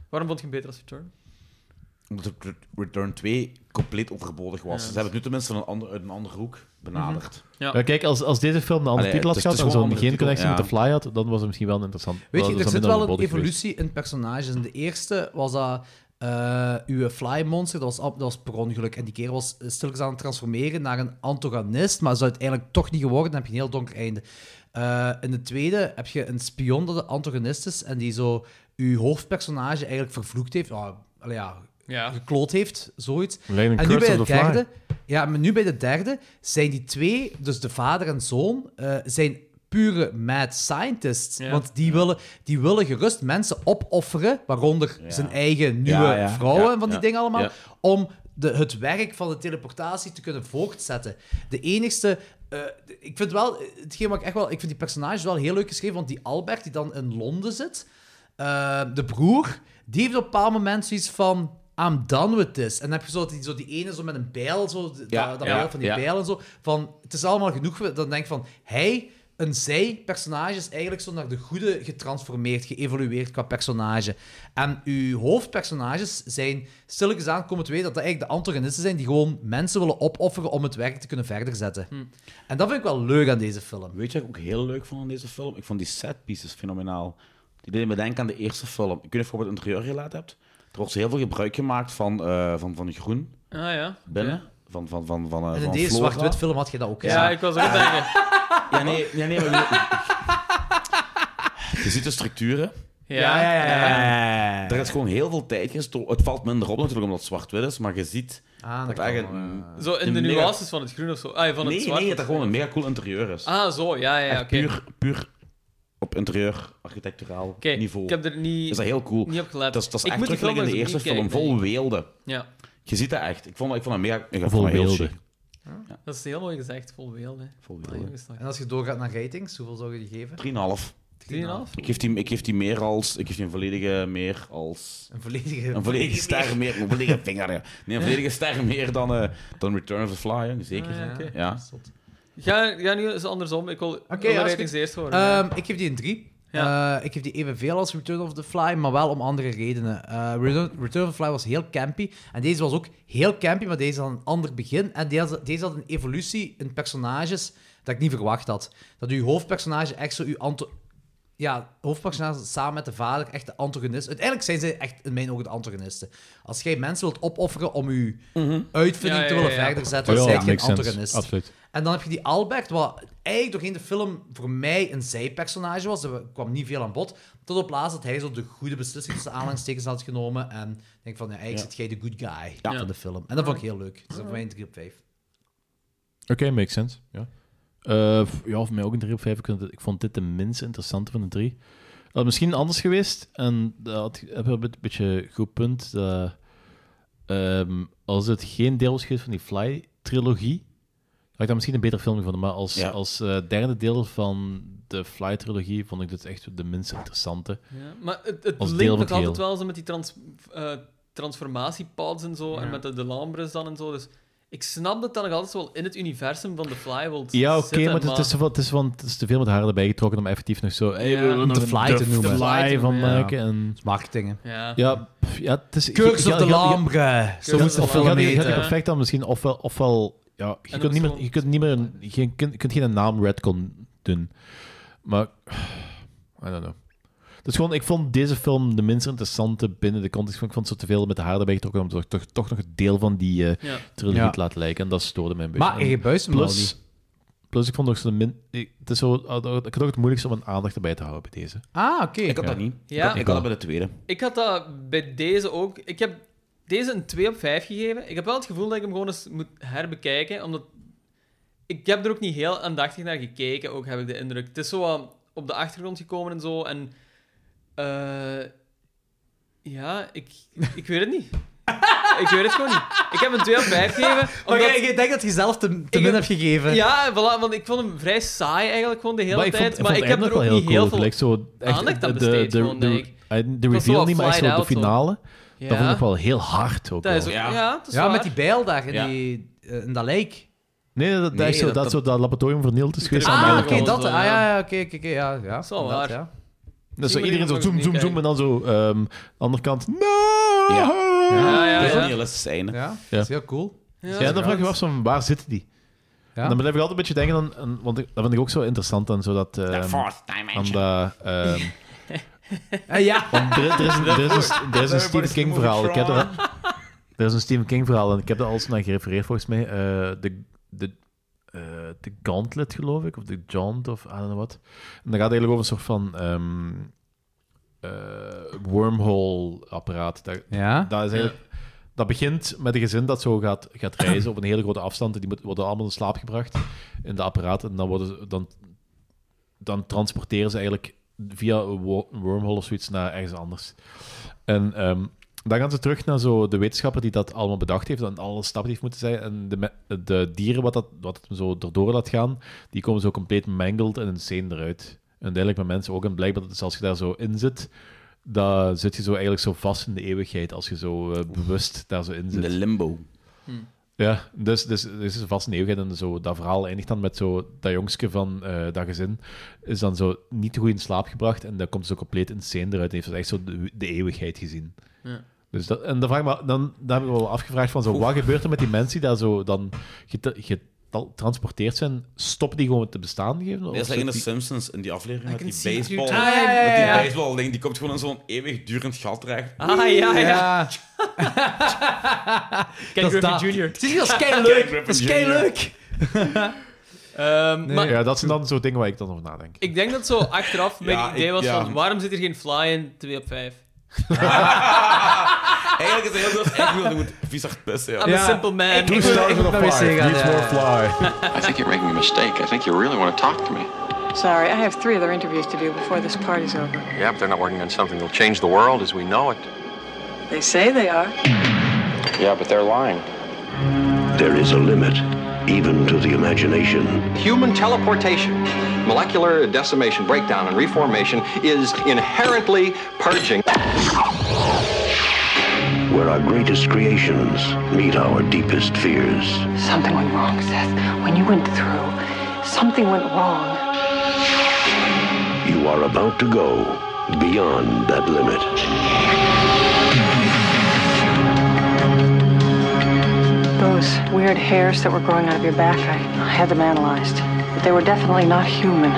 Waarom vond je hem beter als Return? Omdat het Return 2 compleet overbodig was. Ja. Ze hebben het nu tenminste een ander, uit een andere hoek benaderd. Ja. Maar kijk, als, als deze film een andere Allee, titel had het gehad is- het en is zo'n gewoon geen een andere connectie met de titel, Fly had, dan was het misschien wel interessant. Weet dan je, was er zit dat minder wel een overbodig geweest. evolutie in personages. In de eerste was dat eh, uw fly monster, dat was, al- dat was per ongeluk. En die keer was eh, stilletjes aan het transformeren naar een antagonist, maar is dat uiteindelijk toch niet geworden. Dan heb je een heel donker einde. Eh, in de tweede heb je een spion dat de antagonist is en die zo uw hoofdpersonage eigenlijk vervloekt heeft. Ah, allee, ja, Ja. gekloot heeft, zoiets. Lijkt een en nu Curse bij of de the Fly. derde, ja, maar nu bij de derde zijn die twee, dus de vader en zoon, eh, zijn pure mad scientists. Ja. Want die, willen, die willen gerust mensen opofferen, waaronder zijn eigen nieuwe Ja, ja, vrouwen ja, van die ja, dingen allemaal, ja. om de, het werk van de teleportatie te kunnen voortzetten. De enigste... eh, ik vind wel, hetgeen wat ik echt wel, ik vind die personages wel heel leuk geschreven, want die Albert die dan in Londen zit, eh, de broer, die heeft op een bepaald moment zoiets van. I'm done with this. En dan heb je zo die, zo die ene zo met een bijl, zo, dat- Ja, dat, ja, beeld van die ja. bijl en zo. Van, het is allemaal genoeg. Dan denk ik van, hij, een zij-personage, is eigenlijk zo naar de goede getransformeerd, geëvolueerd qua personage. En uw hoofdpersonages zijn, stilletjes aan komen te weten, dat dat eigenlijk de antagonisten zijn die gewoon mensen willen opofferen om het werk te kunnen verder zetten. Hm. En dat vind ik wel leuk aan deze film. Weet je wat ik ook heel leuk vond aan deze film? Ik vond die set pieces fenomenaal. Die deden me denken aan de eerste film. Ik weet niet of je het interieur gelaten hebt. Er wordt dus heel veel gebruik gemaakt van, eh, van, van groen Ah ja. oké. binnen. Van, van, van, van, eh, En in van deze flora. zwart-wit film had je dat ook. Ja, gezien. ik was ook denken. Ja, nee, ja, nee maar je... je ziet de structuren. Ja, ja, ja, Er is gewoon heel veel tijd gestoken. Het valt minder op natuurlijk omdat het zwart-wit is, maar je ziet Ah, dat dat kan eigenlijk een- Zo in de een mega- nuances van het groen of zo. Ah, van het nee, zwart. nee, dat er gewoon een mega cool interieur is. Ah, zo. Ja, ja, Echt oké. puur, puur op interieur, architecturaal Oké, niveau. ik heb er niet- Is dat heel cool. niet op gelet. Dat is, dat is Ik echt moet die terug in film de eens eerste opnieuw film. kijken, Vol weelde. Ja. Je ziet dat echt. Ik vond, ik vond dat mega... Ik Vol vond dat heel weelde. chic. Dat is heel mooi gezegd, vol weel. Hè. Vol weel, hè. En als je doorgaat naar ratings, hoeveel zou je die geven? 3,5. 3,5? Ik geef, die, ik geef die meer als... Ik geef die een volledige meer als... Een volledige... Een volledige ster meer... Een volledige vinger, ja. Nee, een volledige ster meer dan, eh, dan Return of the Fly, hè. zeker. Ah, ja, oké. ja. Ga, ga nu eens andersom. Ik wil ik Eh, wil Oké, de als ratings ik- eerst horen. Ehm, Ik geef die een 3. ik geef die evenveel als Return of the Fly, maar wel om andere redenen. Eh, Return, Return of the Fly was heel campy. En deze was ook heel campy, maar deze had een ander begin. En deze, deze had een evolutie in personages dat ik niet verwacht had. Dat uw hoofdpersonage echt zo uw anto- ja, hoofdpersonage samen met de vader echt de antagonist. Uiteindelijk zijn zij echt in mijn ogen de antagonisten. Als jij mensen wilt opofferen om uw uitvinding Mhm. Ja, ja, te willen ja, ja. verder zetten, Oh ja, zijn dat geen makes sense. antagonist. Absoluut. En dan heb je die Albert, wat eigenlijk doorheen de film voor mij een zijpersonage was. Er kwam niet veel aan bod. Tot op laatst dat hij zo de goede beslissing tussen aanhalingstekens had genomen. En ik denk van, ja, eigenlijk Ja. zit jij de good guy Ja. van de film. En dat vond ik heel leuk. Dus dat voor mij een 3 op 5. Oké, makes sense. Ja. Eh, f- ja, voor mij ook een 3 op 5. Ik, vind het- ik vond dit de minst interessante van de drie. Dat had misschien anders geweest. En dat had- hebben we een bet- beetje een goed punt. dat, ehm, als het geen deel was geweest van die Fly-trilogie, had ik daar misschien een beter film gevonden. Maar als, Ja. als eh, derde deel van de Fly-trilogie vond ik dit echt de minst interessante. Ja, maar het, het Als linkt het het geheel. altijd wel zo met die trans, eh, transformatiepads en zo, en Ja. met de, de Lambres dan en zo. Dus ik snap dat dat nog altijd zo wel in het universum van de Fly wilt Ja, oké, zitten, maar, Het, is, te veel- het, is, want het is te veel met haar erbij getrokken om effectief nog zo... hey, we willen om nog de een fly te Fly noemen. van Ja. maken. En... Marketing, hè. Ja. Ja, pff, ja het is... Kurks je- op de je- je- Lambre, je- zo moet de je- film je- je- je- heten. Je perfect dan misschien, ofwel... ofwel ja, je, dan kunt niet is meer, je kunt niet meer... een- Je kunt, je kunt geen naam Redcon doen. Maar... I don't know. Dus gewoon, ik vond deze film de minst interessante binnen de context. van- Ik vond het zo te veel met de haar erbij getrokken om toch, toch, toch nog een deel van die eh, Ja. trilogie Ja. te laten lijken. En dat stoorde mij een beetje. Maar je En buist hem wel niet. Plus, ik vond het ook zo de min... Ik, het is zo, ik had ook het moeilijkste om een aandacht erbij te houden bij deze. Ah, oké. Ik had dat niet. Ja. Ik had, ik had dat bij de tweede. Ik had dat bij deze ook. Ik heb deze een 2 op 5 gegeven. Ik heb wel het gevoel dat ik hem gewoon eens moet herbekijken, omdat ik heb er ook niet heel aandachtig naar gekeken, ook heb ik de indruk. Het is zo wat op de achtergrond gekomen en zo. En eh, ja, ik, ik weet het niet. ik weet het gewoon niet. Ik heb een 2 op 5 gegeven. Maar omdat- jij- jij denkt dat je zelf te, te min hebt gegeven. Ja, voilà, want ik vond hem vrij saai eigenlijk gewoon de hele maar ik tijd. vond, ik maar vond ik heb er ook heel niet heel cool. veel Het lijkt zo echt aandacht de, aan de, besteed, de, gewoon, denk ik. de, eh, de was zo reveal niet, maar echt flat zo de out, zo. finale. Dat vond Ja. ik wel heel hard ook Dat is wel. ook- Ja. ja, dat is Ja, waar. met die bijl daar in, Ja. die, eh, in dat lijk. Nee, dat, dat, Nee, is zo, dat- dat, zo dat laboratorium vernield is geweest. aan de Ah, andere oké, kant. dat. Ah, ja, ja, oké, oké, oké, ja. ja Zo inderdaad, waar. ja. Dus zo Misschien iedereen moet zo ik hem zoom, nog zoom, eens zoom. En dan zo, ehm andere kant, no! Ja. Ja, ja, Dat is ja. een realistisch einde. Ja, dat is heel cool. Ja, dan vraag je je af, zo, waar zitten die? En dan blijf ik altijd een beetje denken, aan, aan- want ik- dat vind ik ook zo interessant. En zo dat, ehm, fourth aan dimension. dat, ehm, Eh, ja. want er, er is een, er is een, er is een Everybody's Stephen King moving verhaal. Ik heb from- er, er is een Stephen King verhaal en ik heb daar al zo naar gerefereerd volgens mij. eh, de, de, eh, de Gauntlet, geloof ik, of de Jaunt, of I don't know what. En dat gaat eigenlijk over een soort van ehm, eh, wormhole-apparaat. Dat, Ja. dat is eigenlijk... Dat begint met een gezin dat zo gaat, gaat reizen op een hele grote afstand. en Die moet- worden allemaal in slaap gebracht in de apparaat. En dan, worden ze, dan, dan transporteren ze eigenlijk via een wo- een wormhole of zoiets naar ergens anders. En ehm, dan gaan ze terug naar zo de wetenschapper die dat allemaal bedacht heeft en alle stappen die heeft moeten zijn. En de, me- de dieren wat, dat, wat het zo erdoor laat gaan, die komen zo compleet mangled en insane eruit. En duidelijk met mensen ook. En blijkbaar, dat is als je daar zo in zit, dan zit je zo eigenlijk zo vast in de eeuwigheid als je zo eh, bewust daar zo in zit. de limbo. Oh, Hm. Ja, dus, dus, dus is vast een eeuwigheid. En zo, dat verhaal eindigt dan met zo dat jongske van eh, dat gezin is dan zo niet goed in slaap gebracht en dan komt ze compleet insane eruit en heeft dus echt zo de, de eeuwigheid gezien. Ja. Dus dat, en dan, vraag ik me, dan, dan heb ik me wel afgevraagd van zo, wat gebeurt er met die mensen die daar zo dan gete- getransporteerd zijn? Stoppen die gewoon met te bestaan geven? Dat is Of like in de zit die- Simpsons, in die aflevering met die can see baseball. through time. Ah, ja, ja, Met ja, ja. die baseball-ding, die komt gewoon in zo'n eeuwigdurend gat terecht. Ah, ja, ja. Ken Dat is Griffin dat. Jr. Zie je, dat is leuk. Griffin Dat is Jr.. leuk. Ehm, maar Ja, dat zijn dan zo dingen waar ik dan over nadenk. ik denk dat zo achteraf mijn Ja, ik- idee was ja. van waarom zit er geen fly in 2 op 5? Eigenlijk is het heel echt goed, je moet vies hard pissen. Ja. I'm a simple man. Ik moet- ik moet naar wc gaan, ja. I think you're making a mistake. I think you really want to talk to me. Sorry, I have three other interviews to do before this party's over. Yeah, but they're not working on something that'll change the world as we know it. They say they are. Yeah, but they're lying. There is a limit even to the imagination. Human teleportation, molecular decimation, breakdown, and reformation is inherently purging. Where our greatest creations meet our deepest fears. Something went wrong, Seth. When you went through, something went wrong. You are about to go beyond that limit. Those weird hairs that were growing out of your back, I, I had them analyzed. But they were definitely not human.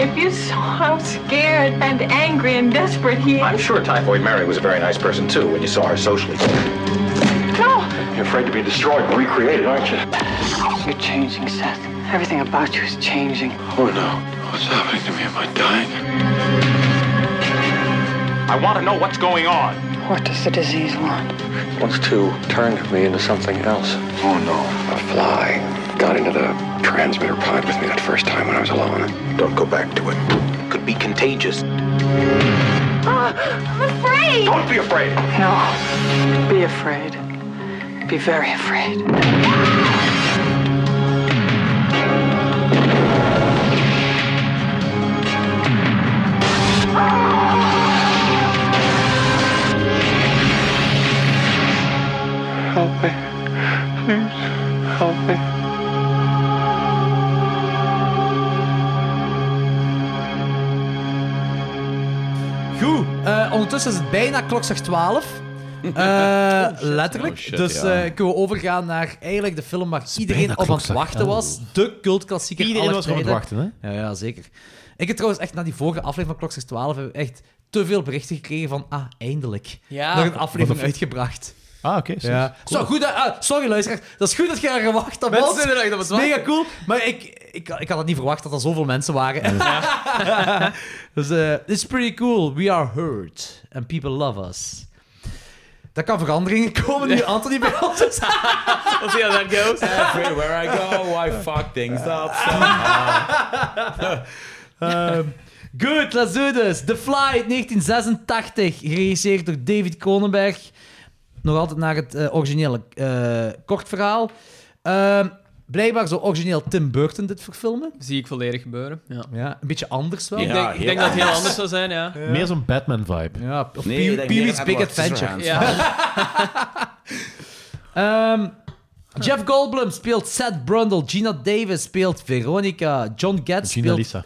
If you saw how scared and angry and desperate he is. I'm sure Typhoid Mary was a very nice person, too, when you saw her socially. No! You're afraid to be destroyed and recreated, aren't you? You're changing, Seth. Everything about you is changing. Oh, no. What's happening to me? Am I dying? I want to know what's going on. What does the disease want? Wants to turn me into something else. Oh, no. A fly got into the transmitter pod with me that first time when I was alone. Don't go back to it. Could be contagious. Ah, I'm afraid! Don't be afraid! No. Be afraid. Be very afraid. Help me. Please, help me. Goed, eh, ondertussen is het bijna klokslag 12. Eh, letterlijk. Oh, shit, dus ja. eh, kunnen we overgaan naar eigenlijk de film waar iedereen op aan het klokslag wachten elf. was. De cultklassieker Iedereen aller was op aan het tijden. wachten, Ja, ja, zeker. Ik heb trouwens echt na die vorige aflevering van Klokslag 12 hebben we echt te veel berichten gekregen van ah, eindelijk. Ja. Nog een Wat aflevering een- uitgebracht. Ah, oké. zo. Ja. Cool. Zo, goed, dat- ah, sorry luisteraars, dat is goed dat je daar gewacht hebt. Mensen want zijn er echt op het het is mega wachten. cool, maar ik, ik, ik had het niet verwacht dat er zoveel mensen waren. dus eh, it's pretty cool. We are heard and people love us. Daar kan veranderingen komen nu Anthony dus bij ons is. We'll see how that goes. Everywhere I go, I fuck things up. Ehm, Goed, let's do this. The Flight 1986, geregisseerd door David Cronenberg. Nog altijd naar het eh, originele eh, kort verhaal. Ehm, blijkbaar zou origineel Tim Burton dit verfilmen. Zie ik volledig gebeuren. Ja. Ja, een beetje anders wel. Ik denk, ik denk dat het heel anders zou zijn, ja. Meer zo'n Batman-vibe. Ja, of Nee, Pee- ik denk Pee meer Wee's aan Big Edward Adventure. Scissorhands. Ehm, Jeff Goldblum speelt Seth Brundle. Gina Davis speelt Veronica. John Getz Gina speelt... Lisa.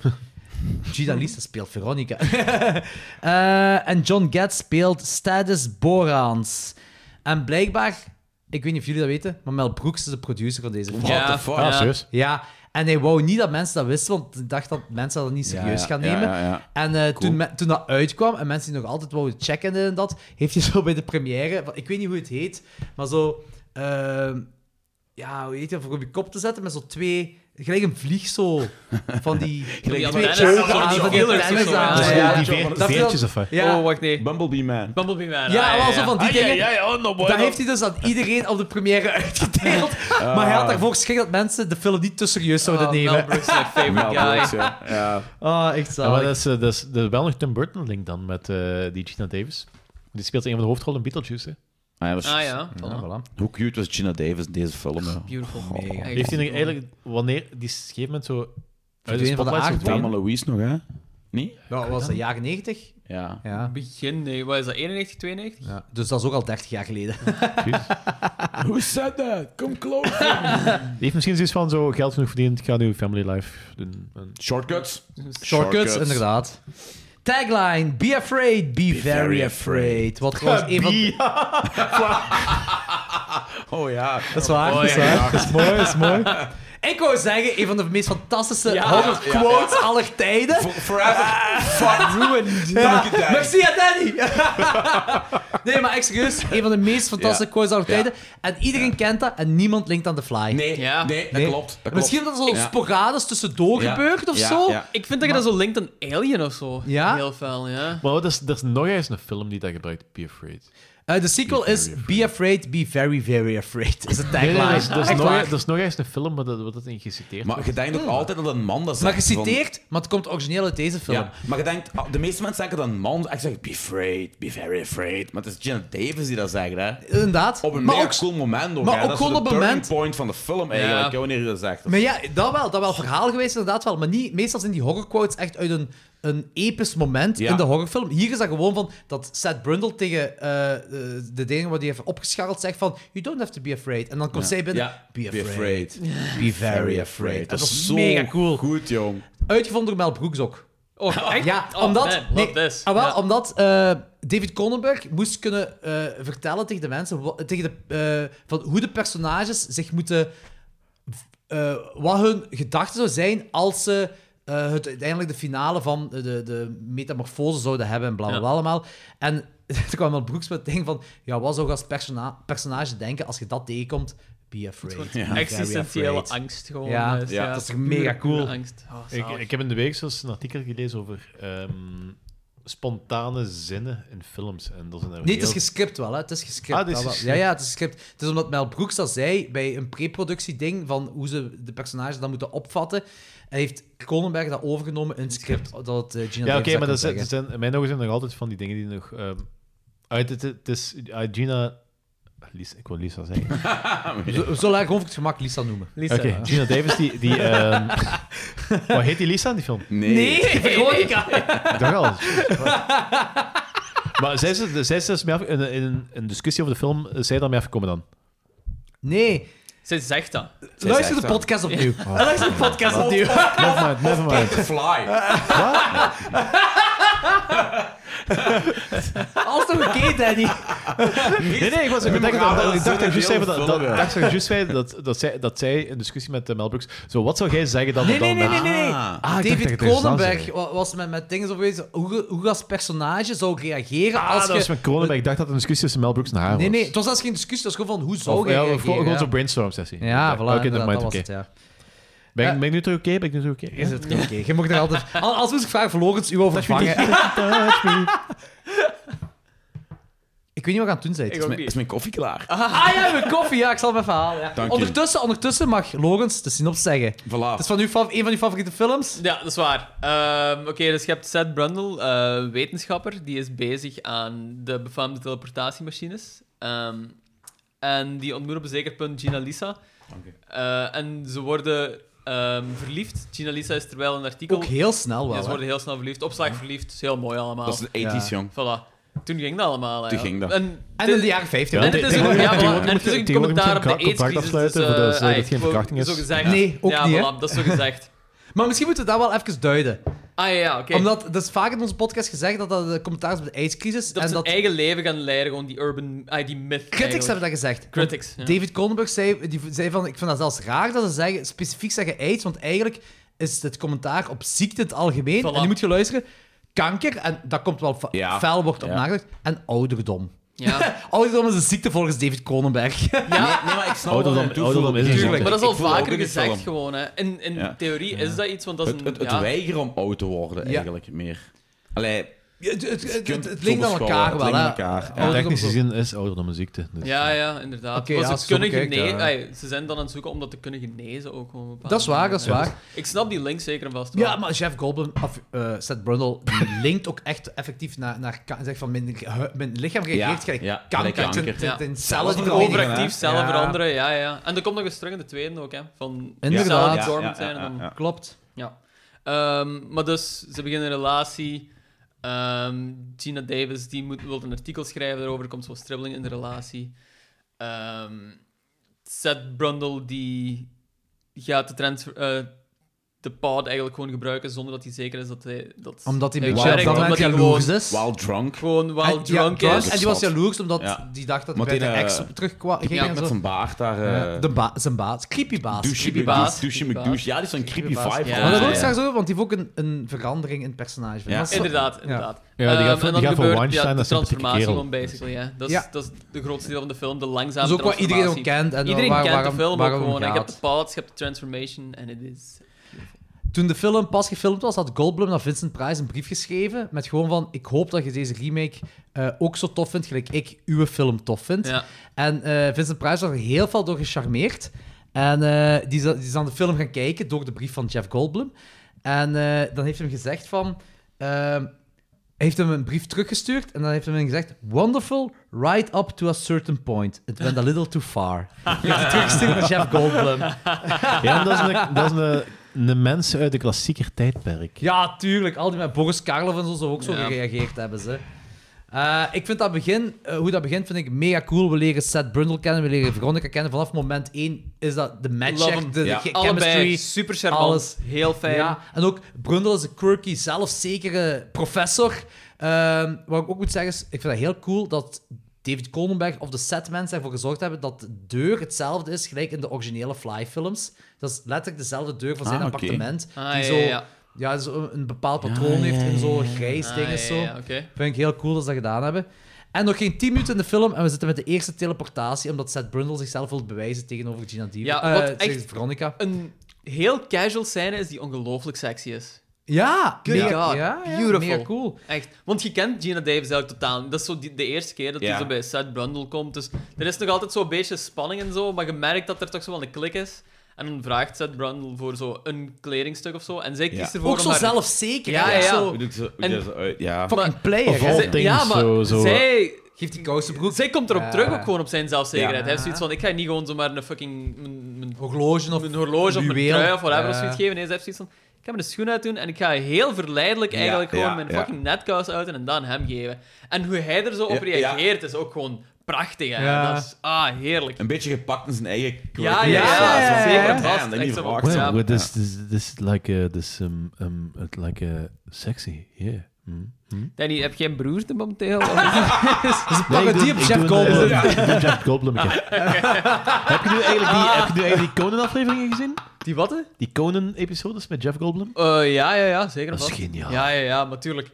Gina Lisa speelt Veronica. Eh, en John Getz speelt Stadis Borans. En blijkbaar, ik weet niet of jullie dat weten, maar Mel Brooks is de producer van deze film. What Ja, the Oh, Oh, fuck? ja. Ah, serieus? Ja, en hij wou niet dat mensen dat wisten, want hij dacht dat mensen dat niet Ja, serieus ja, gaan ja, nemen. ja, ja. En eh, toen, me- toen dat uitkwam en mensen die nog altijd wouden checken en dit en dat, heeft hij zo bij de première, ik weet niet hoe het heet, maar zo, ehm, ja, hoe heet dat, voor op je kop te zetten met zo twee, gelijk een vlieg zo, van die... Gelijk die twee antennes, keuken zo, aan, die van die killers of antennes zo, aan, ja. ja, Ja, ja. die veer- Dat- veertjes dat- of wat? Ja. Oh, wacht, nee. Bumblebee Man. Bumblebee Man. Ja, ah, wel zo van die Ah, dingen. Ja, ja, ja, oh, no, boy, dat no. heeft hij dus aan iedereen op de première uitgedeeld. Maar hij had daarvoor geschikt dat mensen de film niet te serieus Ah, zouden Oh, Mel nemen. Brooks is my favorite Mel guy. Brooks, ja. Ja. Ah, echt Ja, maar zalig. dat is, eh, dat is, dat is wel nog Tim Burton-link dan met eh, die Gina Davis. Die speelt een van de hoofdrollen in Beetlejuice. Hè? Ah ja, was- Ah, ja. Voilà. Hoe cute was Gina Davis in deze film? ja? Beautiful. Mega. Heeft hij nog eigenlijk, wanneer, die is op een gegeven moment zo uit de Verdwenen van de spotlight aarde. Thelma Louise nog, hè? Nee? Nou, was dat jaren 90? Ja. Ja. Begin, nee. Wat is dat, 91, 92? Ja, dus dat is ook al 30 jaar geleden. Who Ah, said that? Come closer. Die heeft misschien zoiets van zo geld genoeg verdiend, ik ga nu family life doen. En- Shortcuts. Shortcuts, inderdaad. Tagline: Be afraid, be, very afraid. Wat trouwens een van. Oh ja. Dat is waar, dat is waar. Dat is mooi, dat is mooi. Ik wou zeggen, een van de meest fantastische 100 ja, ja. quotes aller tijden. Forever. Fuck ruined. Dank je, Danny. Ah. Merci aan Danny. nee, maar echt serieus, een van de meest fantastische Ja. quotes aller tijden. En iedereen kent dat en niemand linkt aan The Fly. Nee, nee, dat Nee. klopt. Dat Misschien klopt. dat er zo Ja. sporadisch tussendoor Ja. gebeurt of Ja, zo. ja. Ik vind dat je dat zo linkt aan Alien of zo. Ja? Heel fel, ja. Maar er is, er is nog eens een film die dat gebruikt, Be Afraid. Eh, de sequel is Be Afraid, Be Very, Very Afraid. Is het Nee, nee, tagline. dat, is, dat, is Echt nog, waar. dat is nog eens een film waar dat, waar dat in geciteerd Maar wordt. je denkt ook altijd dat een man dat Hmm. Maar zegt. geciteerd, maar het komt origineel uit deze film. Ja, maar je denkt, ah, de meeste mensen denken dat een man echt zegt, be afraid, be very afraid. Maar het is Jenna Davis die dat zegt, hè. Inderdaad. Op een Maar mega ook- cool moment ook, maar hè. ook dat gewoon is op de een turning moment- point van de film eigenlijk, Ja. hè, wanneer je dat zegt. Maar ja, dat wel. Dat wel verhaal geweest, inderdaad wel. Maar niet, meestal zijn die horrorquotes echt uit een, een episch moment Ja. in de horrorfilm. Hier is dat gewoon van dat Seth Brundle tegen eh, eh, de dingen wat hij heeft opgescharreld zegt van You don't have to be afraid. En dan komt Ja. zij binnen, Ja. be afraid. Be very afraid. Dat is zo mega cool. goed, jong. Uitgevonden door Mel Brooks ook. Oh, echt? Ja, Oh, omdat, man, nee, what this? ah, wel, Ja. omdat eh, David Cronenberg moest kunnen eh, vertellen tegen de mensen wa- tegen de, eh, van hoe de personages zich moeten. eh, wat hun gedachten zou zijn als ze eh, het, uiteindelijk de finale van eh, de, de metamorfose zouden hebben en bla bla bla allemaal. En toen kwam Mel Brooks met het ding van: ja, wat zou je als persona- personage denken als je dat tegenkomt? Be afraid. soort be existentiële very afraid. angst gewoon, Ja, dus ja, dat is toch pure, mega cool. pure angst. Oh, ik, zalig. ik heb in de week zelfs een artikel gelezen over ehm, spontane zinnen in films. En dat is een Nee, het is gescript wel, hè. Het is gescript. Ah, dit is wel. Ja, gescript. ja, het is gescript. Het is omdat Mel Brooks dat zei bij een pre-productieding van hoe ze de personages dan moeten opvatten. En heeft Cronenberg dat overgenomen in het script, dat het eh, Gina Ja, Davis oké, dat maar kon dat zijn, zeggen. zijn- in mijn ogen zijn er nog altijd van die dingen die nog... ehm, uit het, het is... ah, Gina... Lisa, ik wil Lisa zeggen. Zo- We zullen haar gewoon voor het gemak Lisa noemen. Oké, Gina Davis, die... die ehm, wat heet die Lisa in die film? Nee, Veronica. Ik dacht al. maar zij is, zij is dus mee af, in, in een discussie over de film, is zij daarmee afgekomen dan? Nee. Zij zegt dat. Luister de podcast opnieuw. Ja. Luister de podcast Wat? opnieuw. Never mind, never mind. Fly. Alles nog oké, Danny. Nee, nee, ik was Memorabele ik bedenken dat, dat- ik dacht dat ik juist zinnen zei in dat, heel dat, veel ik dacht dat ik juist zei dat, dat, zij, dat zij in discussie met eh, Mel Brooks, zo, wat zou jij zeggen dan Nee, op nee, nee, dat nee, moment? nee. nee. Ah, ik dacht dat David ik tegen Zan Cronenberg zei. wa- was met, met dingen zo geweest. Hoe, hoe als personage zou ik reageren Ah, als dat was je... met Cronenberg. Ik dacht dat het een discussie tussen Mel Brooks en haar was. Nee, nee, het was zelfs geen discussie. Het was gewoon van hoe zou Of, je ja, of reageren. gewoon ja. zo'n brainstorm-sessie. Ja, Oké, voilà, oké, never inderdaad, mind, dat was oké. het, ja. Ben, Ja. ben ik nu terug oké? Ben ik nu terug oké? Is het oké? Je mocht er altijd... Al- Als moest ik vragen voor Logans, u overvangen. Ik weet niet wat ik aan het doen zijn. Is mijn, is mijn koffie klaar? Ah ja, mijn koffie. Ja, ik zal hem even halen. ja. Dank je. Ondertussen, ondertussen mag Logans de synopsis zeggen. Het is van uw, fav- een van uw favoriete films. Ja, dat is waar. Ehm, Oké, dus je hebt Seth Brundle, eh, wetenschapper, die is bezig aan de befaamde teleportatiemachines. Ehm, en die ontmoet op een zeker punt Gina Lisa. Eh, en ze worden ehm, verliefd. Gina Lisa is terwijl een artikel... Ook heel snel wel, Ja, ze hè? worden heel snel verliefd. Opslag verliefd, is heel mooi allemaal. Dat is de 80s, Ja. jong. Voilà. Toen ging dat allemaal, eigenlijk. ging dat. En, En in de jaren 50 En ook. het is ook, Tegenwoordig- ja, voilà. tegenwoordig en het moet is je- ook een tegenwoordig commentaar op moet je de een contract AIDS-crisis. afsluiten dus, eh, voordat ze- ah, dat geen wou- verkrachting is. Zo gezegd. Nee, ook ja, niet, hè? voilà, dat is zo gezegd. Maar misschien moeten we dat wel even duiden. Ah ja, ja, oké. Omdat, dat is vaak in onze podcast gezegd, dat dat de commentaar is op de ijscrisis. dat en ze dat hun eigen leven gaan leiden, gewoon die urban, ah, die myth. Critics eigenlijk. hebben dat gezegd. Critics, Want ja. David Cronenberg zei, die zei van, ik vind dat zelfs raar dat ze zeggen, specifiek zeggen AIDS, want eigenlijk is het commentaar op ziekte in het algemeen. En nu moet je luisteren, kanker, en dat komt wel fa- Ja. fel wordt op Ja. nagedrukt, en ouderdom. Ja. ouderdom is een ziekte volgens David Cronenberg. Ja, nee, maar ik snap Ouderdom- wel. ouderdom is een Tuurlijk, ziekte. Maar dat is al Ik voel dat ook vaker in de gezegd, film. gewoon. Hè. In, in Ja. theorie is dat iets, want dat is Het, een... het, het ja. weigeren om oud te worden, Ja. eigenlijk, meer. Allee... Het, het, je kunt het- het zo linkt aan beschouwen, elkaar het wel, linkt hè. aan elkaar. Ja, technisch gezien is ouderdom een ziekte. Dus. Ja, ja, inderdaad. Oké, Want ja, ze, als je kunnen zo bekijkt, genezen, ja. ai, ze zijn dan aan het zoeken om dat te kunnen genezen ook. gewoon op een bepaalde Dat is waar, dat is manier. waar. Ik snap die link zeker en vast wel. Ja, maar Jeff Goldblum, of eh, Seth Brundle, die linkt ook echt effectief naar, naar ka- zeg van mijn, hu- mijn lichaam reageert Ja, gelijk ja, kanker, gelijk ten- kanker. ten- Ja. ten Als cellen het veranderen, hè. Overactief, cellen Ja. veranderen, ja, ja. En dat komt nog eens terug in de tweede ook, hè. Van Inderdaad. cellen die Ja, dormant ja, ja, zijn. en dan- ja, ja. Klopt. Ja. Ehm, maar dus, ze beginnen een relatie. Ehm, Gina Davis die moet, wil een artikel schrijven daarover. Er komt zo'n stribbeling in de relatie. Ehm, Seth Brundle die gaat de, transfer, eh, de pod eigenlijk gewoon gebruiken zonder dat hij zeker is dat hij... Dat Omdat hij een hij beetje op werkt, dat moment omdat hij jaloers gewoon- is. drunk. Gewoon wild En- ja, drunk is. En die was jaloers omdat Ja. die dacht dat hij Want bij de die, eh, ex terugkwam. die ging knaap en met zo. zijn baard daar, Ja, eh, de ba- zijn baas. Creepy baas. Douche creepy McDouche, baas. douche Creepy McDouche. baas. Ja, die is zo'n creepy baas. vibe Ja, van. maar dat wil ik Ja, straks over, want die heeft ook een, een verandering in het personage. van. Ja. Dat is zo- Inderdaad, ja. inderdaad. Ja, die Ehm, gaat voor- die en gaat dan voor gebeurt Weinstein, ja, dat de is een pittige transformatie kerel. gewoon, basically. Ja. Dat, is, Ja. dat is de grootste deel van de film, de langzame Dat is ook wat iedereen transformatie. ook kent en iedereen waar- kent waarom- de film waarom ook gewoon. hè. Je gaat. hebt de plots, je hebt de transformation, en het is... Toen de film pas gefilmd was, had Goldblum naar Vincent Price een brief geschreven met gewoon van, ik hoop dat je deze remake eh, ook zo tof vindt, gelijk ik uw film tof vind. Ja. En eh, Vincent Price was er heel veel door gecharmeerd. En eh, die, is, die is aan de film gaan kijken door de brief van Jeff Goldblum. En eh, dan heeft hij hem gezegd van... ehm, hij heeft hem een brief teruggestuurd en dan heeft hij hem gezegd... Wonderful, right up to a certain point. It went a little too far. Hij heeft het teruggestuurd naar Jeff Goldblum. Ja, dat is, een, dat is een, een mens uit de klassieker tijdperk. Ja, tuurlijk. Al die met Boris Karloff en zo zou ook zo Ja. gereageerd hebben. Ze. Eh, ik vind dat begin, eh, hoe dat begint, vind ik mega cool. We leren Seth Brundle kennen, we leren Veronica kennen. Vanaf moment 1 is dat de match, Love echt, hem. de, de Ja. ge- Allebei chemistry. super charmant, heel fijn. Ja. En ook Brundle is een quirky, zelfzekere professor. Ehm, wat ik ook moet zeggen is, ik vind dat heel cool dat David Cronenberg of de setmensen ervoor gezorgd hebben dat de deur hetzelfde is, gelijk in de originele Fly-films. Dat is letterlijk dezelfde deur van zijn Ah, oké. appartement. Ah, die ja, zo, ja, ja. ja, zo een bepaald patroon heeft in zo'n grijs Ah, ding en ja, zo. ja, oké. Vind ik heel cool dat ze dat gedaan hebben. En nog geen 10 minuten in de film en we zitten met de eerste teleportatie, omdat Seth Brundle zichzelf wil bewijzen tegenover Gina Diva. Ja, eh, wat tegen echt Veronica. een heel casual scène is die ongelooflijk sexy is. Ja, Good mega- God, ja, ja, beautiful. mega cool. Echt. Want je kent Gina Davis eigenlijk totaal niet. Dat is zo die- de eerste keer dat hij Ja. zo bij Seth Brundle komt. Dus er is nog altijd zo'n beetje spanning en zo, maar je merkt dat er toch zo wel een klik is. En dan vraagt Seth Brundle voor zo een kledingstuk of zo. En zij kiest Ja. ervoor Ook om zo haar- zelfzeker, Ja, hè? ja, Zo- ja. Hoe doet ze- hoe En- doet ze uit? Ja. Fucking player, hè? Zij- Ja, maar zij... Geeft die kousenbroek. Zij komt erop Ja. terug ook gewoon op zijn zelfzekerheid. Ja. Hij heeft zoiets van, ik ga niet gewoon zomaar een fucking... Mijn, mijn horloge of Mijn horloge of mijn juweel. trui of whatever Ja. of zoiets geven. Nee, zij heeft zoiets van, ik ga me de schoen uitdoen en ik ga heel verleidelijk Ja, eigenlijk ja, gewoon mijn ja. fucking netkous uitdoen en dan hem geven. En hoe hij er zo op Ja, ja. reageert is ook gewoon prachtig. Hè? Ja. Dat is, ah, heerlijk. Een beetje gepakt in zijn eigen Ja, ja, ja, ja, zeker en vast. Echt zo van, Well, ja. well, this, this, this is like uh, this um um it like uh, sexy, yeah. Hmm, hmm. Danny, heb jij een broerte momenteel? Nee, ik doe- ik doe een, eh, ik doe een Jeff Goldblum. Ah, ik heb. Heb je nu eigenlijk die, Ah. heb je nu eigenlijk die Conan-afleveringen gezien? Die wat? Die Conan-episodes met Jeff Goldblum? Eh, ja, ja, ja, zeker. Dat is vast. geniaal. Ja, ja, ja, maar tuurlijk.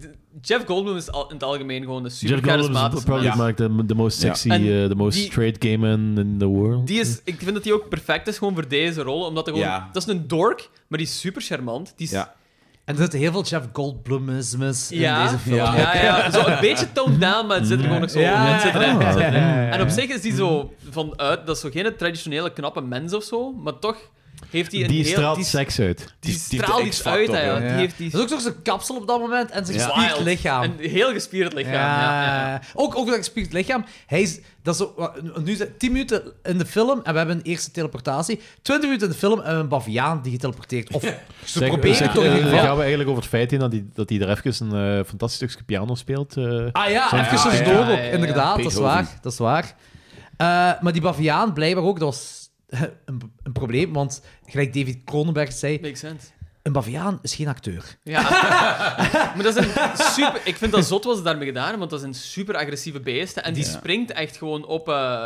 D- Jeff Goldblum is al, in het algemeen gewoon een super Jeff Goldblum is charismatische probably mens. like the, the most Ja. sexy, En uh, the most die- straight gay man in the world. Die is, ik vind dat hij ook perfect is gewoon voor deze rol, omdat hij gewoon... Ja. Dat is een dork, maar die is super charmant. Die is, En er zitten heel veel Jeff Goldblumismes Ja, in deze film. Ja, ja, ja. Zo een beetje toned down, maar het zit er gewoon nog zo Ja, het zit er echt ja, in. ja, Oh, ja, ja. En op zich is die zo vanuit... Dat is zo geen traditionele knappe mens of zo, maar toch heeft hij een Die heel... straalt die- seks uit. Die straalt iets uit, hè. ja. Die heeft die... Dat is ook nog zijn kapsel op dat moment en zijn Ja. gespierd Wild. lichaam. Een heel gespierd lichaam, ja, ja, ja. Ook, ook dat gespierd lichaam. Hij is, dat is zo, wat- nu zijn 10 minuten in de film en we hebben een eerste teleportatie. 20 minuten in de film en we hebben een baviaan die geteleporteerd. Of ze Zeg- proberen zeg- toch in eh, ieder Dan gaan geval. we eigenlijk over het feit heen dat hij dat hij er even een eh, fantastisch stukje piano speelt. eh. Ah ja, Zo'n even stukje. tussendoor ook. Inderdaad, dat is Beethoven. waar. Dat is waar. Eh, maar die baviaan, blijkbaar ook, dat was een, een probleem. Want gelijk David Cronenberg zei... Makes sense. Een baviaan is geen acteur. Ja. maar dat is een super... Ik vind dat zot wat ze daarmee gedaan hebben, want dat zijn super agressieve beesten. En die Ja. springt echt gewoon op eh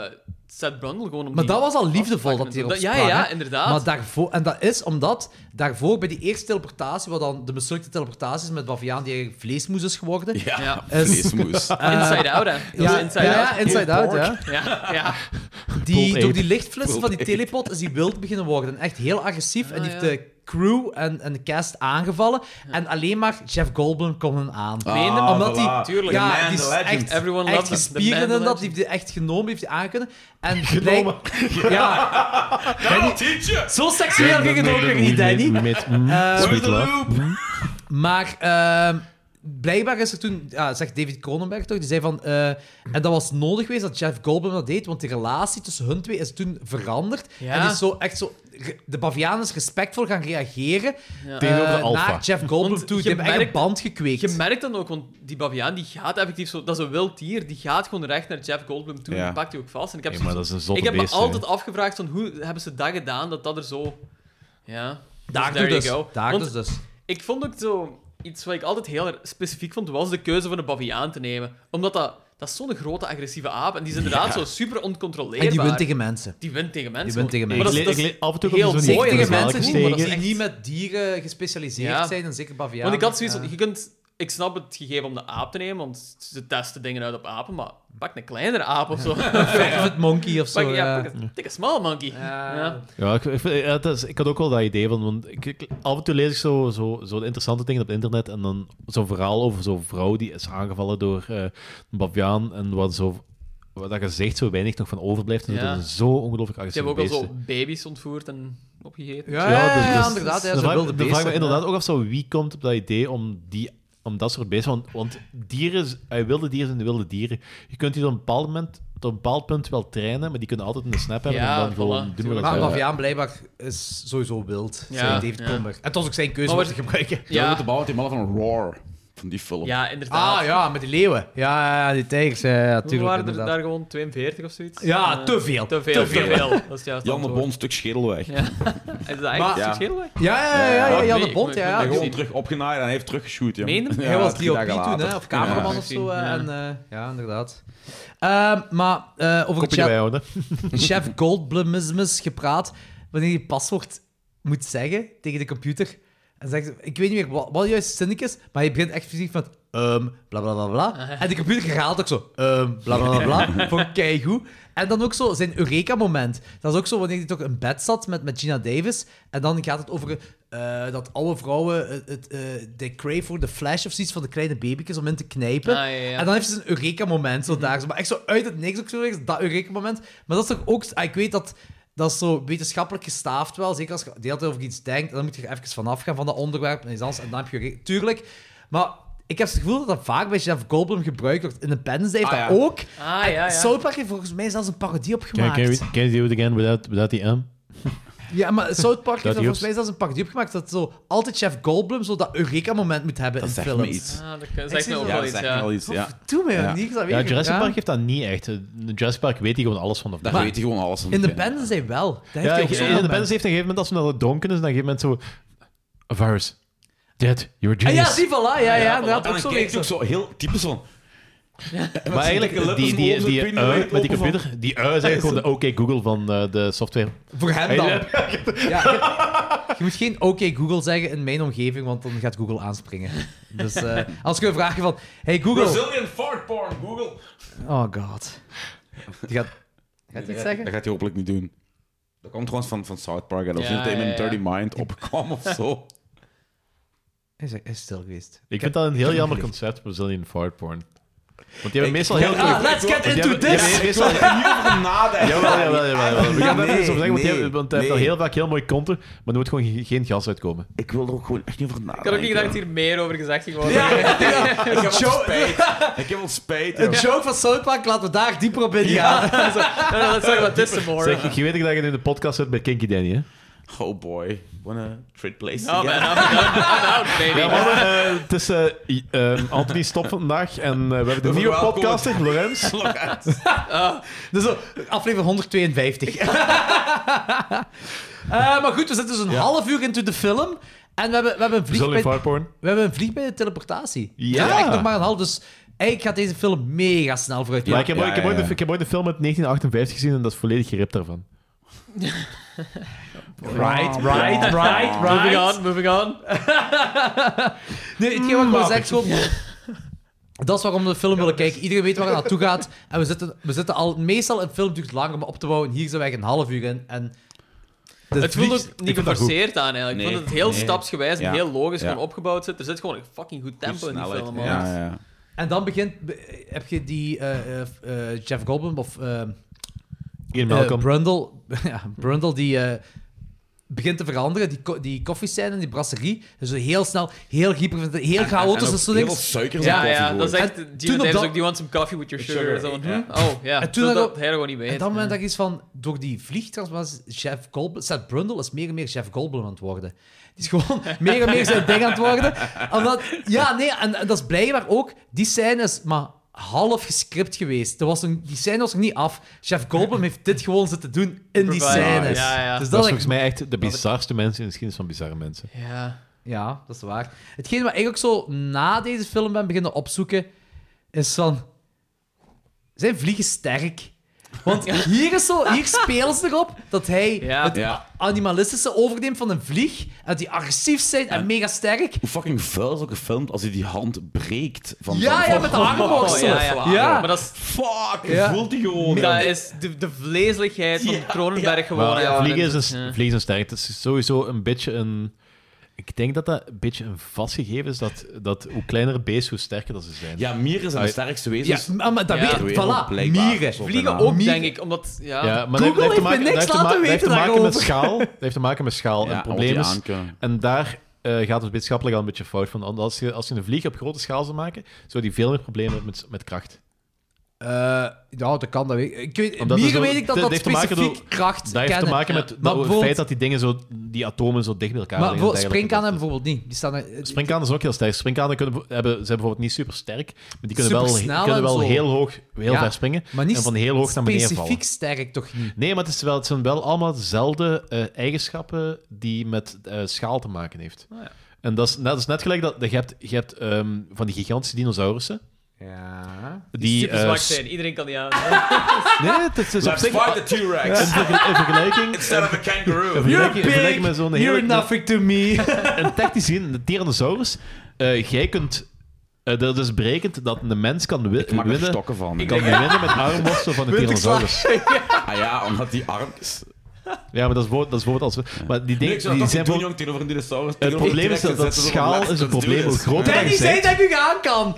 Seth Brundle. Gewoon om Maar die dat was al af te liefdevol pakken dat en hij zo. erop Ja, sprang, ja, hè. inderdaad. Maar daarvoor, en dat is omdat daarvoor bij die eerste teleportatie, wat dan de mislukte teleportaties met Baviaan die eigenlijk vleesmoes is geworden. Ja, is- vleesmoes. Eh, Inside Out, hè. Dat ja, is Inside ja, Out. Inside Out, Pulled ja. pork. Ja, ja. Die, Pulled door die ape. lichtflitsen van Pulled die ape. teleport is die wild beginnen worden. En echt heel agressief. en die Ah, heeft de crew en, en de cast aangevallen. En alleen maar Jeff Goldblum kon hen aan. Ah, Meen hem? Omdat die, voilà. Tuurlijk. The Ja, man, die the is legend. echt, Everyone echt loves him. The man, gespierd the in dat. legend. Die heeft die echt genomen, heeft die aankunnen. En genomen. ja. Danny- Zo seksueel ging het ook weer niet, Danny. Met mm, Eh, sweet love. Maar ehm, blijkbaar is er toen, ja, zegt David Cronenberg toch, die zei van. eh, en dat was nodig geweest dat Jeff Goldblum dat deed, want de relatie tussen hun twee is toen veranderd. Ja. En die is zo echt zo. re- De Baviaan is respectvol gaan reageren Ja. eh, Tegenover de alfa. naar Jeff Goldblum Want toe. je Die hebben echt een merkt- band gekweekt. Je merkt dan ook, want die baviaan die gaat effectief zo... Dat is een wild dier. Die gaat gewoon recht naar Jeff Goldblum toe. Ja. Die pakt die ook vast. En ik heb, Ja, zoiets maar dat is van- een zotte Ik heb beest, me hè. altijd afgevraagd van hoe hebben ze dat gedaan, dat dat er zo... Ja. Daar there dus. you go. Daar Want dus dus. Ik vond ook zo... Iets wat ik altijd heel erg specifiek vond, was de keuze van een baviaan te nemen. Omdat dat... Dat is zo'n grote agressieve aap. En die is inderdaad Ja. zo super oncontroleerbaar. En die wint tegen mensen. Die wint tegen mensen. Die wint tegen gewoon. mensen. Maar dat is- dat is heel Zeker mooi. tegen mensen die, maar dat is die echt- niet met dieren gespecialiseerd Ja. zijn, en zeker Baviaan. eh, Want ik had zoiets van, je kunt... ik snap het gegeven om de aap te nemen, want ze testen dingen uit op apen, maar pak een kleinere aap of zo. Velvet monkey of zo, Pak, ja, ja. pak een, tik een small monkey. Ja. Ja, ik, ik, vind- ja, het is- ik had ook wel dat idee van. Want ik, ik- af en toe lees ik zo, zo, zo de interessante dingen op het internet. En dan zo'n verhaal over zo'n vrouw die is aangevallen door eh, een baviaan. En wat zo. Wat dat gezicht zo weinig nog van overblijft. En zo, Ja. Dat is zo ongelooflijk Ze agressief. hebben ook al zo baby's ontvoerd en opgegeten. dus- dus- inderdaad, ja, zo'n dan vraag ik- wilde dan vraag ik me beesten, inderdaad ook af zo, wie komt op dat idee om, die, om dat soort beesten. Want, want dieren, z- eh, wilde dieren zijn de wilde dieren. Je kunt die op een bepaald moment. Tot een bepaald punt wel trainen, maar die kunnen altijd een snap hebben Ja, en dan gewoon voilà, doen wat ze Maar willen. Baviaan blijkbaar is sowieso wild, Ja, zei David ja. Komberg. En het was ook zijn keuze om Maar het te wat- gebruiken. Ja. Te bouwen die mannen van Roar, van die film. Ja, inderdaad. Ah ja, met die leeuwen. Ja, ja, ja, die tijgers, ja, ja, Hoeveel tuurlijk. waren er inderdaad. daar gewoon 42 of zoiets? Ja, Eh, te veel. Te veel, te veel. Dat is juist Jan de antwoord. Bond, stuk schedel weg. Ja. Is dat eigenlijk een stuk schedel weg? Ja. Ik weet- ik weet- En ik gewoon weet- terug opgenaaid en hij heeft teruggeshoot. ja. Meen hem? Ja, Hij was drie DOP dagen toen, later. hè? Of cameraman Ja. of zo. Ja. Ja, en, eh, ja inderdaad. Eh, maar eh over Kopje erbij houden. chef Goldblumismus gepraat, wanneer je paswoord moet zeggen tegen de computer. En zegt, ik weet niet meer wat, wat juist zinnig is, maar je begint echt fysiek met ehm bla bla bla Ah, bla. En de computer herhaalt ook zo ehm bla bla bla bla. Vond ik keigoed. En dan ook zo zijn Eureka-moment. Dat is ook zo wanneer hij toch in bed zat met, met Gina Davis. En dan gaat het over eh, dat alle vrouwen het, het, eh they crave voor de flash of zoiets van de kleine babykes om in te knijpen. Ah, ja, ja. En dan heeft ze een Eureka-moment zo daar. zo. Maar echt zo uit het niks ook zo ergens, dat Eureka-moment. Maar dat is toch ook... ah, Ik weet dat... Dat is zo wetenschappelijk gestaafd wel. Zeker als je de hele tijd over iets denkt. En dan moet je er even vanaf gaan van dat onderwerp. En, iets anders, en dan heb je... Eureka- Tuurlijk. Maar ik heb het gevoel dat dat vaak bij Jeff Goldblum gebruikt wordt. Independence Day heeft Ah, dat ja. ook. Ah, ja, ja. En South Park heeft volgens mij zelfs een parodie op Can, gemaakt. can, we, can you do it again without, without the M? Ja, maar South Park heeft Dat daar volgens Joost- mij zelfs een parodie op gemaakt. Dat zo altijd Jeff Goldblum zo dat Eureka-moment moet hebben in zegt films. me iets. Ah, dat Ik zie kan- zegt mij zo- ook Ja, wel dat iets, zegt me ja. wel iets, ja. Doe mij ja. ook niet, ik zou Ja, weten. Jurassic Ja. Park heeft dat niet echt. Eh, Jurassic Park weet hij gewoon alles van de Daar weet hij gewoon alles van. Independence Day wel. Dat heeft ja, hij ook ge- zo'n Independence moment. heeft op een gegeven moment, als we naar het donker is, dan op een gegeven moment zo... A virus. Dead. You're a Ah, genius. ja, die voilà. Ja, ja, inderdaad. En Ook zo dan kijkt hij ook niks. zo heel typisch van... Maar eigenlijk, eh, die, die, die, eh, ui met die computer, die ui is eigenlijk gewoon de OK Google van eh, de software. Voor hem Hey, dan. eh, Ja, je, je moet geen oké Google zeggen in mijn omgeving, want dan gaat Google aanspringen. Dus eh, als je vragen van... Hey Google. Brazilian fart porn, Google. Oh god. Die gaat... Gaat hij iets zeggen? Dat gaat hij hopelijk niet doen. Dat komt trouwens van, van South Park. En of Ja, niet dat hij ja, met ja. een dirty mind opkwam of zo. Hij is, hij is stil geweest. Ik vind dat een heel jammer concept, Brazilian fart porn. Want die hebben meestal heel... Ah, let's get want die into hebben- die this! hebben meestal- nadenken. Jawel, jawel, jawel. jawel. We gaan daar Ah, Nee, even over zeggen, want hij nee, heeft- want hij heeft al nee. heel vaak heel mooi content, maar er moet gewoon ge- geen gas uitkomen. Ik wil er ook gewoon echt niet over nadenken. Ik had ook niet gedacht dat hier meer over gezegd ging worden. Ik heb wel spijt. Ik heb wel spijt, Een joh. joke van South Park, laten we daar dieper op ingaan. Let's talk about this some more. Zeg, je weet ook dat je nu in de podcast zit bij Kinky Danny, hè? Oh boy. Wanna trade places Oh man, again? I'm done. I'm out, baby. Ja, mannen, eh, het is eh, i- eh, Anthony Stop vandaag en eh, we hebben de We nieuwe verwelkomen- podcaster, Lorenz. Dus zo, aflevering 152. Eh, maar goed, we zitten dus een half uur into de film. En we hebben, we hebben een vlieg Brazilian bij, fart porn. we hebben een vlieg bij de teleportatie. Ja. Dus echt nog maar een half. Dus eigenlijk gaat deze film mega snel vooruit. Maar ik heb, ooit- ik, heb ooit ja, de, ja. ik heb ooit de film uit 1958 gezien en dat is volledig geript daarvan. Right, right, Oh, right, Moving right. on, moving on. Nee, hetgeen wat ik wil zeggen, gewoon- Dat is waarom we de film willen kijken. Iedereen weet waar het naartoe gaat. En we zitten, we zitten al... Meestal, een film duurt langer om op te bouwen. Hier zijn wij een half uur in. En de Het voelt vlieg- ook niet geforceerd aan eigenlijk. Ik Nee, vond dat het heel nee. stapsgewijs en Ja. heel logisch Ja. gewoon opgebouwd zit. Er zit gewoon een fucking goed tempo in die snelheid, film. ja. man. Ja, ja. En dan begint... be- Heb je die eh, eh, eh, Jeff Goldblum of... eh, Ian eh, Malcolm. Brundle, ja, Brundle die eh, begint te veranderen. Die, ko die koffiescène in die brasserie. Dus heel snel, heel hyper, heel chaotisch. en dus zo ook heel niks. veel suiker in Ja, koffie ja, gooien. dat is echt... En toen Gina op Davis dat- ook, do you want some coffee with your sugar? Sugar, Zo van, ja. hm? Oh, ja. En toen dat had ik dat ook- hij gewoon niet weet. En dan ben ik iets van, door die vliegtransformatie, Jeff Goldblum, Seth Brundle is meer en meer Jeff Goldblum aan het worden. Die is gewoon meer en meer zijn ding aan het worden. Omdat, ja, nee, en, en dat is blijkbaar ook, die scène is maar half gescript geweest. Er was een, die scène was nog niet af. Jeff Goldblum heeft dit gewoon zitten doen in die Improvised. scènes. Ja, Dus ja. Dat is dat, volgens ik, mij echt de bizarste mensen in de geschiedenis van bizarre mensen. Ja. ja, dat is waar. Hetgeen wat ik ook zo na deze film ben beginnen opzoeken, is van... Zijn vliegen sterk? Want hier, is zo, hier spelen ze erop dat hij Ja. het Ja. animalistische overneemt van een vlieg. En dat die agressief zijn en mega sterk. Hoe fucking vuil is ook gefilmd als hij die hand breekt van Ja, van- ja, met de armborstel. Oh, Ja, ja. Ja. Maar dat is... Fuck, je voelt die gewoon, Dat hè. is de, de vleeselijkheid van Kronenberg gewoon. Maar Oh, ja. vliegen, is een, Ja. vliegen is een sterkte. Het is sowieso een beetje een... Ik denk dat dat een beetje een vastgegeven is, dat, dat hoe kleiner beest, hoe sterker dat ze zijn. Ja, mieren zijn de Ah, sterkste wezens. Ja, Dus, maar dat weet- voilà, mieren. Vliegen ook, denk ik, omdat... Ja, Ja, maar dat, dat heeft te maken, dat heeft te ma- dat heeft te maken met schaal. Dat heeft te maken met schaal. Ja, en het want probleem die is, aankunnen. en daar eh, gaat het wetenschappelijk al een beetje fout van. Want Als je, als je een vlieg op grote schaal zou maken, zou die veel meer problemen hebben met, met kracht. Eh, ja, dat kan. Dat weet ik. ik weet, Omdat er mieren zo- weet ik dat dat heeft te maken specifiek door- kracht Dat heeft kennen. te maken Ja. met dat- het bijvoorbeeld- feit dat die dingen zo, die atomen zo dicht bij elkaar Maar liggen. bijvoorbeeld springkanen bijvoorbeeld niet. Die staan er, Springkanen is ook heel sterk. Springkanen kunnen, hebben, zijn bijvoorbeeld niet super sterk, maar die kunnen wel, Supersnel kunnen en wel zo. heel hoog, heel Ja, ver springen. maar niet en van heel hoog naar beneden vallen. specifiek sterk toch niet. Nee, maar het, is wel, het zijn wel allemaal dezelfde eh, eigenschappen die met eh, schaal te maken heeft. Ah, ja. En dat is, net- dat is net gelijk dat, dat je hebt, je hebt ehm, van die gigantische dinosaurussen. Ja. Die, Die super eh, zwak s- zijn. Iedereen kan die aan. Nee, het is, het is op Let's zich... fight the T-Rex. Een verge- een vergelijking... Instead of a kangaroo. Een You're vergelijking- een vergelijking met zo'n hele- to me. en tactisch gezien, de Tyrannosaurus, eh, jij kunt. eh, dat is berekend dat een mens kan wi- maak er winnen. stokken van. Kan Ik denk- winnen met armworsten van de Wind ik Tyrannosaurus. slag. ah ja, omdat die arm is. Ja, maar dat is bijvoorbeeld, dat is bijvoorbeeld als we. Maar die Nee, dingen ik zou die dat zijn niet bijvoorbeeld- doen, jong, tegenover een dinosaurus. Het probleem is dat, dat schaal is een probleem. Hoe groter dat Danny je zei bent, dat ik u aan kan.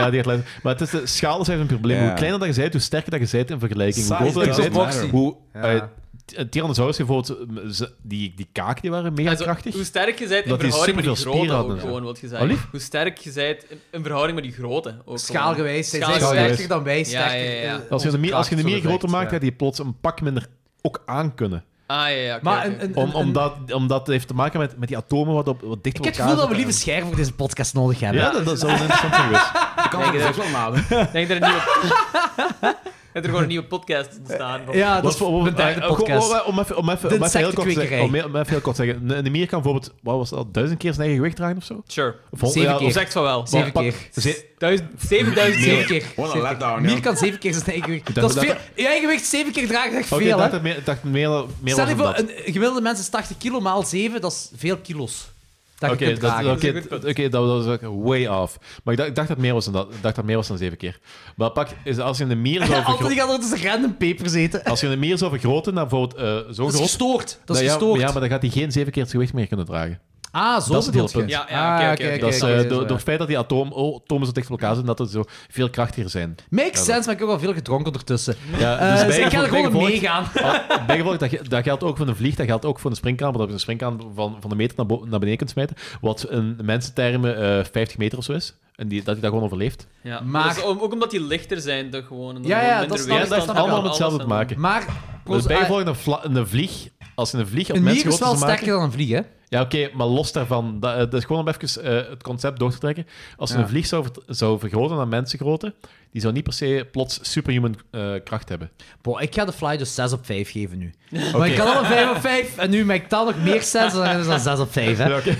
ja, die gaat leiden. Maar het is de schaal is even een probleem. Ja. Hoe kleiner dat je bent, hoe sterker dat je bent in vergelijking. Hoe Size groter dat je doesn't bent, matter. hoe. Ja. eh, t- eh, Tyrannosaurus bijvoorbeeld, eh, ze- die, die kaak die waren mega krachtig. Hoe sterk je bent in Dat die verhouding met die superveel spier grote ook hadden. gewoon, wat je Oh, zei. lief. Hoe sterk je bent in, in verhouding met die grote ook Schaalgewijs zijn zij Schaalgewijs. sterker dan wij. Ja, Sterker. eh, ja, ja. Als je de mier, als je de mier Onze kracht, groter maakt, ja. gaat die plots een pak minder ook aankunnen. Ah, ja, ja. oké, Maar oké. een- een- Om, omdat, omdat het heeft te maken met, met die atomen wat, op, wat dicht Ik op heb het elkaar gevoel dat we zitten. lieve scherven voor deze podcast nodig hebben. Ja, dat, dat zou een interessant dus. zijn geweest. Ik kan Denk het dat- ook wel nadenken. Denk dat er een nieuwe... dat er gewoon een nieuwe podcast ontstaan. van- Ja, dat is Wat voor- de derde eh, gewoon- podcast. Om even, om even, De om even heel kort te zeggen, om, insectenkwekerij. om even heel kort te zeggen. Een- Een mier kan bijvoorbeeld, wat was dat, duizend keer zijn eigen gewicht dragen of zo? Sure. Of hond- Zeven ja, keer. of- Zegt van wel. Zeven pak- keer. ze- Duizend- 7000 Zeven keer. keer. Wat een Zeven letdown, keer. ja. Mier kan zeven keer zijn eigen gewicht. Ik Dat dacht is veel. dat- Je eigen gewicht zeven keer dragen, dat is Oké, ik veel, dacht hè. dat meer- ik dacht meer, meer Stel was je dan voor, dat. een gemiddelde mens is 80 kilo maal 7, dat is veel kilo's. Dat je Oké, kunt dat, dragen. oké, dat- oké, dat was ook way off. Maar ik dacht, ik dacht dat meer was dan dat. Ik dacht dat meer was dan zeven keer. Maar pak, is als je een mier zou Altijd die vergroten... gaat er tussen random papers eten. Als je een mier zou vergroten naar bijvoorbeeld eh, zo'n Dat is groot... Nou gestoord. Dat is ja, gestoord. Ja, maar dan gaat hij geen zeven keer het gewicht meer kunnen dragen. Ah, zo dat is het bedoel hele je. punt. Ja, ja, oké, Ah, oké, oké, dat is, eh, oké, door, zo, ja. door het feit dat die atoom, oh, atomen zo dicht op elkaar zijn, dat het zo veel krachtiger zijn. Makes Ja, sense, maar ik heb ook al veel gedronken ondertussen. Ja, Eh, dus dus ik bijgevolg- ga er gewoon bijgevolg- meegaan. Ah, Bijgevolg, dat, ge- dat geldt ook voor een vlieg, dat geldt ook voor een springkaan, want dat je een springkaan van, van een meter naar, bo- naar beneden kunt smijten, wat in mensentermen eh 50 meter of zo is, en die, dat hij dat gewoon overleeft. Ja, Maar- maar... ook omdat die lichter zijn, dan gewoon. en dan Ja, ja, gewoon dat minder snap ik, Ja, weerstand dat heeft en allemaal met alles hetzelfde te maken. en- Maar Dus Prost, ah, bijgevolg, een, vla- een vlieg, als je een vlieg op een mier mensen is groter wel zou maken... sterker dan een vlieg, hè? Ja, oké, maar los daarvan, dat, eh, dat is gewoon om even eh, het concept door te trekken. Als je Ja. een vlieg zou, vert- zou vergroten naar mensengrootte, die zou niet per se plots superhuman eh, kracht hebben. Boah, ik ga de fly dus 6 op 5 geven nu. Oké. Maar ik had al een 5 op 5 en nu maak ik dan nog meer 6 en dan is dat 6 op 5, hè? Ja, oké.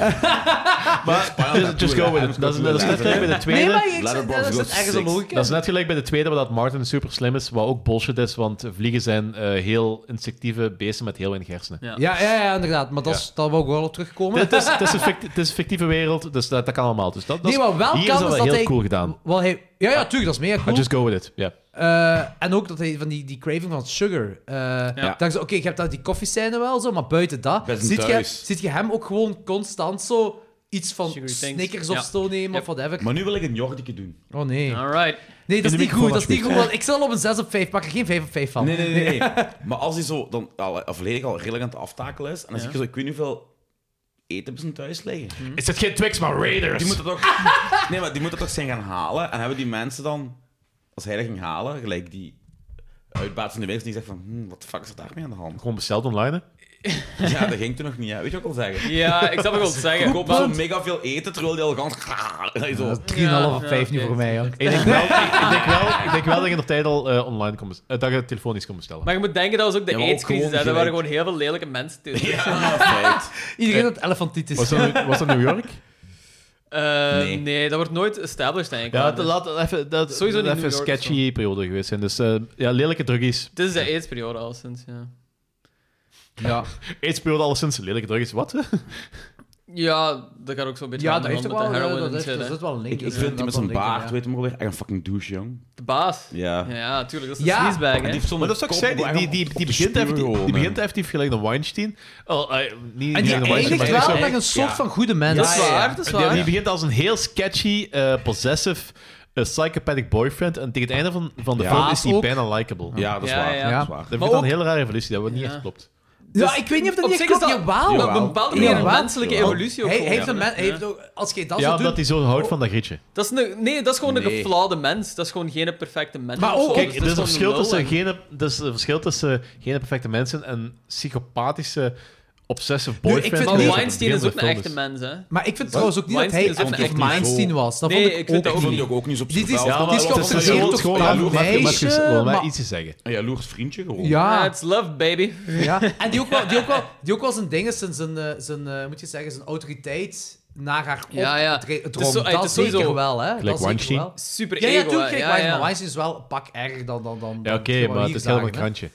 maar Dus just, just go with it. Dat is, dat is net gelijk bij de tweede. Nee, maar ik, Letterboxd dat is goes ergens six. een logica. Dat is net gelijk bij de tweede, waar dat Martin super slim is, wat ook bullshit is, want vliegen zijn eh, heel insectieve beesten met heel weinig hersenen. Ja. Ja, ja, ja, inderdaad. Maar dat is, daar wou ik wel op terugkomen. Het is, het, is een fict- het is een fictieve wereld, dus dat, dat kan allemaal. Dus dat, dat Nee, wat wel hier kan, is dat is wel dat heel hij- cool gedaan. Wel, hij, ja, Ah. ja, tuurlijk, dat is mega Maar cool. just go with it. Ja. Eh, en ook dat hij van die, die craving van sugar. eh dankzij- Oké, je hebt dat, die koffiescène wel zo, maar buiten dat Best een ziet je, thuis. ziet je hem ook gewoon constant zo iets van Sugary things. Snickers of Ja. zo nemen of whatever. Maar nu wil ik een jordieke doen. Oh nee. Alright. Nee, dat de is niet microfoon goed. Dat is niet goed. alsjeblieft. want Ik zal op een 6 op 5 pakken, geen 5 op 5 van. Nee, nee, nee. nee. maar als hij zo dan al, al volledig al redelijk aan het aftakelen is, en dan zie ik zo, ik weet niet hoeveel eten op zijn thuis liggen. Is het geen Twix, maar Raiders? Die moeten toch, nee, maar die moeten toch zijn gaan halen. En hebben die mensen dan, als hij dat ging halen, gelijk die uitbaatsende winst, die zegt van, hm, wat de fuck is er daarmee aan de hand? Gewoon besteld online. hè? Ja, dat ging toen nog niet, hè. weet je wat ik wil zeggen? Ja, ik snap wat je wilt Ik zeggen. koop zo mega veel eten, terwijl die al gans... Dat je zo... Dat is 3,5 op Ja, 5 nu oké. voor mij. hoor. Ik denk wel, ik, ik denk wel, ik denk wel dat je nog tijd al eh, online kon bestellen. dat je telefonisch kon bestellen. Maar je moet denken, dat was ook de Ja, maar ook AIDS-crisis. gewoon hè. Er waren gelijk. gewoon heel veel lelijke mensen toen. Ja, feit. Iedereen had elefantitis. Was dat, was dat New York? Eh, nee. dat wordt nooit established, eigenlijk. Ja, Maar de, dus- laat, even, dat is Sowieso sowieso niet even New een York, sketchy periode geweest zijn. Dus eh, ja, lelijke druggies. Het is de AIDS-periode al sinds, ja. Ja. AIDS-periode alleszins, lelijke druggies, wat? Ja, dat gaat ook zo'n beetje Ja, hand dat in heeft hand ook met de wel, eh, heroin dat en heeft- shit, dat hè. is wel een link. Ik, ik Ja, vind die dat met wel zijn een link, baard, ja. weet je maar weer, echt een fucking douche, jong. De baas. Ja. Ja, natuurlijk. Dat is Ja. een sleazebag, En hè. die heeft zo'n Maar dat is ook zei, die, die, die, die begint effectief- die begint effectief gelijk een Weinstein. Oh, eh, niet En die gelijk een Weinstein, eindigt maar wel zo- met een soort van goede mens. Ja, ja, ja. Die- Die begint als een heel sketchy, eh, possessive, eh, psychopathic boyfriend. En tegen het einde van, van de Ja. film is hij Ook. bijna likable. Ja, dat is waar, dat is waar. Dat Maar vind ik dan ook- een hele rare evolutie, dat wat niet echt klopt. Ja, ik weet niet of dat Op niet zich klopt. is dat- Jawel. op een bepaalde manier een Jawel. menselijke Jawel. evolutie ook Hij gewoon, heeft ja. een men- hij Ja. heeft ook- Als je dat ja, zou doen... omdat hij zo houdt van dat grietje. Dat is een, nee, dat is gewoon een Nee. geflawde mens. Dat is gewoon geen perfecte mens. Maar of ook- zo. Kijk, Dus er dat is, een verschil gewoon nul tussen en- geen, er is een verschil tussen geen perfecte mensen en psychopathische, obsessive Nu, ik boyfriend. vind- die Maar aan het Weinstein begin is van ook de een film echte mens, hè. Maar ik vind Wat? trouwens ook niet Weinstein dat hij is ook actief een echte Weinstein mens. was. Dat Nee, vond ik, ik vind ook, dat ook niet. niet. ook niet op Dit is, Ja, dit is maar- het is gebaseerd gewoon- op gewoon- een ja, maar- meisje, maar- maar- maar- iets te zeggen. Een jaloers vriendje gewoon. Ja. it's love, baby. Ja, en die ook wel, die ook wel, die ook wel zijn dingen, zijn, zijn, eh, zijn, eh, moet je zeggen, zijn autoriteit naar haar op Ja, ja. dre- Het is drong. zo- het dat is sowieso- zeker wel, hè. Gelijk dat zeker Weinstein. wel. Super ja, ja, ego, tuurlijk, hè. gelijk Ja, Weinstein, ja. maar Weinstein is wel een pak erger dan... dan, dan dan Ja, oké, maar het is helemaal een geslagen, hè. krantje.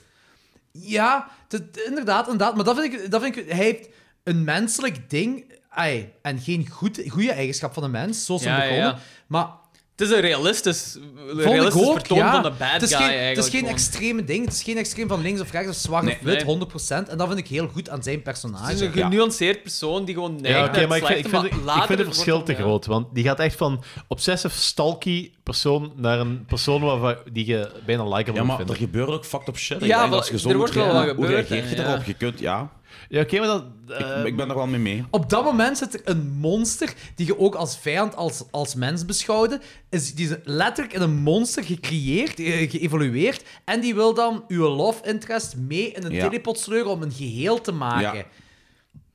Ja, dat- inderdaad, inderdaad. Maar dat vind, ik, dat vind ik... Hij heeft een menselijk ding ai, en geen goed, goede eigenschap van een mens, zoals Ja, hem ja, begonnen. ja. Maar Het is een realistisch, vond ik realistisch ook, vertoon ja. van de bad het is guy, geen, eigenlijk. Het is geen gewoon. extreme ding. Het is geen extreem van links of rechts of zwart Nee, of wit, nee. 100%. En dat vind ik heel goed aan zijn personage. Het is een genuanceerd persoon die gewoon neigt Ja, oké, naar het maar ik vind, ik, slechte, vind, maar ik later vind het wordt verschil het- te ja. groot. Want die gaat echt van obsessive, stalky persoon naar een persoon waarvan, die je bijna likable Ja, maar vindt. er gebeurt ook fucked up shit. Ja, Ja, wel, als je er gezond wordt wel wordt, wat ja, hoe gebeurd, reageer je hè, daarop? ja. Ehm, Je kunt, ja. Ja, oké, maar dat... eh, ik, ik ben er wel mee mee. Op dat moment zit er een monster die je ook als vijand, als, als mens beschouwde. Is, die is letterlijk in een monster gecreëerd, eh, geëvolueerd. En die wil dan uw love interest mee in een Ja. telepot sleuren om een geheel te maken. Ja.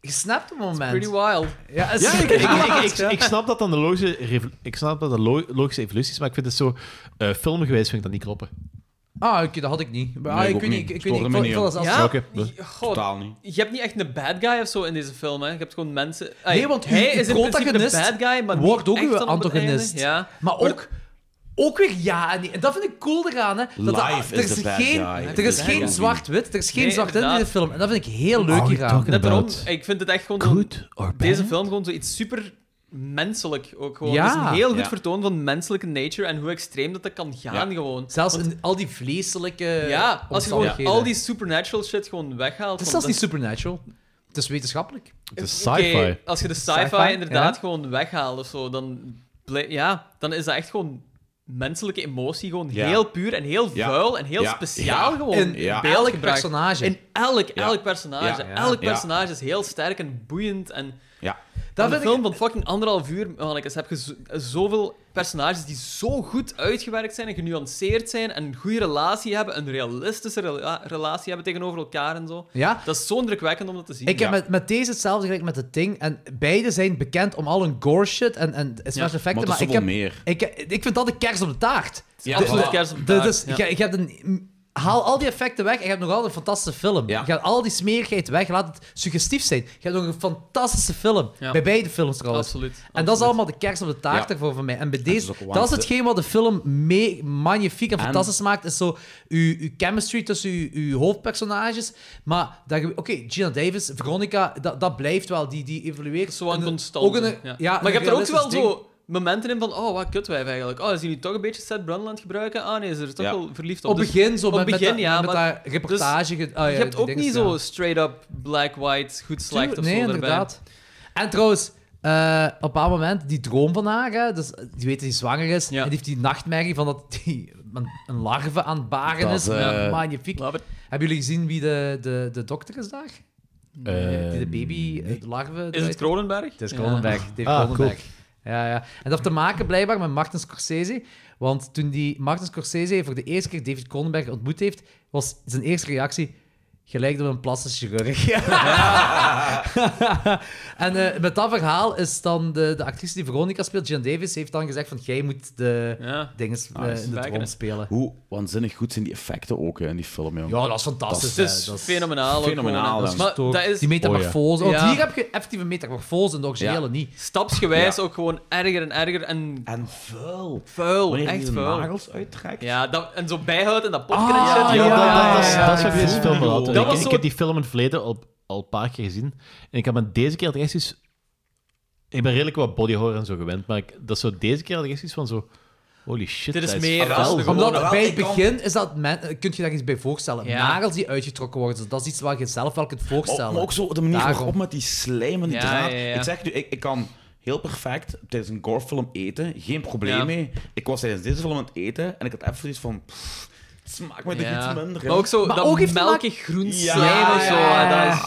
Je snapt het moment. Pretty wild. Ja, het is- Ja, ik, ik, ik, ik, ik snap dat dan de logische, revo- ik snap dat de lo- logische evolutie is, maar ik vind het zo eh filmgewijs vind ik dat niet kloppen. Ah, oké, dat had ik niet. Maar, ah, Nee, ik ik ook weet niet. niet. Ik weet Stoorde niet. Ik me vond- niet, ik vond dat joh. zelfs- Ja, oké. God, Totaal niet. Je hebt niet echt een bad guy of zo in deze film, hè. Je hebt gewoon mensen... Ai, Nee, want hij uw- uw is in principe de protagonist bad guy, maar niet wordt ook echt uw dan op het antagonist. einde. Ja. Maar ook, ook weer ja en nee. En dat vind ik cool eraan. Hè, dat er- Life er is is, the bad geen, guy. er is Ja. geen zwart-wit, er is geen Nee, zwart-wit in de inderdaad. film. En dat vind ik heel leuk Are we hieraan. talking Net daarom, ik vind het echt gewoon... zo'n- deze film gewoon zoiets super menselijk ook gewoon. Ja. Het is een heel goed Ja. vertoon van menselijke nature en hoe extreem dat dat kan gaan gewoon. Zelfs in al die vleeselijke Ja, als je gewoon omstandigheden. al die supernatural shit gewoon weghaalt... Het is want zelfs niet supernatural. Het is wetenschappelijk. Het is Oké, sci-fi. als je de sci-fi, Sci-fi, inderdaad ja. gewoon weghaalt of zo, dan, blij- ja, dan is dat echt gewoon menselijke emotie. Gewoon Ja. heel puur en heel Ja. vuil en heel Ja. speciaal Ja. gewoon. In beeld elk gebracht. personage. In elk, Ja. elk personage. Ja. Elk Ja. personage is heel sterk en boeiend. En Ja. dat Dat een vind ik- film van fucking anderhalf uur, mannetjes, heb je zo- zoveel personages die zo goed uitgewerkt zijn en genuanceerd zijn en een goede relatie hebben, een realistische rela- relatie hebben tegenover elkaar en zo. Ja. Dat is zo indrukwekkend om dat te zien. Ik heb met, met deze hetzelfde gelijk met de Thing. En beide zijn bekend om al hun gore shit en, en special maar effecten. het is Maar, ik, zoveel heb, meer. Ik, ik vind dat de kers op de taart. is absoluut kers op de taart, Dus, ja. je, je hebt een, haal al die effecten weg en je hebt nog altijd een fantastische film. Je gaat al die smerigheid weg, laat het suggestief zijn. Je hebt nog een fantastische film. Ja. Bij beide films trouwens. Absoluut, En dat is allemaal de kers op de taart Ja. ervoor voor mij. En bij is deze, ook dat is waanzin- hetgeen wat de film mee, magnifiek en En- fantastisch maakt. Is zo uw, uw chemistry tussen uw, uw hoofdpersonages. Maar dat je- oké, Gina Davis, Veronica, dat, dat blijft wel. Die, die evolueert. Zo aan constant. ja. maar je hebt er ook wel zo momenten in van, oh, wat kutwijf eigenlijk. Oh, is hij nu toch een beetje Seth Brundland gebruiken? Ah nee, ze is er toch Ja. wel verliefd op. Op Dus begin zo, op met- met begin, dat- ja, met maar- dat reportage ge- Dus, ah, ja, je hebt die ook dinges, niet ja. zo straight-up black-white, goed slecht of nee, zo inderdaad. En trouwens, eh, op een bepaald moment, die droom van haar, hè, dus, die weet dat hij zwanger is, en die heeft die nachtmerrie van dat die een, een larve aan het baren Dat is. is, eh, Magnifiek. Hebben jullie gezien wie de, de, de dokter is daar? Eh, Ehm, die de baby, de larve... het eruit- Cronenberg? Het is Ja. Cronenberg. Dave Ah, Cronenberg. Ja, ja. En dat heeft te maken blijkbaar met Martin Scorsese. Want toen die Martin Scorsese voor de eerste keer David Cronenberg ontmoet heeft, was zijn eerste reactie... Gelijk door een plastisch chirurg. en eh, met dat verhaal is dan de, de actrice die Veronica speelt, Jan Davis, heeft dan gezegd van jij moet de dingen eh, in de trom spelen. Hoe waanzinnig goed zijn die effecten ook hè, in die film, joh. Ja, dat is fantastisch, Dus Dat is hè. Dat is fenomenaal ook Fenomenaal, gewoon, hè. hè. Maar dat is- Die metamorfose. Oh, ja. Want hier heb je effectieve metamorfose en de originele Ja. niet. Stapsgewijs Ja. ook gewoon erger en erger en... En vuil. Vuil, Wanneer die Oh, echt de vuil. nagels uittrekt. Ah, Ja, dat, en zo bijhoudt en dat popcorn en Ah, ja, shit. joh. dat- dat- dat- ja, dat is ja, wat ja. deze film wel altijd. Dat Ik- was ik, zo- heb die film in het verleden al, al een paar keer gezien. En ik heb me deze keer het echt zoiets- Ik ben redelijk wat body horror en zo gewend, maar ik- dat is zo deze keer had ik echt zoiets van zo... Holy shit, Er is dat meer vuil. als de gewone- Omdat bij het Ik kan- begin is dat... Men, eh, kun je daar iets bij voorstellen? Ja. Nagels die uitgetrokken worden, dus dat is iets waar je zelf wel kunt voorstellen. Maar, maar ook zo de manier Daarom. waarop met die slijm en die Ja, draad. ja, ja. Ik zeg nu, ik, ik kan heel perfect tijdens een gorefilm eten, geen probleem Ja. mee. Ik was tijdens deze film aan het eten en ik had even zoiets van... pff, het smaakt me toch Ja. iets minder. hè. Maar ook zo, dat heeft te melkig maken- groen slijm of zo. hè, Dat is...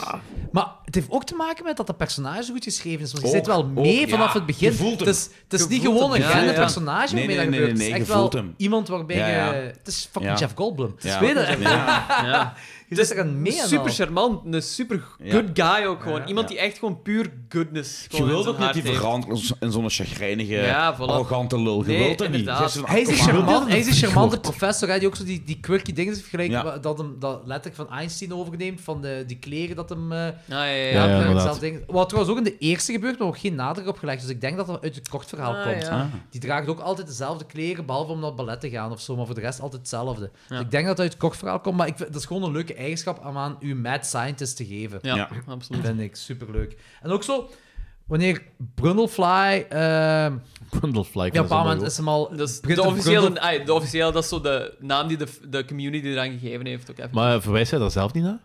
Maar het heeft ook te maken met dat de personage goed geschreven is. Want je Ook, zit wel mee ook, vanaf ja. het begin. Je voelt hem. Het is, het is Je niet voelt gewoon een hem, ja, gende ja. personage Nee, waarmee dat nee, nee, gebeurt. het nee, is je echt wel voelt hem. iemand waarbij Ja, ja. je... Het is fucking Ja. Jeff Goldblum. Het is Ja. tweede. Ja. Ja. Je zit er aan mee aan Super al. charmant, een super Ja. good guy ook gewoon. Ja. Iemand Ja. die echt gewoon puur goodness Je gewoon in wilt zijn ook niet hart die heeft. veranderen in zo'n chagrijnige, Ja, voilà. arrogante lul. Je Nee, wilt er niet. inderdaad. Je zegt zo van, Hij is een "Kom aan." charmant- hij is een charmante professor, hè, die ook zo die, die quirky dingen vergelijkt, Ja. wa- dat hem dat letterlijk van Einstein overneemt, van de, die kleren dat hem... eh, ja, ja, ja. dat hem inderdaad. zelf denkt. Wat trouwens ook in de eerste gebeurt, maar ook geen nadruk op gelegd, dus ik denk dat dat uit het kort verhaal Ah, komt. ja. Ah. Die draagt ook altijd dezelfde kleren, behalve om naar het ballet te gaan of zo, maar voor de rest altijd hetzelfde. Dus Ja. ik denk dat dat uit het kort verhaal komt, maar ik vind, dat is gewoon een leuke eigenschap om aan uw mad scientist te geven. Ja, Ja. absoluut. vind ik superleuk. En ook zo, wanneer Brundlefly... ehm Brundlefly, ik Ja, op vind een dat moment zo is hem al... Dat begint is Dus de een Brundle- officiële, ah, de officiële, dat is zo de naam die de, de community eraan gegeven heeft. Ook even. Maar verwijst hij daar zelf niet naar?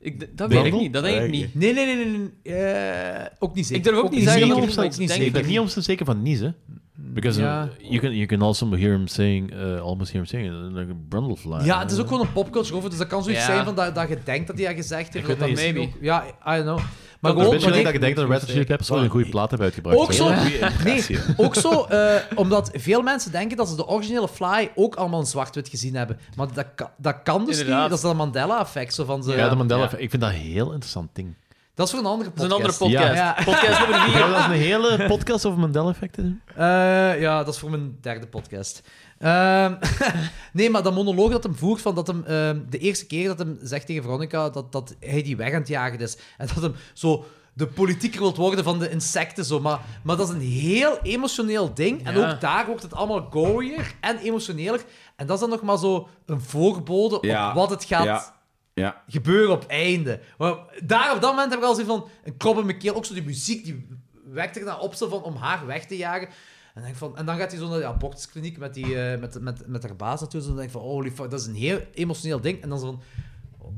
Ik, d- Denk dat weet ik ik. niet, dat denk ik Denk niet. Nee, nee, nee, nee. nee. Eh, ook niet zeker. Ik durf ook niet zeggen Ik dat ben ik niet het op- niet Ik ben zeker. niet op zijn zeker van Nies, hè? Because Ja. uh, you, can, you can also hear him saying, uh, almost hear him saying, uh, like a brundlefly. Ja, het is ook gewoon een popculture over, dus dat kan zoiets Ja. zijn van dat, dat je denkt dat hij dat gezegd heeft. Ik weet of dat niet. misschien Maybe. ook- Ja, I don't know. Maar Maar gewoon, een beetje wanneer- gelijk dat ik denk dat Red Hot Chili Peppers wel een goede plaat hebben uitgebracht. Ook zo, Ja. nee, ook zo eh, omdat veel mensen denken dat ze de originele Fly ook allemaal in zwart-wit gezien hebben. Maar dat, ka- dat kan dus Inderdaad. niet. Dat is dat Mandela-effect. zo van ze- Ja, de Mandela. Ik vind dat een heel interessant ding. Dat is voor een andere is een podcast. andere podcast. Ja. Podcast nummer vier. Zou je dat een hele podcast over Mandela-effecten doen? Eh, ja, dat is voor mijn derde podcast. Ehm, nee, maar dat monoloog dat hem voert, van dat hem, ehm, de eerste keer dat hem zegt tegen Veronica dat, dat hij die weg aan het jagen is. En dat hem zo de politieker wilt worden van de insecten. Zo. Maar, maar dat is een heel emotioneel ding. En Ja. ook daar wordt het allemaal gorier en emotioneler. En dat is dan nog maar zo een voorbode Ja. op wat het gaat Ja. Ja. gebeuren op einde. Maar daar op dat moment heb ik al zoiets van een krop in mijn keel. Ook zo die muziek die wekte ik dan op zo van om haar weg te jagen. En, denk van, en dan gaat hij zo naar die abortuskliniek met, die, eh, met, met, met haar baas natuurlijk. En dan denk ik van, holy fuck, dat is een heel emotioneel ding. En dan zo van, oh,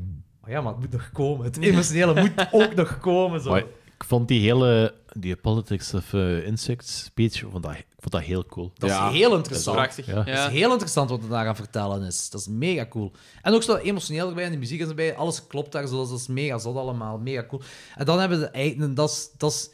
maar ja, maar het moet nog komen. Het emotionele moet ook nog komen. Zo. Maar ik vond die hele die Politics of eh, Insects speech ik vond dat, ik vond dat heel cool. Dat Ja. is heel interessant. Dat is prachtig. Dat is heel interessant wat er daar aan vertellen is. Dat is mega cool. En ook zo emotioneel erbij, en de muziek is erbij. Alles klopt daar, zo. dat is mega zot allemaal. Mega cool. En dan hebben we de eigen... Dat, is- dat, is-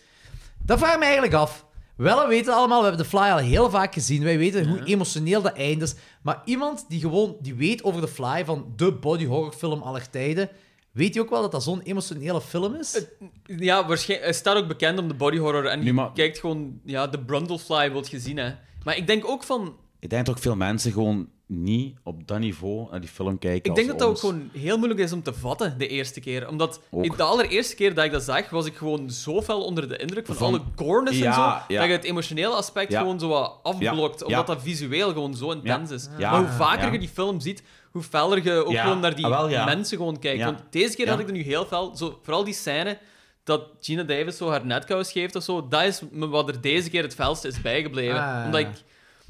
dat vraag ik me eigenlijk af. Wel, we weten allemaal, we hebben de fly al heel vaak gezien. Wij weten hoe emotioneel dat eind is. Maar iemand die gewoon die weet over de fly van de body horror film aller tijden, weet je ook wel dat dat zo'n emotionele film is? Ja, waarschijnlijk. Hij staat ook bekend om de body horror. En je Nee, maar- kijkt gewoon, ja, de Brundlefly wordt gezien, hè. Maar ik denk ook van. Ik denk dat ook veel mensen gewoon niet op dat niveau naar die film kijken. Ik denk dat als dat ook ons. gewoon heel moeilijk is om te vatten de eerste keer. Omdat Ook. ik- de allereerste keer dat ik dat zag, was ik gewoon zo fel onder de indruk van, Van- alle corners en Ja, zo. ja. Dat je het emotionele aspect Ja. gewoon zo wat afblokt. Ja, Omdat ja. dat visueel gewoon zo intens Ja, is. ja, maar hoe vaker ja. je die film ziet, hoe feller je ook Ja, gewoon naar die ah, wel, ja. mensen gewoon kijkt. Ja. Want deze keer Ja. had ik er nu heel fel. Zo, vooral die scène dat Gina Davis zo haar netkous geeft of zo. Dat is me wat er deze keer het felste is bijgebleven. Ah. Omdat ik...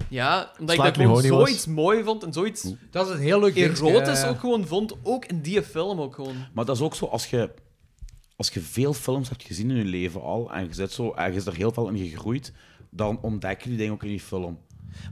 Ja, omdat ik dat Slightly gewoon horny was. zoiets mooi vond en zoiets... Dat is een heel leuk dingetje, Erotisch ja. ook gewoon vond, ook in die film ook gewoon. Maar dat is ook zo als je, als je veel films hebt gezien in je leven al en je zit zo ergens er heel veel in gegroeid, dan ontdek je die dingen ook in die film.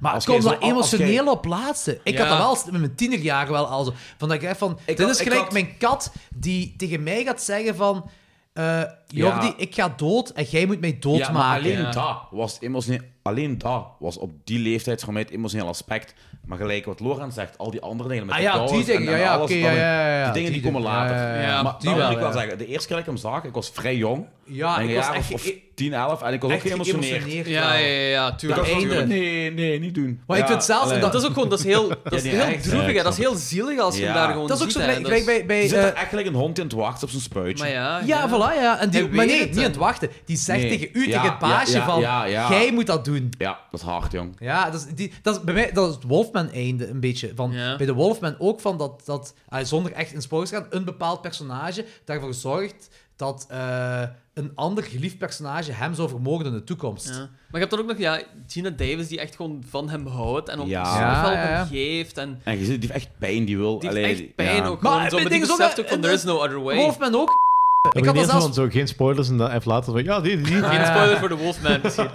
Maar Als het komt jij zo- dat als- als jij- emotioneel op laatste. Ik Ja. had dat wel met mijn tienerjaren wel al zo. Van dat ik echt van, dit had- is ik gelijk had- mijn kat die tegen mij gaat zeggen van... eh Jordi, Ja. ik ga dood en jij moet mij Ja, maar doodmaken. alleen dat was emotioneel. alleen dat was op die leeftijd voor mij het emotioneel aspect. Maar gelijk wat Loran zegt, al die andere dingen met Ah de ja, die trouwens en- dingen, en ja, ja, alles, oké, dat- ja, ja, ja, ja, Die dingen die die komen dingen, later. ja, ja, ja. Ja, maar die dat wil wel, ik wel ja. zeggen. De eerste keer dat ik hem zag, ik was vrij jong. Ja, denk ik een was jaar echt of- of ge- 10, 11 en ik was ook echt geëmotioneerd. geëmotioneerd, Ja, ja, ja, ja, tuurlijk. Ik dacht Dat van, einde. Nee, nee, niet doen. Maar ik Ja, vind zelfs... allee. dat is ook gewoon- dat is heel- dat is die heel echt. droevig, hè. ik Dat is snap heel het. zielig als je hem daar gewoon Dat is ook ziet, zo hè. gelijk Dat gelijk is- bij... bij Je je zit zit er echt gelijk een hond in het wachten op zijn spuitje. Maar ja, Eh, Ja, voilà, ja. En die, Hij maar weet nee, het, niet aan het wachten. Die zegt Nee. tegen u, Ja, tegen het ja, paasje ja, van... ja, ja. Jij moet dat doen. Ja, dat is hard, jong. Ja, dat is, die, dat is bij mij dat is het Wolfman-einde een beetje. Van, Bij de Wolfman ook van dat, dat ah, zonder echt in spoilers te gaan, een bepaald personage daarvoor zorgt dat eh, een ander geliefd personage hem zou vermogen in de toekomst. Ja. Maar je hebt dan ook nog ja, Gina Davis die echt gewoon van hem houdt en op Ja. zoveel Ja, ja, op hem geeft. En En je ziet, die heeft echt pijn, die wil. die heeft allee, echt pijn ja. ook gewoon. zo, maar die ding is ook, beseft ook eh, van, there is no other way. Wolfman ook. Ik Ik had had dat zelfs... zo geen spoilers en dan even later van ja, die, die. die. Geen spoiler voor de Wolfman misschien.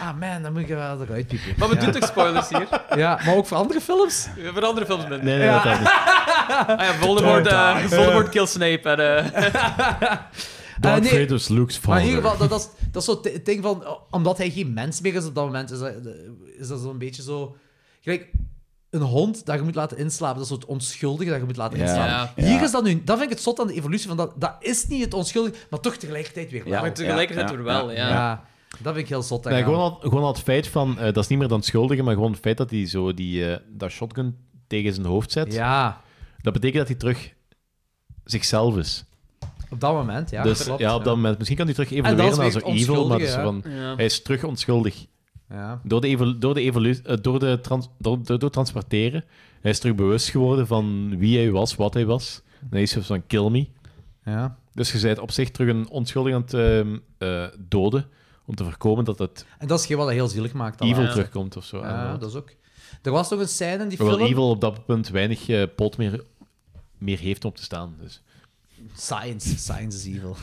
Ah man, dan moet ik er wel eruit piepen. Maar we Ja. doen toch spoilers hier? Ja, maar ook voor andere films? We hebben andere films met. Nee, nee, dat heb ik niet. Ah ja, Voldemort, Don't eh, die. Voldemort kill Snape. En, eh, Darth nee. Vader is Luke's Maar in vader. ieder geval, dat, dat, is, dat is zo het ding van... oh, Omdat hij geen mens meer is op dat moment, is dat, is dat zo'n beetje zo... Gelijk, een hond dat je moet laten inslapen, dat is zo het onschuldige dat je moet laten Ja. inslapen. Ja. Hier is dat nu... Dat vind ik het zot aan de evolutie, van dat, dat is niet het onschuldige, maar toch tegelijkertijd weer wel. Ja, maar tegelijkertijd ja, weer wel, ja. ja. dat vind ik heel zot. Nee, daaraan. gewoon, al, gewoon al het feit van, eh, dat is niet meer dan het schuldige, maar gewoon het feit dat hij zo die, eh, dat shotgun tegen zijn hoofd zet. Ja. Dat betekent dat hij terug zichzelf is. Op dat moment, ja. dus klopt, ja, op dat moment. Misschien kan hij terug dat is evolueren naar weer zo het evil, maar dat is zo van, onschuldige, hè? Ja. hij is terug onschuldig. Ja. Door, de evolu- door, de evolu- eh, door, de trans- door, door, door transporteren, hij is terug bewust geworden van wie hij was, wat hij was. En hij is zo van kill me. Ja. Dus je bent op zich terug een onschuldig aan het ehm, eh, doden, om te voorkomen dat het En dat is geen wat dat heel zielig maakt. dan evil wel. terugkomt of zo. Ja, Inderdaad. dat is ook... Er was nog een scène in die Hoewel film... Evil op dat punt weinig eh, pot meer, meer heeft om op te staan. Dus. Science. Science is evil.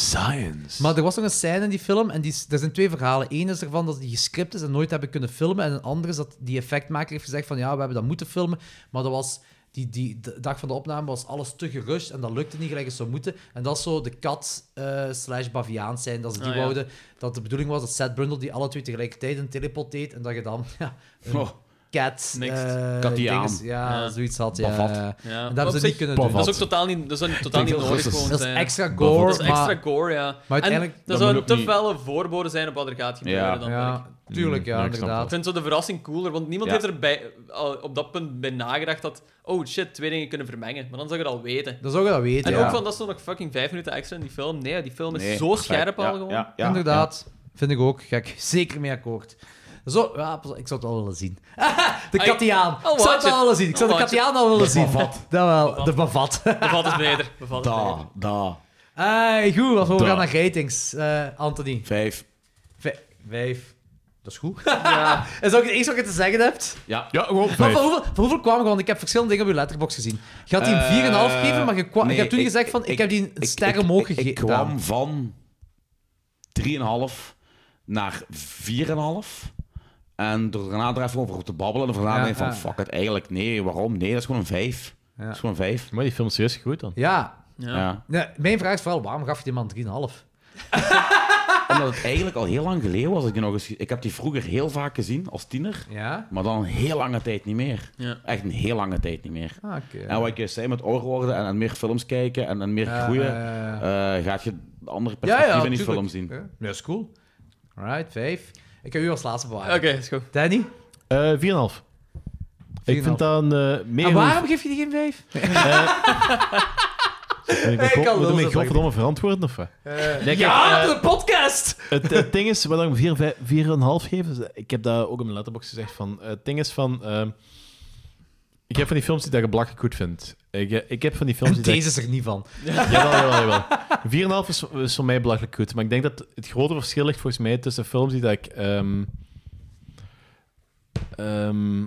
science. Maar er was nog een scène in die film en die, is- er zijn twee verhalen. Eén is ervan dat die gescript is en nooit hebben kunnen filmen. En een ander is dat die effectmaker heeft gezegd van ja, we hebben dat moeten filmen. Maar dat was, die, die de dag van de opname was alles te gerust en dat lukte niet gelijk het zou moeten. En dat is zo de kat eh, slash baviaan zijn. Dat ze die Ah, ja. wouden, dat de bedoeling was dat Seth Brundle die alle twee tegelijkertijd een teleport deed. En dat je dan ja, een Oh. cat... Mixed. eh, Katiaan. dinges- ja, Ja. zoiets had. Ja. Bavat. Ja. Ja. En dat Op hebben ze zich- niet kunnen Dat doen. is ook totaal niet, dat is niet- totaal Ik niet denk dat nodig. het gewoon eh. Dat is te- extra gore, Dat is extra maar- gore, ja. Maar uiteindelijk- En Dat dat moet zou ook te niet- felle voorbode zijn op wat er gaat gebeuren. Ja. Dan, vind ik. Ja, tuurlijk, ja, Mm, Ja, ik snap inderdaad. Ik vind zo de verrassing cooler, want niemand Ja. heeft er bij, al op dat punt bij nagedacht dat, oh shit, twee dingen kunnen vermengen. Maar dan zou je het al weten. Dat zou je dat weten, En ja. ook van, dat is toch nog fucking vijf minuten extra in die film. Nee, die film is Nee, zo perfect. scherp Ja, al gewoon. ja, ja. Inderdaad. Vind ik ook. Ga ik zeker mee akkoord. Zo, ja, pas- ik zou het al willen zien. de I- Katiaan. I'll Ik zou watch het al it. willen zien. Ik zou de I'll watch Katiaan al willen De zien. Bavat. Dat wel. De Bavat. Bevat is dus beter. Bevat is beter. Da, da. Eh, goed, wat we Da. gaan naar ratings, eh, Anthony. Vijf. Vij- Vijf. Dat is goed. Is dat ook het eerste wat je te zeggen hebt? Ja. Ja, gewoon Maar vijf. voor hoeveel, voor hoeveel kwamen we? Want ik heb verschillende dingen op je letterbox gezien. Je had die een Eh, 4,5 gegeven, maar je, kwa- je nee, hebt toen ik- gezegd van, ik, ik- heb die ik- een ster ik- omhoog ik- gegeven. Ik kwam van 3,5 naar 4,5. En door daarna er even over te babbelen. En daarna Ja, denk ik van, ja. fuck het, eigenlijk nee. Waarom? Nee, dat is gewoon een 5. Dat is gewoon een 5. Maar die film is serieus goed dan. Ja. Ja. Nee, mijn vraag is vooral, waarom gaf je die man 3,5? Omdat het eigenlijk al heel lang geleden was. dat Ik, die nog eens, ge- ik heb die vroeger heel vaak gezien, als tiener. Ja? Maar dan een heel lange tijd niet meer. Ja. Echt een heel lange tijd niet meer. Ah, oké. En Nou, wat ik juist zei, met ouder worden en, en meer films kijken en, en meer Ja, groeien, ja, ja, eh, gaat je andere perspectieven in die tuurlijk. film zien. Ja, dat is cool. Alright, vijf. Ik heb u als laatste bewaren. Oké, is goed. Danny? Eh, 4,5. Ik vind dat een eh, meer... en waarom geef je die geen vijf? Moet Ik kan wel ik me godverdomme zeggen. godverdomme verantwoorden, of wat? Nee, kijk, ja, eh, de podcast! het, het ding is, wat ik hem vier- vijf- 4,5 geef, is, eh, ik heb dat ook in mijn letterbox gezegd, van, eh, het ding is van... ehm, ik heb van die films die dat je blakken goed vindt. Ik, eh, ik heb van die films En die deze dat... is er niet van. Jawel, jawel, jawel. 4,5 is, is voor mij belachelijk goed. Maar ik denk dat het grote verschil ligt volgens mij tussen films die dat ik ehm, ehm,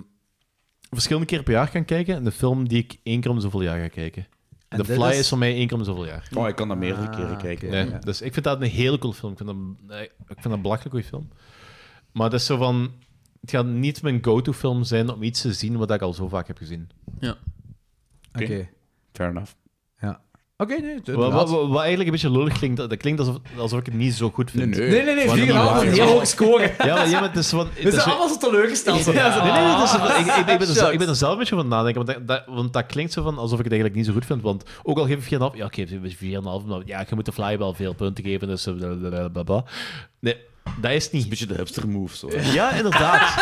verschillende keer per jaar kan kijken en de film die ik één keer om zoveel jaar ga kijken. En The dit Fly is- is... voor mij één keer om zoveel jaar. Oh, ik kan dat meerdere Ah, keren kijken. Nee, Dus ik vind dat een hele cool film. Ik vind dat, eh, ik vind dat een belachelijk goede film. Maar het is zo van... Het gaat niet mijn go-to-film zijn om iets te zien wat ik al zo vaak heb gezien. Ja. Oké. Fair enough. Ja. Oké, nee. het- Wat, wat, inderdaad. wat eigenlijk een beetje lullig klinkt, dat dat klinkt alsof, alsof ik het niet zo goed vind. nee. Nee, nee, nee, Want- vier en een half is een heel hoog scoren. Ja, maar, ja, maar het is van... We zijn allemaal zo teleurgesteld. Nee, nee, nee, het is- Ah, ik, ik, ik, ben er, zelf- shucks. ik ben er zelf een beetje van aan het nadenken, want dat, dat- want dat klinkt zo van alsof ik het eigenlijk niet zo goed vind. Want ook al geef ik 4,5, ja, ik geef het 4,5, maar ja, je moet de fly wel veel punten geven, dus eh, blablabla. Nee, dat is niet. een beetje de hipster move, zo. Ja, inderdaad.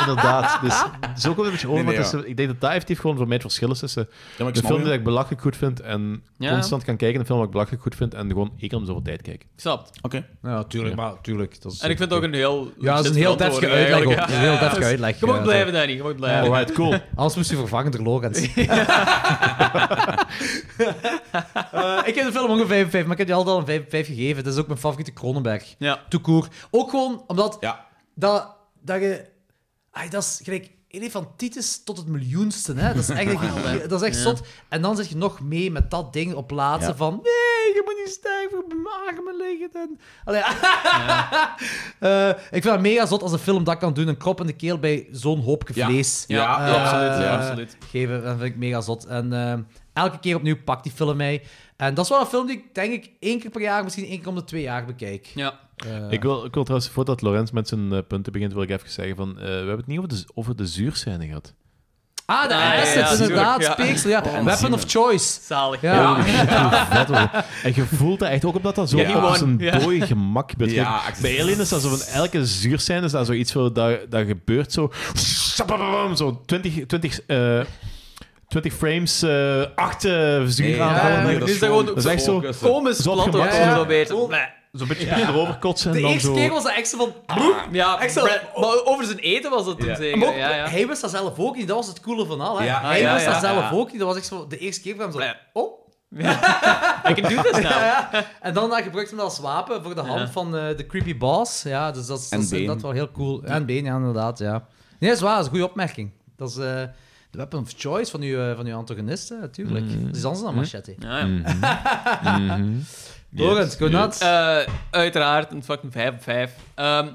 inderdaad. Dus zo komt het een beetje over, Nee, nee, maar het is- ja. ik denk dat dat effectief gewoon voor mij het verschil is tussen maar ik de snap film je. die ik belachelijk goed vind en Ja. constant kan kijken, een film die ik belachelijk goed vind en gewoon ik om zoveel tijd kijken. Ik snap het. Oké. Ja, tuurlijk, maar tuurlijk. Dat is En ik vind het ook een heel... Ja, dat is een heel deftige verantwoording uitleg. eigenlijk, ook. ja. Een heel deftige Dus uitleg. Je moet ja, blijven, zo. Danny. Je moet blijven. Ja. Alright, Oh, cool. Anders moest je vervangen door Lorenz. Eh, ik heb de film ook een 5 maar ik heb die altijd al een 5, gegeven. Dat is ook mijn favoriete Cronenberg. Ja. Toekoer. Ook gewoon omdat dat, dat je... Ai, dat is gelijk elefantitis tot het miljoenste. Hè? Dat is eigenlijk Wauw, hè? dat is echt Ja. zot. En dan zit je nog mee met dat ding op plaatsen Ja. van... Nee, je moet niet stijf op mijn armen liggen. En... Allee, Eh, ik vind het mega zot als een film dat kan doen. Een krop in de keel bij zo'n hoopje Ja. vlees. Ja, ja, Eh, absoluut, ja, absoluut. Geven, dat vind ik mega zot. En eh, elke keer opnieuw pakt die film mij. En dat is wel een film die ik denk ik één keer per jaar, misschien één keer om de twee jaar bekijk. Ja. Eh, Ik, wil, ik wil trouwens, voordat Lorenz met zijn eh, punten begint, wil ik even zeggen van, eh, we hebben het niet over de, over de zuurscène gehad. Ah, de Ah, ja, assets, ja, tuurlijk, inderdaad. ja. Speeksel, ja. Oh, Weapon enziemen. of Choice. Zalig. Ja. Vet, hoor. en je voelt dat echt ook omdat dat zo Ja. op zijn Ja. dode gemak gebeurt. Ja, Kijk, actie- bij Alien is dat zo van elke zuurscène is dat zoiets van, dat, dat gebeurt zo... Zo 20, 20, eh, 20 frames, eh acht eh, zuuraanvallen. Ja, ja, ja. Nu is dat gewoon is echt zo... focus, hè. Komisch zo op plat, gemak, hoor. zo- Zo beter. zo- Nee. Zo'n beetje Ja. erover kotsen en De dan eerste zo... keer was dat echt zo van... Ja, Echt zo- Brad- maar over zijn eten was dat Ja. toen Maar zeker. ook, Ah. Ja, ja. Hij wist dat zelf ook niet. Dat was het coole van al. Hè. Ja. Hij Ah, ja, wist dat ja, zelf ja. ook niet. Dat was echt zo de eerste keer van hem zo... Oh. Ik doe dit nou. Ja, ja. En dan eh, gebruikte hij hem als wapen voor de hand Ja. van eh, de creepy boss. Ja, dus dat is, En dat is been. inderdaad wel heel cool. En been, ja, inderdaad. Ja. Nee, dat is waar. Dat is een goede opmerking. Dat is eh, de weapon of choice van uw, eh, van uw antagonisten, natuurlijk. Mhm. Dat is iets anders dan Mhm. machete. Ja, Mhm. ja. Lorenz, go nuts. Eh, uiteraard, een fucking 5 op 5. Ehm,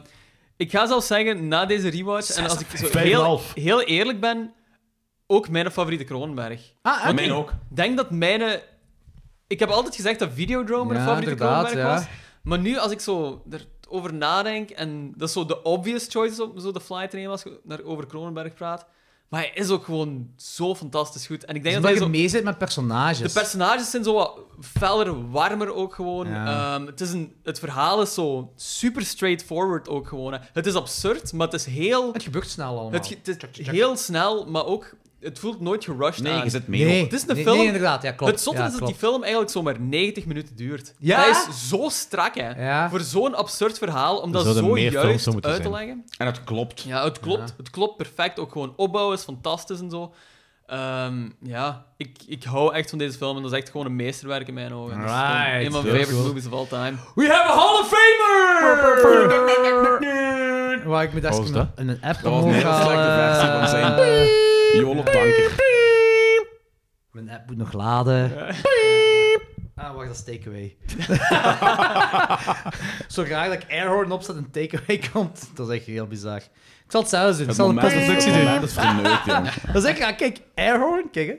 ik ga zelfs zeggen, na deze rewatch, en als ik zo Vijf en heel, half. heel eerlijk ben, ook mijn favoriete Kronenberg. Ah, Want mijn ik ook. denk dat mijn... Ik heb altijd gezegd dat Videodrome mijn Ja, favoriete inderdaad, Kronenberg ja. was. Maar nu, als ik zo erover nadenk, en dat is zo de obvious choice op zo de fly train was, naar over Kronenberg praat, maar hij is ook gewoon zo fantastisch goed. En ik Dus denk dat omdat hij je zo... mee zit met personages. De personages zijn zo wat feller, warmer ook gewoon. Ja. Ehm, het, is een, het verhaal is zo super straightforward ook gewoon. hè. Het is absurd, maar het is heel... Het gebeurt snel allemaal. Het, ge- het is heel snel, maar ook... Het voelt nooit gerushed Nee, aan. je zit mee Nee, Het is een nee, film... nee, inderdaad, ja, klopt. Het zotte Ja, is dat klopt. die film eigenlijk zomaar 90 minuten duurt. Ja? Dat is zo strak, hè. Voor zo'n absurd verhaal, om dat zouden zo meer films juist zo moeten uit te zijn. leggen. En het klopt. Ja, het klopt. Het klopt perfect. Ook gewoon opbouw is fantastisch en zo. Ehm, ja, ik, ik hou echt van deze film en dat is echt gewoon een meesterwerk in mijn ogen. Dat is gewoon Right. Een Heel van mijn favorite cool. movies of all time. We have a Hall of Famer! Waar ik me Wat was dat dat? in een app Dat was een omhoog heel slechte haal, versie eh, van zijn YOLO-tanker. Mijn app moet nog laden. Ah, wacht, dat is takeaway. Zo graag dat ik Airhorn opzet en takeaway komt. Dat is echt heel bizar. Ik zal het zelfs doen. Ik Het zal een moment- postproductie het doen. moment is verneukt, jong. Dat is echt raar. Kijk, Airhorn, kijk hè.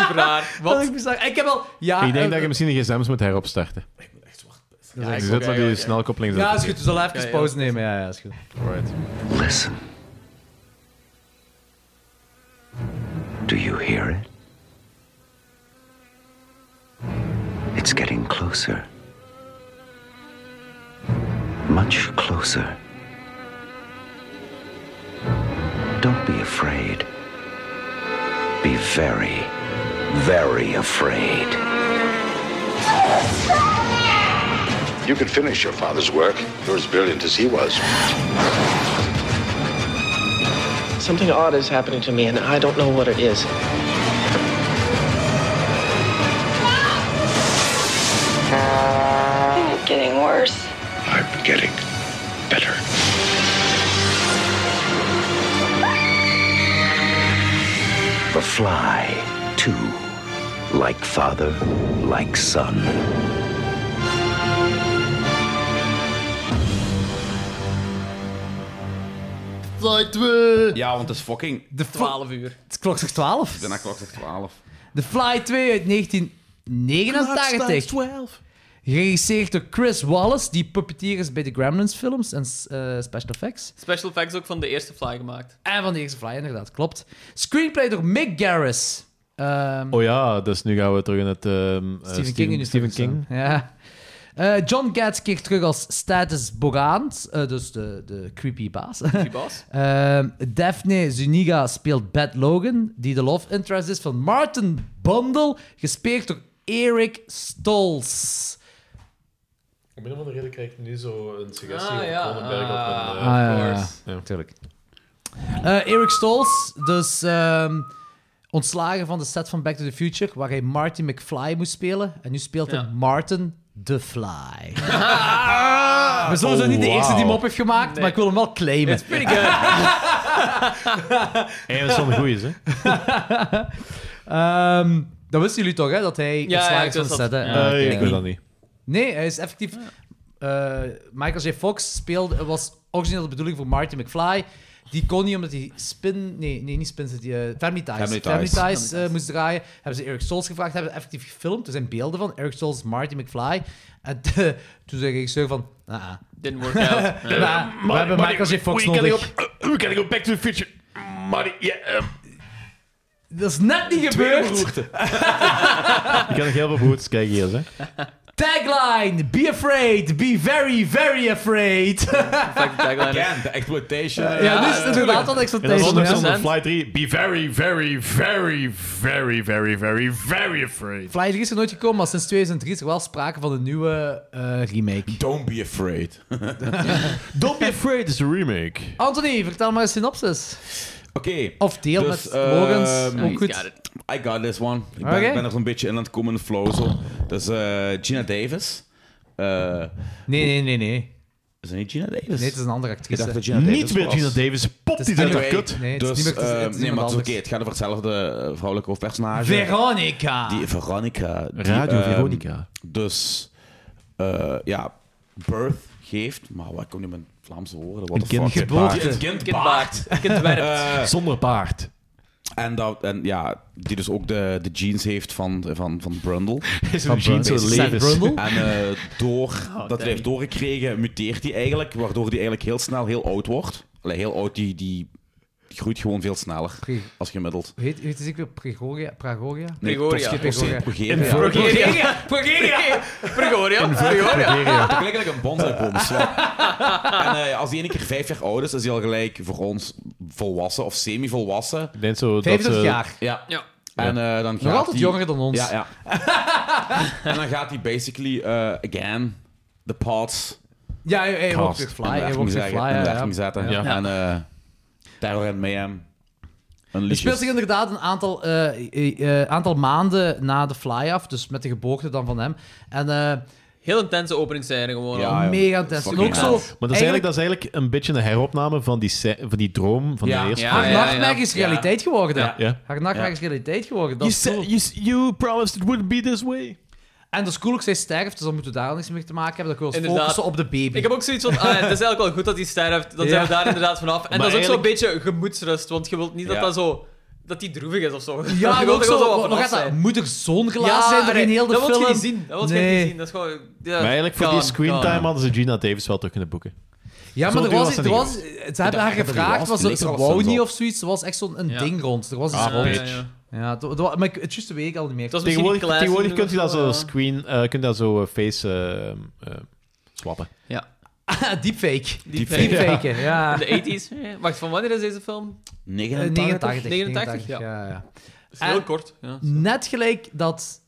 Super raar. Dat is echt bizar. Ik heb al... Ja, ik denk eh, dat je misschien de gsm's moet heropstarten. is Je echt zet oké, wel die oké. snelkoppeling Ja, zetten. is goed. We zullen even Ja, ja. pauze nemen. Ja, ja, is goed. Alright. Listen. Do you hear it? It's getting closer. Much closer. Don't be afraid. Be very, very afraid. You could finish your father's work. You're as brilliant as he was. Something odd is happening to me, and I don't know what it is. Getting worse. I'm getting better. The Fly 2. Like father, like son. Ja, want het is fucking... De 12 uur. Het klok zegt 12. Daarna klok zegt 12. The Fly 2 uit 1989. Geregisseerd door Chris Wallace, die puppeteer is bij de Gremlins films en eh, special effects. Special effects ook van de eerste fly gemaakt. En van de eerste Fly, inderdaad, klopt. Screenplay door Mick Garris. Ehm, Oh ja, dus nu gaan we terug in het... ehm, eh, Stephen King in de Stephen film King. staan. Ja. Eh, John Katz keert terug als Status Bogaans, eh, dus de, de creepy baas. Creepy baas. Ehm, Daphne Zuniga speelt Beth Logan, die de love interest is van Martin Bundle, gespeeld door Erik Stolz. Om een of andere reden krijg ik nu zo een suggestie Ah, van ja. Cronenberg op Ah, een... of eh, ja, course. ja. tuurlijk. Eh, Erik Stolz, dus ehm, ontslagen van de set van Back to the Future, waar hij Marty McFly moest spelen. En nu speelt hij Martin the Fly. Maar sowieso Oh, niet de eerste die hem wauw. op heeft gemaakt, maar ik wil hem wel claimen. It's pretty good. Hij was van de goeie, hè? Ehm, dat wisten jullie toch, hè? Dat hij ja, ontslagen ik is van de wist set, hè? dat. Eh, Eh, ik Peggy. weet dat niet. Nee, hij is effectief... eh, Michael J. Fox speelde, was origineel de bedoeling voor Marty McFly. Die kon niet omdat hij Spin... Nee, nee niet Spin City. eh, Family Ties. Family Ties. Ties, eh, moest draaien. Hebben ze Eric Stolz gevraagd. Hebben ze effectief gefilmd. Er zijn beelden van Eric Stolz, Marty McFly. En eh, toen zei de regisseur van... Ah, Didn't work out. we hebben Michael J. Fox nodig. we gotta go back to the future. Marty, yeah. Dat is net niet gebeurd. Ik kan nog heel veel behoeds kijken hier, hè? Tagline: Be afraid, be very, very afraid. Again, de exploitation. eh. ja, nu is het inderdaad wel En dat is exploitation. onder hè. andere Fly 3. Be very, very, very, very, very, very, very afraid. Fly 3 is er dus nooit gekomen, maar sinds 2003 is er wel sprake van een nieuwe eh, remake. Don't be afraid. Don't Be Afraid is een remake. Anthony, vertel maar eens synopsis. Oké. Of deel Dus, met Logans. ook ehm, He's goed. got it. I got this one. Ik ben, Oké. ik ben er zo'n beetje in aan het komen in de flow. Zo. Dat is eh, Gina Davis. Eh, Nee, nee, nee, nee. is dat niet Gina Davis? Nee, het is een andere Ik actrice. dacht dat Gina Davis Niet meer was. Gina Davis. Pop Het die is zijn anyway. kut. Nee, het is Dus, niet meer- het is- eh, het is nee, maar iemand het is oké. anders. Het gaat over hetzelfde eh, vrouwelijke hoofdpersonage. Veronica. Die Veronica. die, Radio ehm, Veronica. Dus, eh, ja, birth geeft, maar wat komt nu met Vlaamse woorden? What Een the kind fuck? geboorte. Die- Een kind Kind baart. baart. Kind werpt. Eh, Zonder paard. en, dat, en ja, die dus ook de, de jeans heeft van, van, van Brundle. Is een jeans Brundle. zijn Seth levens. Brundle? En eh, door dat hij damn. heeft doorgekregen, muteert hij eigenlijk, waardoor hij eigenlijk heel snel heel oud wordt. Allee, heel oud, die, die groeit gewoon veel sneller Pre- als gemiddeld. Hoe Heet, heet het zeker Pregoria? Pragoria? Nee, Gregoria. Tosca- Tosca- Gregoria. Gregoria. Progeria. Progeria. Progeria. Progeria. Dat klinkt like een bonsaiboom. ja. En eh, als die ene keer vijf jaar oud is, is hij al gelijk voor ons volwassen of semi-volwassen. Ik denk zo dat eh, 50 ze... jaar. Ja. Ja. En eh, dan gaat Nog altijd die- jonger dan ons. Ja, ja. en dan gaat hij basically eh, again the parts Ja, hij- hij wordt Cast. weer fly. in Hij werking, wordt weer fly. zeggen, ja, in ja. werking zetten. Ja. En eh, Terror en Mayhem. Een Het speelt zich liedje. inderdaad een aantal, eh, eh, eh, aantal maanden na de fly-off, dus met de geboorte dan van hem. En eh, Heel intense openingsscène gewoon. Ja. al. joh. mega intens. En Fucking ook zo... hell. Maar dat is, eigenlijk, dat is eigenlijk een beetje een heropname van die, scè- van die droom van Ja. de eerste. Ja. Haar nachtmerrie is ja. realiteit geworden. Ja. Haar nachtmerrie is realiteit geworden. Dat is cool. you, you promised it wouldn't be this way. En dat is cool ook, zij sterft, dus dan moeten we daar niks mee te maken hebben. Dan kunnen we ons Inderdaad. focussen op de baby. Ik heb ook zoiets van, ah, het is eigenlijk wel goed dat hij sterft. Dan zijn we Ja. daar inderdaad vanaf. En dat is ook eigenlijk- zo'n beetje gemoedsrust, want je wilt niet dat Ja. dat zo... Dat die droevig is of zo. Ja, je maar wilt ook er wel zo. wat Wat vanaf gaat dat? zijn. Moeder-zoon gelaat zijn er in heel de dat film? wil je niet zien. Dat wil je Nee. niet zien. Dat is gewoon... ja, Maar eigenlijk voor kan, die screentime kan. hadden ze Gina Davis wel terug kunnen boeken. Ja, maar Zo er duur was, was er dat was, niet, ze hebben haar dat er gevraagd, was, was, leek ze er al wou soms niet op. of zoiets. Er was echt zo'n een Ja. ding rond. Er was iets Ah, Ja, rond. ja, bitch. ja. Ja, het, het wa- maar ik- het is juist de week al niet meer. Het was misschien Tegenwoordig, die class tegenwoordig toen kunt je dat of zo ja. screen, eh, kunt je dat zo eh, face eh, eh, swappen. Deepfake. Die Deepfake. fake. Deepfake, ja. In de 80s. Ja. Wacht, van wanneer is deze film? eh, 89. 89. 89, ja. ja, ja. Dat is heel En- kort. Ja. Net gelijk dat.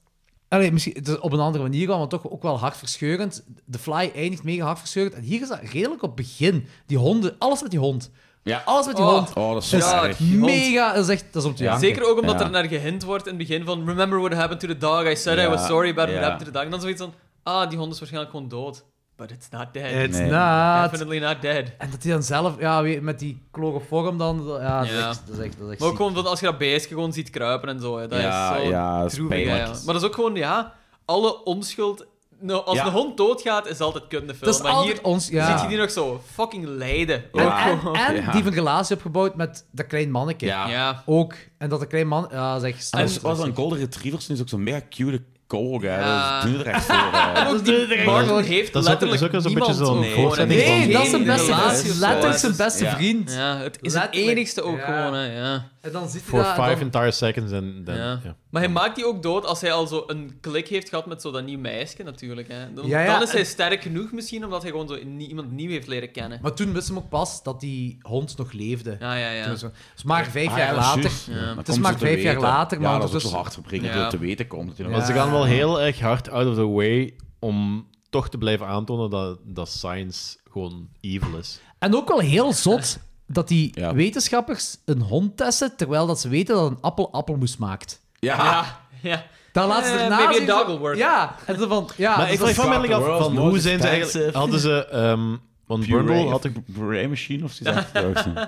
Allee, misschien het is op een andere manier wel, maar toch ook wel hartverscheurend. De Fly eindigt mega hartverscheurend. En hier is dat redelijk op het begin. Die honden, alles met die hond. Ja. Alles met die Oh. hond. Oh, dat is zo Dat is Ja, erg. die hond. mega, dat is echt, dat is om te janken. Zeker ook omdat Ja. er naar gehind wordt in het begin van Remember what happened to the dog, I said I Ja, was sorry about ja. what happened to the dog. En dan zoiets van, ah, die hond is waarschijnlijk gewoon dood. But it's not dead. Eh, It's Nee. not. Definitely not dead. En dat hij dan zelf, ja, weet je, met die chloroform dan, ja, dat is Ja. echt, dat is echt, dat is echt Maar ook ziek. gewoon dat als je dat beestje gewoon ziet kruipen en zo. hè, Dat Ja, is zo ja, dat is droevig, hè, pijnlijk. ja. Maar dat is ook gewoon, ja, alle onschuld... Nou, als Ja. een hond doodgaat, is altijd kunde film. Dat is maar altijd hier ons, ja. ziet je die nog zo fucking lijden. En, Ook Ja. en, gewoon. en Ja. die heeft een relatie opgebouwd met dat klein manneke. Ja. Ja. Ook, En dat een klein man... Ja, zeg... En stom. als, als een golden retriever is, is ook zo'n mega cute kool, hè. Ja. Dat is er echt voor. eh. hè. En ook die- Doe er echt Marvel voor. heeft Dat is ook- dat is letterlijk ook wel zo'n beetje niemand zo'n ook gewoon een voorstelling hele van- Nee, dat is zijn beste relatie. vriend. Ja. Letterlijk zijn beste Ja. vriend. Ja, het is het Letterlijk. enigste ook Ja. gewoon, hè. Ja. En dan zit hij For daar en five dan- entire seconds en dan... Ja. ja. Maar hij maakt die ook dood als hij al zo een klik heeft gehad met zo dat nieuw meisje, natuurlijk. Hè. Dan, Ja, ja, dan is hij en- sterk genoeg misschien, omdat hij gewoon zo nie- iemand nieuw heeft leren kennen. Maar toen wisten we ook pas dat die hond nog leefde. Ja, ja, ja. Toen was het- het is maar vijf Ah, jaar ja, later. juist. Ja. Dan Het is komt maar ze te vijf jaar weten. later, maar Ja, dat is ook ondertussen... zo hard verbrengen dat Ja. het te weten komt. Maar ze gaan wel heel erg hard out of the way om toch te blijven aantonen dat, dat science gewoon evil is. En ook wel heel zot dat die wetenschappers een hond testen, terwijl dat ze weten dat een appel appelmoes maakt. Ja. ja. Dan laten ze Eh, daarna... maybe zien a zo- dog will work. Ja, en zo van... Ja, maar dus ik dat vraag is- me eigenlijk af van hoe zijn ze eigenlijk... Hadden ze... ehm want Brundle had... Bray Machine of zoiets.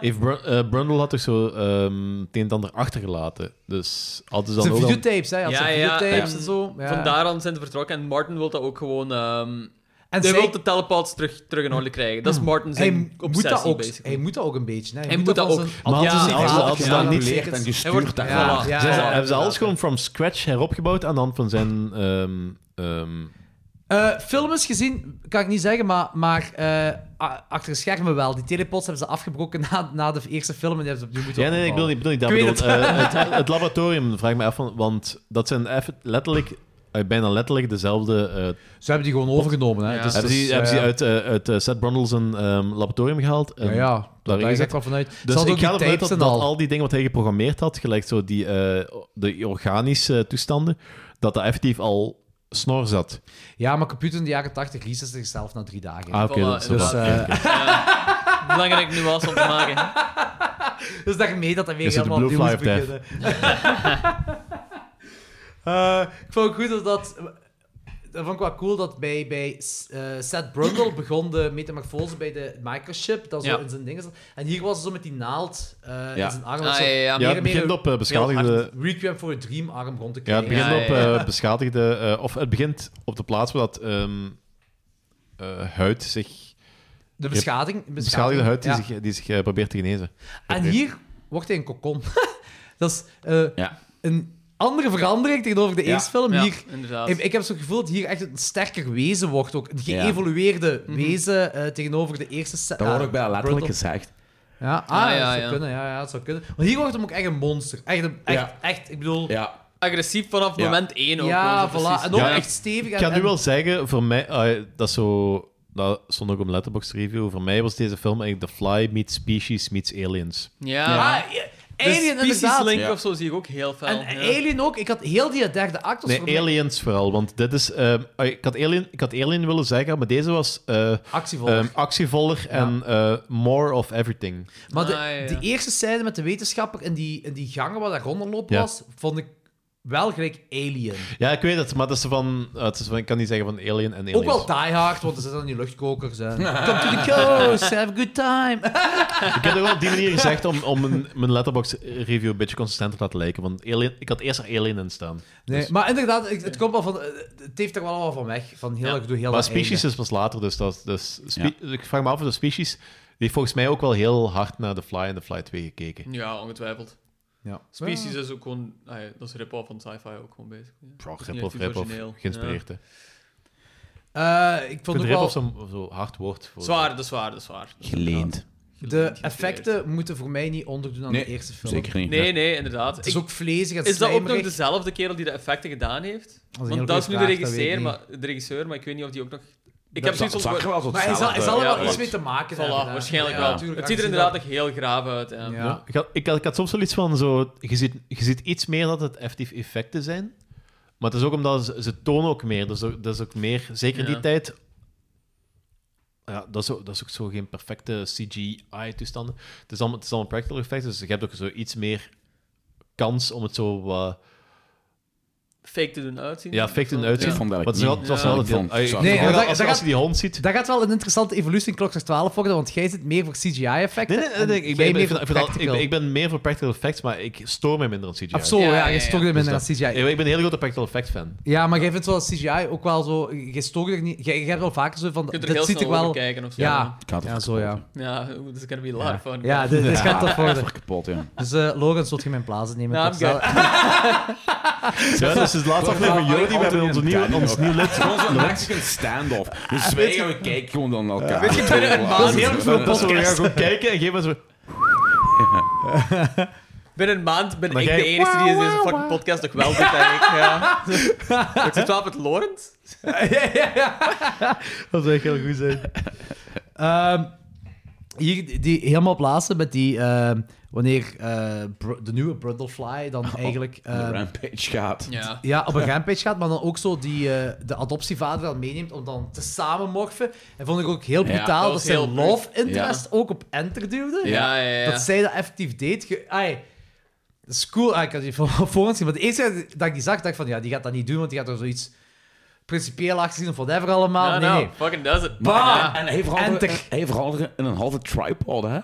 Heeft Br- eh, Brundle had toch zo ehm het een en ander achtergelaten. Dus hadden ze dan Zijn ook al- videotapes, hè. Hij had Ja, zijn ja, videotapes en en zo. Ja. Van daar aan zijn ze vertrokken. En Martin wil dat ook gewoon... ehm En hij zij- Hmm. wil de telepaths terug, terug in orde krijgen. Dat is Martin Hij zijn moet obsessie, dat ook- basically. Hij moet dat ook een beetje. Hè. Hij dus- Hij moet dat van ook. zijn- Maar hadden Ja, dus ze, hadden ze- hadden ze dan niet... geleerd en gestuurd Hij wordt- daarvan. Ja, Ja, Zijn ze- ja, hebben ze alles gewoon from scratch heropgebouwd aan de hand van zijn... ehm ehm, Eh, films gezien, kan ik niet zeggen, maar, maar eh, a- achter de schermen wel. Die telepods hebben ze afgebroken na, na de eerste film en die hebben ze opnieuw moeten Ja, nee, nee, ik bedoel niet, ik bedoel niet dat. Ik bedoel, weet eh, het. het, laboratorium, vraag ik me af, van, want dat zijn eff- letterlijk, eh, bijna letterlijk dezelfde... eh, Ze hebben die gewoon overgenomen, hè. Dus- hebben dus, ze die, hebben ze die eh, uit, eh, uit eh, Seth Brundle zijn ehm, laboratorium gehaald? en Ja, ja, daar daarin ga ik gezet. ook wel vanuit. Ze Dus hadden ik ook ga die ervan uit dat, tapes en dat al. al die dingen wat hij geprogrammeerd had, gelijk zo die eh, de organische toestanden, dat dat effectief al snor zat. Ja, maar computer in de jaren 80 reset zichzelf na drie dagen. Ah, oké, dat is dus, wel- eh, oké, oké. Belangrijk nuance om te maken. dus daarmee dat hij weer Is het de helemaal opnieuw blue moest fly of beginnen. Eh, ik vond het goed dat dat... Dat vond ik wel cool dat bij, bij eh, Seth Brundle begon de metamorfose bij de microchip. Dat zo Ja. in zijn dingen zat. En hier was het zo met die naald eh, in Ja. zijn arm. Ah, dat zo ja, ja, ja. Ja, het begint op, eh, beschadigde- heel hard Requiem voor een Dream arm rond te Ja, het krijgen. begint op eh, beschadigde... eh, of het begint op de plaats waar dat ehm, eh, huid zich... De beschadiging- Beschadigde huid die ja. zich, die zich eh, probeert te genezen. En Oké. hier wordt hij een kokon. dat is eh, Ja. een andere verandering tegenover de Ja. eerste film. Ja, hier, inderdaad. ik, ik heb zo'n gevoel dat hier echt een sterker wezen wordt. Ook een geëvolueerde wezen eh, tegenover de eerste... se- Dat wordt ah, ook bijna letterlijk Brundle. gezegd. Ja, ah, Ah, dat ja, zou ja. kunnen. Ja, ja, dat zou kunnen. Maar hier wordt hem ook echt een monster. Echt, een, echt, Ja. echt, ik bedoel... Ja. Agressief vanaf Ja. moment één ook. Ja, gewoon zo voilà. precies. En ook echt stevig. Ik en- kan nu en- wel zeggen, voor mij, ah, dat is zo. Dat stond ook op Letterboxd review. Voor mij was deze film eigenlijk The Fly meets Species meets Aliens. Ja. Ah, ja, Alien, de species inderdaad. link Ja. of zo zie ik ook heel fel. En Alien ook. Ik had heel die derde act... was Nee, voor mij- Aliens vooral, want dit is... ehm, ah, ik, had Alien, ik had Alien willen zeggen, maar deze was... eh, Actievoller. ehm, actievoller en eh, more of everything. Maar de, Ah, de eerste scène met de wetenschapper in die, in die gangen waar dat rondloopt Ja. was, vond ik wel gelijk Alien. Ja, ik weet het, maar dat is van, ah, het is van... Ik kan niet zeggen van Alien en Aliens. Ook wel Die Hard, want er zitten dan die luchtkokers. Hè. Come to the coast, have a good time. Ik heb het wel op die manier gezegd om, om mijn, mijn letterbox review een beetje consistent te laten lijken. Want Alien, ik had eerst er Alien in staan. Nee, Dus- maar inderdaad, het, het komt wel van, eh, het heeft er wel al van weg. Van heel, door heel maar dat Species Alien. is pas later, dus, dat, dus spe- ik vraag me af of de Species... Die heeft volgens mij ook wel heel hard naar The Fly en The Fly 2 gekeken. Ja, ongetwijfeld. Ja. Species is ook gewoon... ah ja, dat is rip-off van sci-fi ook gewoon bezig. Ja. Bro, Dat is niet rip-off, echt iets rip-off. origineel. Geïnspireerd, Ja. hè. Eh, ik Ik vond vind ook rip wel... of zo'n zo hard woord. Voor Zwaar, dat is waar, dat is waar. Geleend. De effecten moeten voor mij niet onderdoen aan Nee, de eerste film. zeker niet. Nee, nee, inderdaad. Het is Ik- ook vlezig en Is dat ook nog slijmerig. dezelfde kerel die de effecten gedaan heeft? een hele Want dat is nu goeie de vraag, dat weet regisseur, ik maar, de regisseur, maar ik weet niet of die ook nog... Ik Dat heb za- zoiets zag er wel zo Maar hij zal- hij hetzelfde zal er wel uit. iets mee te maken Voilà, hebben, hè. waarschijnlijk Ja, wel. natuurlijk, het ziet er aangezien inderdaad echt heel graaf uit. Ja. Ja. Ik, had, ik, had, ik had soms wel iets van zo... Je ziet, je ziet iets meer dat het effectief effecten zijn. Maar het is ook omdat ze, ze tonen ook meer. Dus ook- dat is ook meer... Zeker in die Ja. tijd... Ja, dat is, ook, dat is ook zo geen perfecte CGI-toestanden. Het is allemaal, het is allemaal practical effects, dus je hebt ook zo iets meer kans om het zo wat fake te doen uitzien. Ja, fake te doen uitzien. Ja. Ik vond dat eigenlijk Ja. niet. Want het was wel- het was wel Ja. een deel- Nee, Als- dat- als- dat als gaat- je die hond ziet. Dat gaat wel een interessante evolutie in Kloksters 12 worden, want jij zit meer voor CGI-effecten. Nee, nee, nee, nee, ik, ben, ik, ben- ik ben- ik ben- ik ben- ik ben meer voor practical effects, maar ik stoor me minder aan CGI. Of zo, ja, je stoort je Dus minder aan dat- CGI. Ja, Ik ben een hele grote practical effect fan. Ja, maar jij vindt wel CGI ook wel zo... Je stoort er niet... Jij, jij hebt wel vaker zo van... kunt er dat heel ziet snel er wel... over kijken of zo. Ja, Ik had het ja zo ja. Ja, this is gonna be a lot of fun. Ja, dit, dit gaat toch tof worden. kapot, ja. Dus eh Logan, zult je mijn plaats nemen? Ja, I'm Kloksters- good. Ja, dat is de laatste aflevering van Jordi. We hebben onze nieuwe, ons nieuw lid. Ah, Gewoon zo'n Mexican standoff. We zwijgen en we kijken gewoon dan naar elkaar. Weet je, binnen een maand- heel veel Dat is waar we gaan podcasts. gewoon kijken en geven ze... Binnen een maand ben Maar ik jij- de enige die deze fucking podcast nog wel doet, eigenlijk. Ja. ik zit wel met Laurent. Dat zou echt heel goed zijn. Ehm, hier, die helemaal plaatsen met die... ehm, wanneer eh, Br- de nieuwe Brundlefly dan Oh, eigenlijk... Op een ehm, rampage gaat. Ja. ja, op een rampage gaat, maar dan ook zo die, eh, de adoptievader dan meeneemt om dan te samenmorfen. En vond ik ook heel Ja, brutaal dat dat, was zijn heel bruut. love interest ook op enter duwde. Ja, ja, ja. Dat zij dat effectief deed. Ge- ai, dat is cool. Ah, ik had die voor, voor ons gezien. Maar de eerste keer dat ik die zag, dacht ik van, ja, die gaat dat niet doen, want die gaat er zoiets principieel achter zien of whatever allemaal. Ja, nee, nou, Ah, nee. fucking does it. Maar, Ja. En hij verandert, Enter. hij verandert in een halve tripod, hè?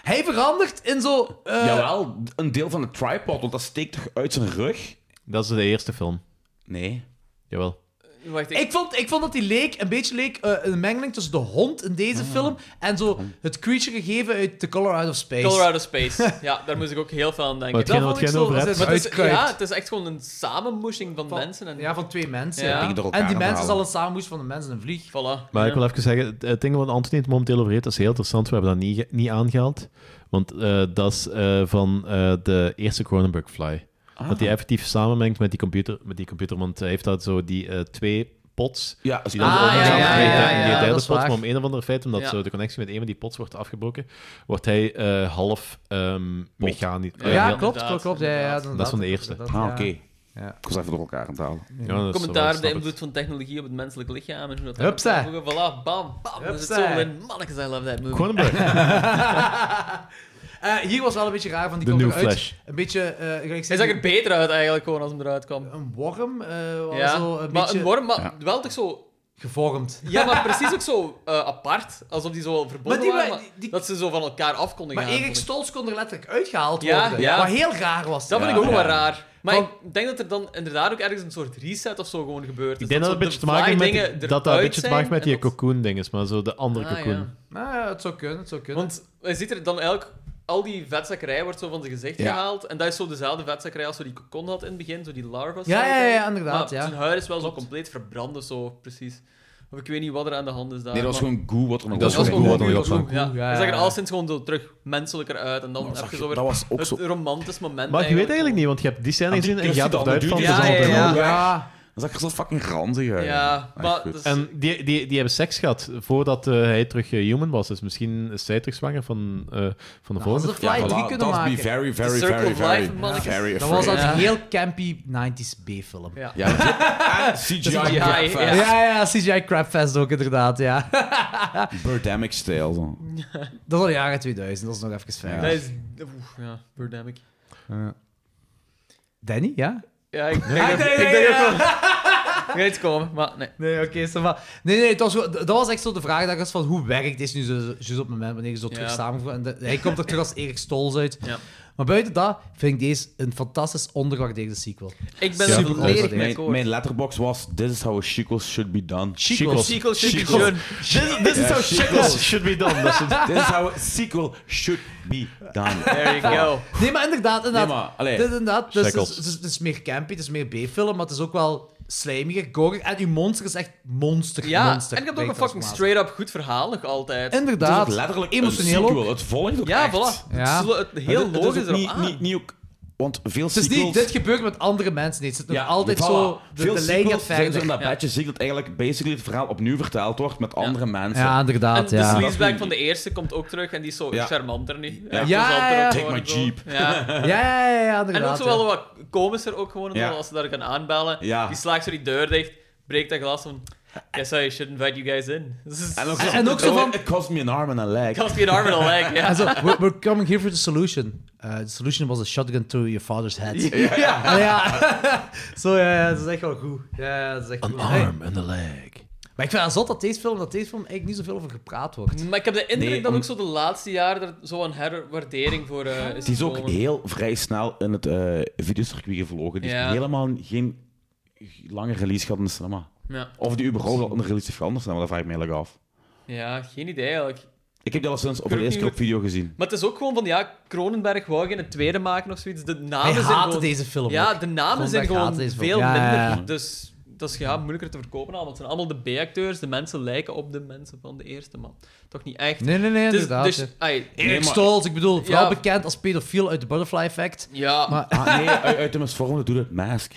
Hij verandert in zo... eh, Jawel, een deel van de tripod, want dat steekt toch uit zijn rug? Dat is de eerste film. Nee. Jawel. Wacht, Ik vond, ik vond dat die leek, een beetje leek eh, een mengeling tussen de hond in deze Mhm. film en zo het creature gegeven uit The Color Out of Space. Colorado Space. Ja, daar moest ik ook heel veel aan denken. Maar hetgeen wat jij nou over hebt. Maar het is, Uitkruid. ja, het is echt gewoon een samenmoesing van, mensen. En, Ja, van twee mensen. Ja. ja. Tegen En die mensen is al een samenmoes van de mensen en een vlieg. Voilà. Maar ik Ja. wil even zeggen, het- het ding wat Anthony het momenteel over heeft, dat is heel interessant. We hebben dat niet, ge- niet aangehaald. Want eh, dat is eh, van eh, de eerste Cronenberg-fly. Ah. Dat die effectief samenmengt met die computer. Met die computer want hij heeft dat zo die eh, twee pots. Ja, die ah, dan zo ja, omgaan. ja, Die ja, derde- ja, die ja, derde dat pot, is waar. maar om een of andere feit, omdat Ja. zo de connectie met een van die pots wordt afgebroken, wordt hij eh, half ehm mechanisch. Ja, eh, heel- klopt, klopt, klopt. Ja, ja, inderdaad. Dat is van de eerste. Dat- Ah, ja. oké. Ja. Ik was even door elkaar aan het halen. Ja, dat is wel- Commentaar snap de het. invloed van technologie op het menselijk lichaam en hoe dat Hupsa. Voilà, bam, bam. Dat is het zo Hupsa. in. Mannekes, I love that movie. Cronenberg. Eh, hier was wel een beetje raar van die De komt new eruit. Flash. Een beetje... eh, gelijk Hij zag er beter uit eigenlijk gewoon als hem eruit kwam. Een worm? eh, was ja, zo een maar beetje een worm, maar wel toch zo... gevormd. Ja, maar precies ook zo eh, apart. Alsof die zo wel verbonden Maar die waren, wa- maar dat ze zo van elkaar af konden Maar gaan. Erik Stolz kon er letterlijk uitgehaald Ja, worden. ja. Wat heel raar was. Dat vind ik ook Ja. wel raar. Maar Van- ik denk dat er dan inderdaad ook ergens een soort reset of zo gewoon gebeurt. Ik denk dat het een beetje te maken met, dat dat een beetje te maken met die cocoon-dinges, maar zo de andere Ah, cocoon. ja. Nou ja, het zou kunnen, het zou kunnen. Want hij ziet er dan eigenlijk... Al die vetzakkerij wordt zo van zijn gezicht Ja. gehaald. En dat is zo dezelfde vetzakkerij als zo die cocon had in het begin. Zo die larva. Ja, ja, ja, ja, inderdaad, Maar ja. zijn huid is wel zo compleet verbrand of zo, precies. Of ik weet niet wat er aan de hand is daar. Nee, dat was maar- gewoon goo wat er nog Dat op is gewoon zat. goo wat er nog op Dat was zat. gewoon Ja, goo. hij zag er alleszins gewoon zo terug menselijker uit. En dan heb je zo weer dat was ook het zo. romantisch moment Maar je weet eigenlijk. eigenlijk niet, want je hebt die scène En die gezien en je Kirsten gaat Dunst ervan uit van dat doet die is dus altijd altijd een wel hoop. weg. Dan zag ik er zo fucking ranzig uit. Ja, Echt maar dus goed. dat is- En die, die, die hebben seks gehad voordat eh, hij terug eh, human was. Dus misschien is zij terug zwanger van, eh, van de volgende. hadden ze Fly Ja, drie voilà. kunnen dat was maken. be very, The very, Circle very, of very, Life, mannetjes. very Dat was als afraid. een heel campy 90s B-film. Ja. Ja, en CGI Dat is een- crapfest. Ja, ja, CGI Crapfest ook inderdaad, ja. Birdemic style. Zo. Dat was al jaren 2000, dat is nog even ver. Dat is... Oef, ja, birdemic. Danny, ja? Ja, ik denk, Ah, dat- nee, ik nee, denk ja. ook wel... Ik weet het komen, maar nee. Nee, oké, ça va. Nee, nee, het was, gewoon- dat was echt zo de vraag dat ik was van hoe werkt dit nu zo, zo- juist op het moment wanneer je zo terug Ja. samenvoegt. En de- hij komt er terug als Erik Stolz uit. Ja. Maar buiten dat vind ik deze een fantastisch ondergewaardeerde sequel. Ik ben Super er volledig mee ondergewaardeerd. Mijn, mijn letterbox was: This is how sequels should be done. Sequels. Sequels should be done. This, this is Ja, how sequels. shekels should be done. Dat is het. This is how a sequel should be done. There you go. Nee, maar inderdaad, inderdaad. Nee, maar, allee. Dit- inderdaad dus, het is- Shackles. het, is, het is meer campy, het is meer B-film, maar het is ook wel slijmiger, goriger. En uw monster is echt monster, Ja, monster. en ik heb ook bij een fucking transformatie. straight-up goed verhaal nog altijd. Het is Inderdaad. ook letterlijk emotioneel een sequel. ook. Het volgt ook Ja, echt. voilà. Ja. Het is lo- het- Het- heel het is logisch ook erop niet, aan. Niet, niet ook, want veel Het is sequels... niet, dit gebeurt met andere mensen. Nee, het zit nog Ja, altijd voilà. zo, de, Veel de lijn gaat sequels zijn zo in verder. dat bedje ziek dat eigenlijk basically het verhaal opniw verteld wordt met andere mensen. Ja, En inderdaad, de ja. sleazebag van de eerste komt ook terug en die is zo Ja. charmanter nu. Ja. Echt Ja, zo zal het er ja, ook ja. gewoon Take my zo. Jeep. Ja. Ja, ja, ja, ja, En ook inderdaad. zo ja. wel wat komischer ook gewoon, Ja. als ze daar gaan aanbellen. Ja. Die slaagt zo die deur dicht, breekt dat glas van... Guess I should invite you guys in. Dus This is- En ook zo, Oh, It cost me an arm and a leg. Cost me an arm and a leg, ja. En zo, we're, we're coming here for the solution. Uh, the solution was a shotgun to your father's head. Ja. Ja. ja. Zo, ja, ja, dat is echt wel goed. Ja, ja, dat is echt An goed. arm and a leg. Maar ik vind het zot dat deze film, dat deze film eigenlijk niet zoveel over gepraat wordt. Maar ik heb de indruk Nee, dat om- ook zo de laatste jaren er zo'n herwaardering voor eh, is Het is ook gekomen. heel vrij snel in het eh videocircuit gevlogen. Dus Ja. helemaal geen lange release gehad in de cinema. Ja. Of die überhaupt al een release heeft gehad in de cinema, dat vraag ik me eigenlijk af. Ja, geen idee eigenlijk. Ik heb die al sinds op Ik de weet eerste keer niet op video gezien. Maar het is ook gewoon van, ja, Kronenberg wou geen tweede maken of zoiets. De namen Hij zijn haatte gewoon... deze film Ja, ook. de namen Kronenberg zijn gewoon haatte deze film. veel Ja, minder. ja, ja. Dus dat is ja, moeilijker te verkopen aan, want het zijn allemaal de B-acteurs. De mensen lijken op de mensen van de eerste man. Toch niet echt? Nee, nee, nee, Het is- inderdaad. dus- ja. ai, Erik nee, maar- Stoltz, ik bedoel, vooral Ja. bekend als pedofiel uit de Butterfly Effect. Ja. Maar, Ah, nee, uit, uit de misvormde doet het Mask.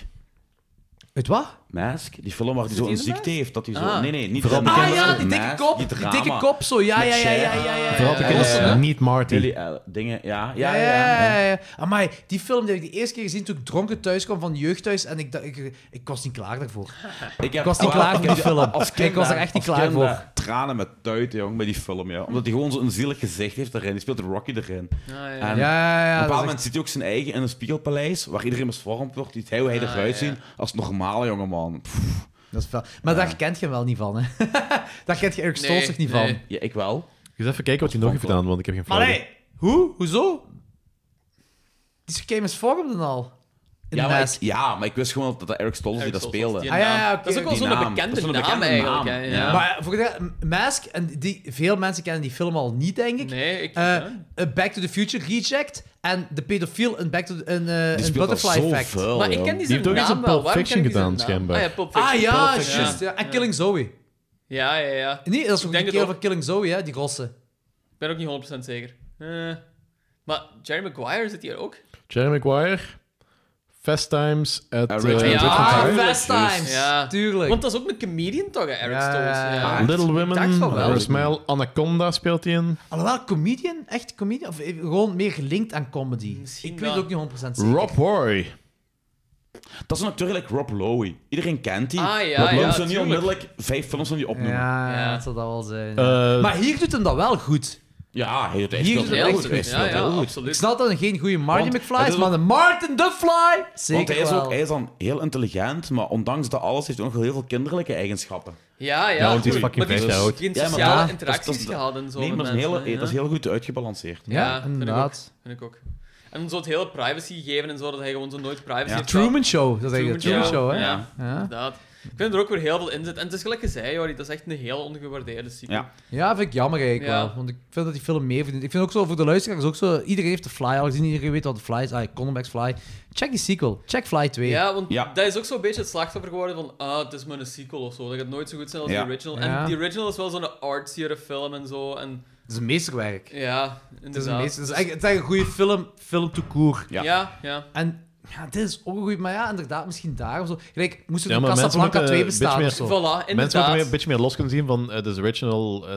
Uit wat? Mask, die film waar hij zo'n ziekte heeft. Dat hij zo... Ah. Nee, nee, niet Vooral Mask, bekend- Ah, ja, die dikke Mask, kop, Die, die drama dikke kop zo, ja, met ja, ja, Cher. ja, ja, ja, Vooral ja, bekend ja, als ja. Niet Marty. Billy Ell- eh, dingen, ja. Ja, ja, ja. ja, ja. Amai, die film die heb ik de eerste keer gezien toen ik dronken thuis kwam van jeugdhuis en ik, dacht- ik, ik was niet klaar daarvoor. Ik, heb- was niet ah, klaar ik voor heb die film. als kind Ik was er daar- echt niet als klaar kind voor. daar Tranen met tuiten, jong, bij die film, ja. Omdat hij gewoon zo'n zielig gezicht heeft erin. Die speelt Rocky erin. ja. En Ja, Ah, ja, ja, Op een dat is bepaald moment zit hij ook zijn eigen in een spiegelpaleis, waar iedereen misvormd wordt, die hij hoe hij Ah, eruit ja. zien als normale jongeman. Pff. Dat is wel... Maar daar kent je wel niet van, hè? daar kent je Eric Stoltz toch niet van. Ja, ik wel. Dus even kijken wat hij nog heeft gedaan, want ik heb geen Maar flauw idee. nee, hoe? Hoezo? Die is misvormd dan al. In Ja de maar, ik, mes. ja, maar ik wist gewoon dat dat Eric Stolz die dat speelde. Ah, ja, ja, oké. Dat is ook wel Die zo'n naam. bekende, Dat is zo'n naam bekende eigenlijk. naam. hè, Ja. Maar eh, voor de, Mask, en die, veel mensen kennen die film al niet, denk ik. Nee, ik... Eh, eh, Back to the Future, Reject. En de pedofiel in, Back to the, in, eh, in speelt al Butterfly zo Effect. veel, Maar ik ken die Die heeft ook eens een Pulp Fiction gedaan, dus schijnbaar. Ah ja, Pulp Ah Fiction. ja, Pulp Fiction. juist. Ja. En Killing Zoe. Ja, ja, ja. Nee, dat is Ik ook denk een het keer ook. van Killing Zoe, hè, die gosse. Ik ben ook niet 100% zeker. Eh, maar Jerry Maguire zit hier ook. Jerry Maguire, Fast Times at Ah, eh, Richmond. Richmond Ah, High. Fast Times. Ja. Tuurlijk. Want dat is ook een comedian toch, hè, Eric Ja, Stoltz? ja, Ah, ja. Ja. Little dacht Women, van wel. Smile, Anaconda speelt hij in. Alhoewel, comedian? Echt comedian? Of eh, gewoon meer gelinkt aan comedy? ik weet wel. het ook niet 100% zeker. Rob Roy. Dat is natuurlijk Rob Lowe. Iedereen kent die. Ah, ja, Rob Lowe ja, zou niet tuurlijk. onmiddellijk vijf films van die opnoemen. Ja, Ja, ja, Ja. dat zou dat wel zijn. Eh, maar hier doet hem dat wel goed. hij doet echt Hier heel is het goed. echt Hij speelt Ja, ja, heel goed. Ik absoluut. snap dat hij geen goede Marty Want McFly het is, is maar de Martin the Fly! Zeker Want hij is, wel. ook, hij is dan heel intelligent, maar ondanks dat alles heeft hij ook nog heel veel kinderlijke eigenschappen. Ja, ja. Ja, want die is goed. fucking Maar die dus vijf jaar oud. Geen Ja, maar sociale dat- dat- interacties dat- dat- gehad en zo. nee, met maar dat is, een mensen, hele- hè, dat is ja. heel goed uitgebalanceerd. Ja, inderdaad. Vind ik ook. Vind ik ook. En zo het hele privacy gegeven en zo, dat hij gewoon zo nooit privacy Ja. heeft gehad. Truman Show, dat is eigenlijk de Truman Show, hè? Ja, Ja. inderdaad. Ik vind er ook weer heel veel in zit. En het is gelijk gezegd, Jordi, dat is echt een heel ongewaardeerde sequel. Ja. Ja, vind ik jammer eigenlijk Ja. wel. Want ik vind dat die film meer verdient. Ik vind ook zo voor de luisteraars ook zo. Iedereen heeft de Fly al gezien, iedereen weet wat de Fly is. Ah, Connex Fly. Check die sequel. Check Fly 2. Ja, want Ja. dat is ook zo'n beetje het slachtoffer geworden van, ah, het is maar een sequel of zo. Dat gaat nooit zo goed zijn als Ja. de original. Ja. En die original is wel zo'n artsiere film en zo. En Het is een meesterwerk. ja, Het is, een inderdaad. meester, het, is eigenlijk, het is eigenlijk een goede film, film to court. ja. Ja. ja, En ja, dit is ook een goeie, maar ja, inderdaad, misschien daar of zo. Gelijk, moest er Ja, een maar mensen Casablanca moeten 2 een beetje bestaan meer- of zo. Voilà, Mensen moeten weer inderdaad. een beetje meer los kunnen zien van eh, de original. eh,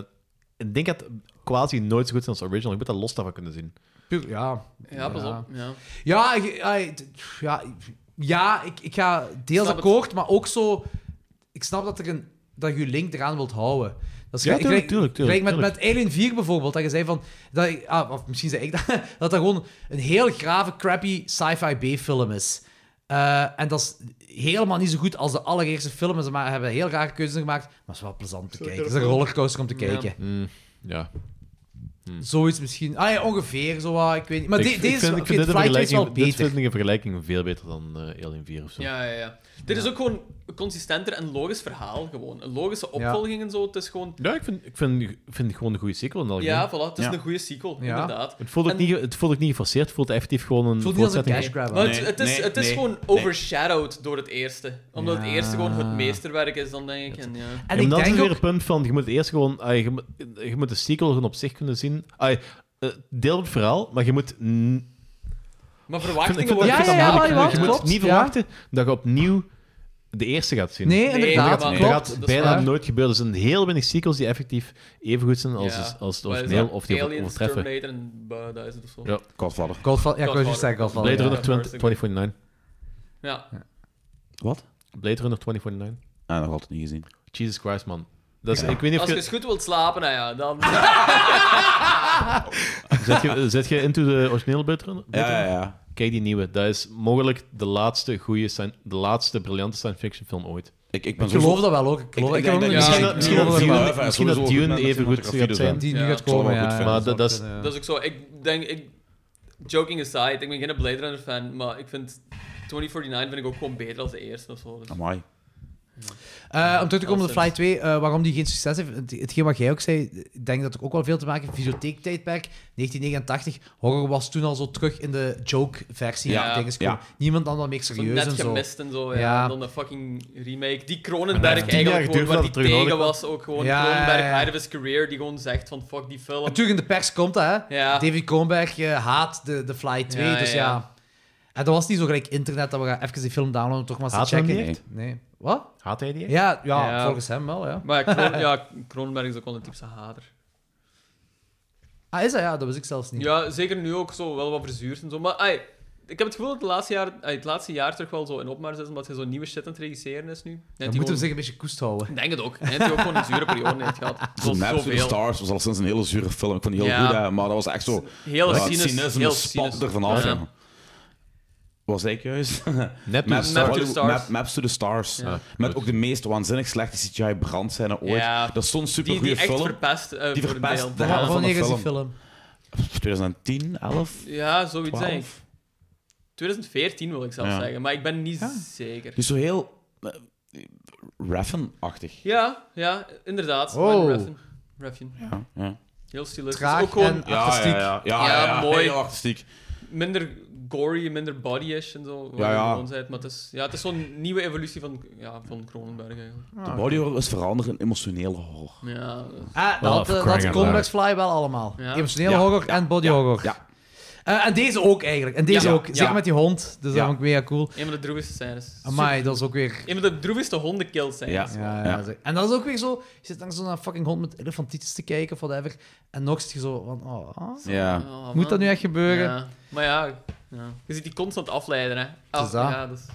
ik denk dat quasi nooit zo goed zijn als de original. Ik moet dat los daarvan kunnen zien. Puur- ja. Ja, pas op. Ja. Ja, ik- ai, d- pff, ja, ik- ja ik, ik ga deels Snap het. akkoord, maar ook zo... Ik snap dat, er een, dat je link eraan wilt houden. Dat is Ja, gelijk- tuurlijk, gelijk- tuurlijk, tuurlijk, gelijk met, tuurlijk. met Alien 4 bijvoorbeeld, dat je zei van... Dat, ik- ah, of misschien zei ik dat, dat dat gewoon een heel grave, crappy sci-fi B-film is. Eh, en dat is helemaal niet zo goed als de allereerste film. En Ze ma- hebben heel rare keuzes gemaakt, maar het is wel plezant te kijken. Het is een rollercoaster om te Ja. kijken. Mm, ja. Zoiets misschien. Ah ja, ongeveer, zo wat, ik weet niet. Maar ik, de- ik deze vind, is- ik oké, vind de dit, een Flight is wel vergelijking, dit beter. vind ik een vergelijking veel beter dan eh, Alien 4 of zo. Ja, ja, ja. Dit is ook gewoon een consistenter en logisch verhaal. Gewoon. Een logische opvolging en zo. Het is gewoon... Ja, ik vind, ik vind, ik vind het gewoon een goede sequel. In het algemeen. Ja, voilà. Het is Ja. een goede sequel, Ja. inderdaad. het, voelt ook En- niet, ge- het voelt ook niet geforceerd. Het voelt effectief gewoon een Het voelt niet als een voortzetting. cash grab. Maar aan. het, Nee, het is, nee, het is nee, gewoon nee. overshadowed door het eerste. Omdat het Ja. eerste gewoon het meesterwerk is, dan denk ik. En, ja. En ik Ja, maar dat is denk weer ook... het punt van, je moet het eerst gewoon, ah, je, moet- je moet de sequel gewoon op zich kunnen zien. Ah, eh, deel het verhaal, maar je moet... n- Maar ik vind- ik verwachtingen vind worden... Ja, dat ja, ja, moeilijk. jawel, je moet klopt, niet ja. verwachten dat je opnieuw de eerste gaat zien. Nee, Nee, inderdaad, maar- dat nee. klopt. gaat dat is bijna waar. nooit gebeuren. Er zijn heel weinig sequels die effectief even goed zijn als, Ja. als het Wat is origineel dat? of die Aliens, overtreffen. Terminator en bah, duizend of zo. Ja. Godfather. Godfall, ja, ik wou juist Godfather. zeggen Godfather. Blade Ja. Runner 20, 2049. Ja. Wat? Blade Runner 2049. Ah, nog altijd niet gezien. Jesus Christ, man. Dat is, Ja. Ik weet niet of Als je... je eens goed wilt slapen, nou ja, dan... Zet je, eh, zet je into de originele Blade Ja, ja, ja. Kijk die nieuwe. Dat is mogelijk de laatste goede, sci- de laatste briljante science fiction film ooit. Ik, ik, ben Ik zo- geloof dat wel ook. Ik geloof- ik heb ook nog misschien niet- dat, misschien dat ik geloof dat wel. Dune, Ja, misschien dat sowieso Dune goed even met goed gaat zijn. Die nu gaat komen, ja, ja, Maar dat dat, zou dat is... Dat is ook zo. Dus Ik denk, ik, joking aside, ik ben geen Blade Runner fan, maar ik vind 2049 vind ik ook gewoon beter als de eerste of zo. Dus. Amai. Eh, om terug te komen op de Nonsens. Fly 2, eh, waarom die geen succes heeft. het- Hetgeen wat jij ook zei, ik denk dat het ook wel veel te maken heeft. Videotheektijdperk, 1989. Horror was toen al zo terug in de joke-versie. Ja, Ja, dingen ja. kwam. Niemand dan wel meer Zo serieus net en zo. gemist en zo, ja. En dan de fucking remake. Die Maar Cronenberg dat heeft tien jaar eigenlijk gewoon, geduurd waar voordat die het terug nodig tegen was. was, ook gewoon Ja, Cronenberg, ja, ja. out of his career, die gewoon zegt van fuck die film. Natuurlijk, in de pers komt dat, hè. Ja. David Kronberg eh, haat de, de Fly 2, Ja, ja, dus ja. ja. En dat was niet zo gelijk internet, dat we gaan even die film downloaden om toch maar eens Haat te hem checken. niet? Nee. Wat? Haat hij die echt? Ja, ja, volgens hem wel, ja. Maar ja, Kron- ja, Cronenberg is ook wel een typische hader. ah, is dat? Ja, dat was ik zelfs niet. Ja, zeker nu ook zo wel wat verzuurd en zo. Maar ai, ik heb het gevoel dat het laatste jaar, ai, het laatste jaar terug wel zo in opmars is, omdat hij zo nieuwe shit aan het regisseren is nu. En Dan moeten die we gewoon- zich een beetje koest houden. Ik denk het ook. En hij heeft ook gewoon een zure periode heeft gehad. Zo'n Zoals Maps to the zoveel. Stars was al sinds een hele zure film. Ik vond die heel Ja. goed, hè, maar dat was echt zo... Heel ja, cynisch, cynisme heel spat cynisch. er vanaf. Ja. ja. Was ik juist? Maps to the Maps- Stars. Hollywood- Map- Stars. Maps, to the Stars. Ja. Ah, Met ook de meest waanzinnig slechte CGI-brandscène ooit. Ja. Dat is zo'n Die- die supergoeie echt film. verpest, eh, die voor een deel. verpest Wa- de helft van de wanneer is die film. 2010, 11? Ja, zoiets zijn. 12. 2014 wil ik zelf Ja. zeggen, maar ik ben niet zeker. Die is zo heel... eh, Raffen-achtig. Ja, ja, inderdaad. Oh. Wayne Refn. Refn. Ja, ja. Heel stilistisch. Traag ook gewoon... en Ja, artistiek. ja, ja. Ja, ja, ja. mooi. Heel artistiek. Minder gory, minder body-ish en zo. Ja, Ja, ja. ja. Bent, maar het is, ja, het is zo'n nieuwe evolutie van, ja, van Kronenberg eigenlijk. De body horror is veranderen in emotionele horror. Ja. Ah, dat had, eh, dat had Complex Fly wel allemaal. Ja. Emotionele Ja, horror en body horror. Eh, en deze ook eigenlijk. En deze Ja. ook. Ja. Zeker met die hond. Dus Ja. dat vond ik mega cool. Een van de droevigste scènes. Amai, Super. dat is ook weer- Een van de droevigste hondenkills zijn. Ja. Ja, ja, zeg. En dat is ook weer zo. Je zit langs zo'n fucking hond met elefantitis te kijken of whatever. En nog zit je zo van. Oh, ah, Ja. Moet dat nu echt gebeuren? Ja. Maar ja, ja, je ziet die constant afleiden, hè. Ah, Het is dat. Ja, dat is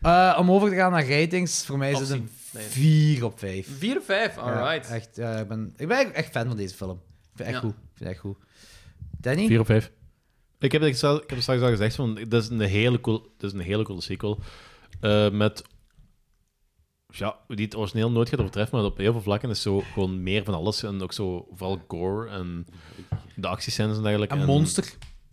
Eh, om over te gaan naar ratings, voor mij is het een Afzien. Nee. 4 op 5. 4 op 5, alright. Ja, echt, ja, ik, ben, ik ben eigenlijk echt fan van deze film. Ik vind het echt Ja. goed. Ik vind het echt goed. Danny? 4 op 5. Ik heb, het zelf- ik heb het straks al gezegd, van, dat, is een hele cool, dat is een hele coole sequel. Eh, met, ja, die het origineel nooit gaat overtreffen, maar op heel veel vlakken is zo gewoon meer van alles. En ook zo, vooral gore en de actiescènes en dergelijke. En monster.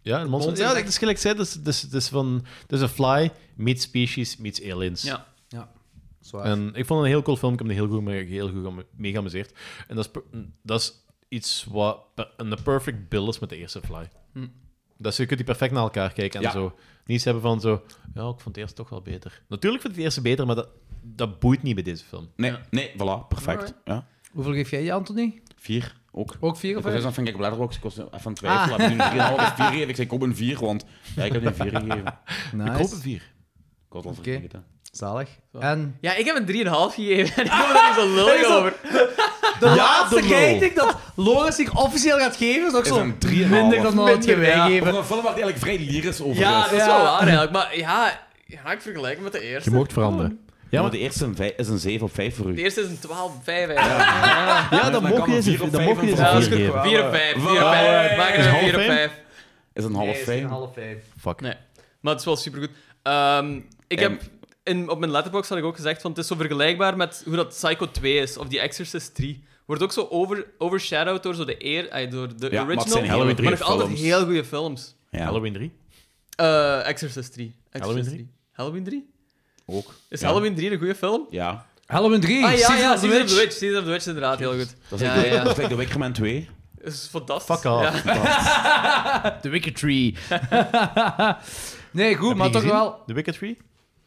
Ja, en monster. Monster. Ja, dat is gelijk zei, dat is, dat is, dat is van, dat is een fly meets species meets aliens. Ja. Ja. Zwaar. En ik vond het een heel cool film. Ik heb me heel goed, mee- heel goed geme- mee geamuseerd. En dat is, per- dat is iets wat per- een perfect bill is met de eerste Fly. Hm. Dat is, je kunt die perfect naar elkaar kijken en Ja. zo. Niets hebben van zo... Ja, ik vond het eerste toch wel beter. Natuurlijk vind ik het eerste beter, maar dat, dat boeit niet bij deze film. Nee, nee, voilà, perfect. Alright. Ja. Hoeveel geef jij je, Anthony? Vier, ook. Ook vier of Ik was vijf? even van, kijk, Letterboxd, ik was even aan het twijfelen. Heb ik nu een 4,5 of vier gegeven? Ik zei, ik hoop een vier, want ja, ik heb een vier gegeven. Nice. Ik hoop een vier. Ik had het al Oké. vergeten. Zalig. En... Ja, ik heb een 3,5 gegeven en ik heb er niet zo lullig Zo, over. De Ja, laatste de lul. rating dat Loris zich officieel gaat geven is ook Is zo een 3,5. minder dan wat je wij Ja, geven. voor een film waar die eigenlijk vrij lyrisch over Ja, is. dat is wel waar eigenlijk. Maar ja, ja ik vergelijk hem met de eerste. Ja, maar de eerste een vij- is een 7 op 5 voor u. De eerste is een 12 op 5 Ja, dan mocht je deze- dan mocht je deze vier geven. 4 op 5, 4 Ah, op Voilà. 5. Maak Is er een half 4 op fame? 5. Is een half Nee, is fame? een half fame. Fuck. Nee. Maar het is wel supergoed. Ehm ik En- heb... In, op mijn letterbox had ik ook gezegd, van, het is zo vergelijkbaar met hoe dat Psycho 2 is, of die Exorcist 3. Wordt ook zo over, overshadowed door, zo de, eer, eh, door de maar het original. zijn hele goeie maar nog altijd films. heel goede films. Ja. Halloween 3? Eh, Exorcist 3. Halloween Exorcist 3? Halloween 3? Ook. Is Ja. Halloween 3 een goede film? Ja. Halloween 3, Ah, ja, Season ja, of the Season of the Witch. Witch. Season of the Witch, inderdaad, heel goed. Dat is ja, like de- ja. dat is like de Wicker Man 2. Dat is fantastisch. Fuck off. Ja. The Wicked Tree. nee, goed, maar toch wel... The Wicked Tree?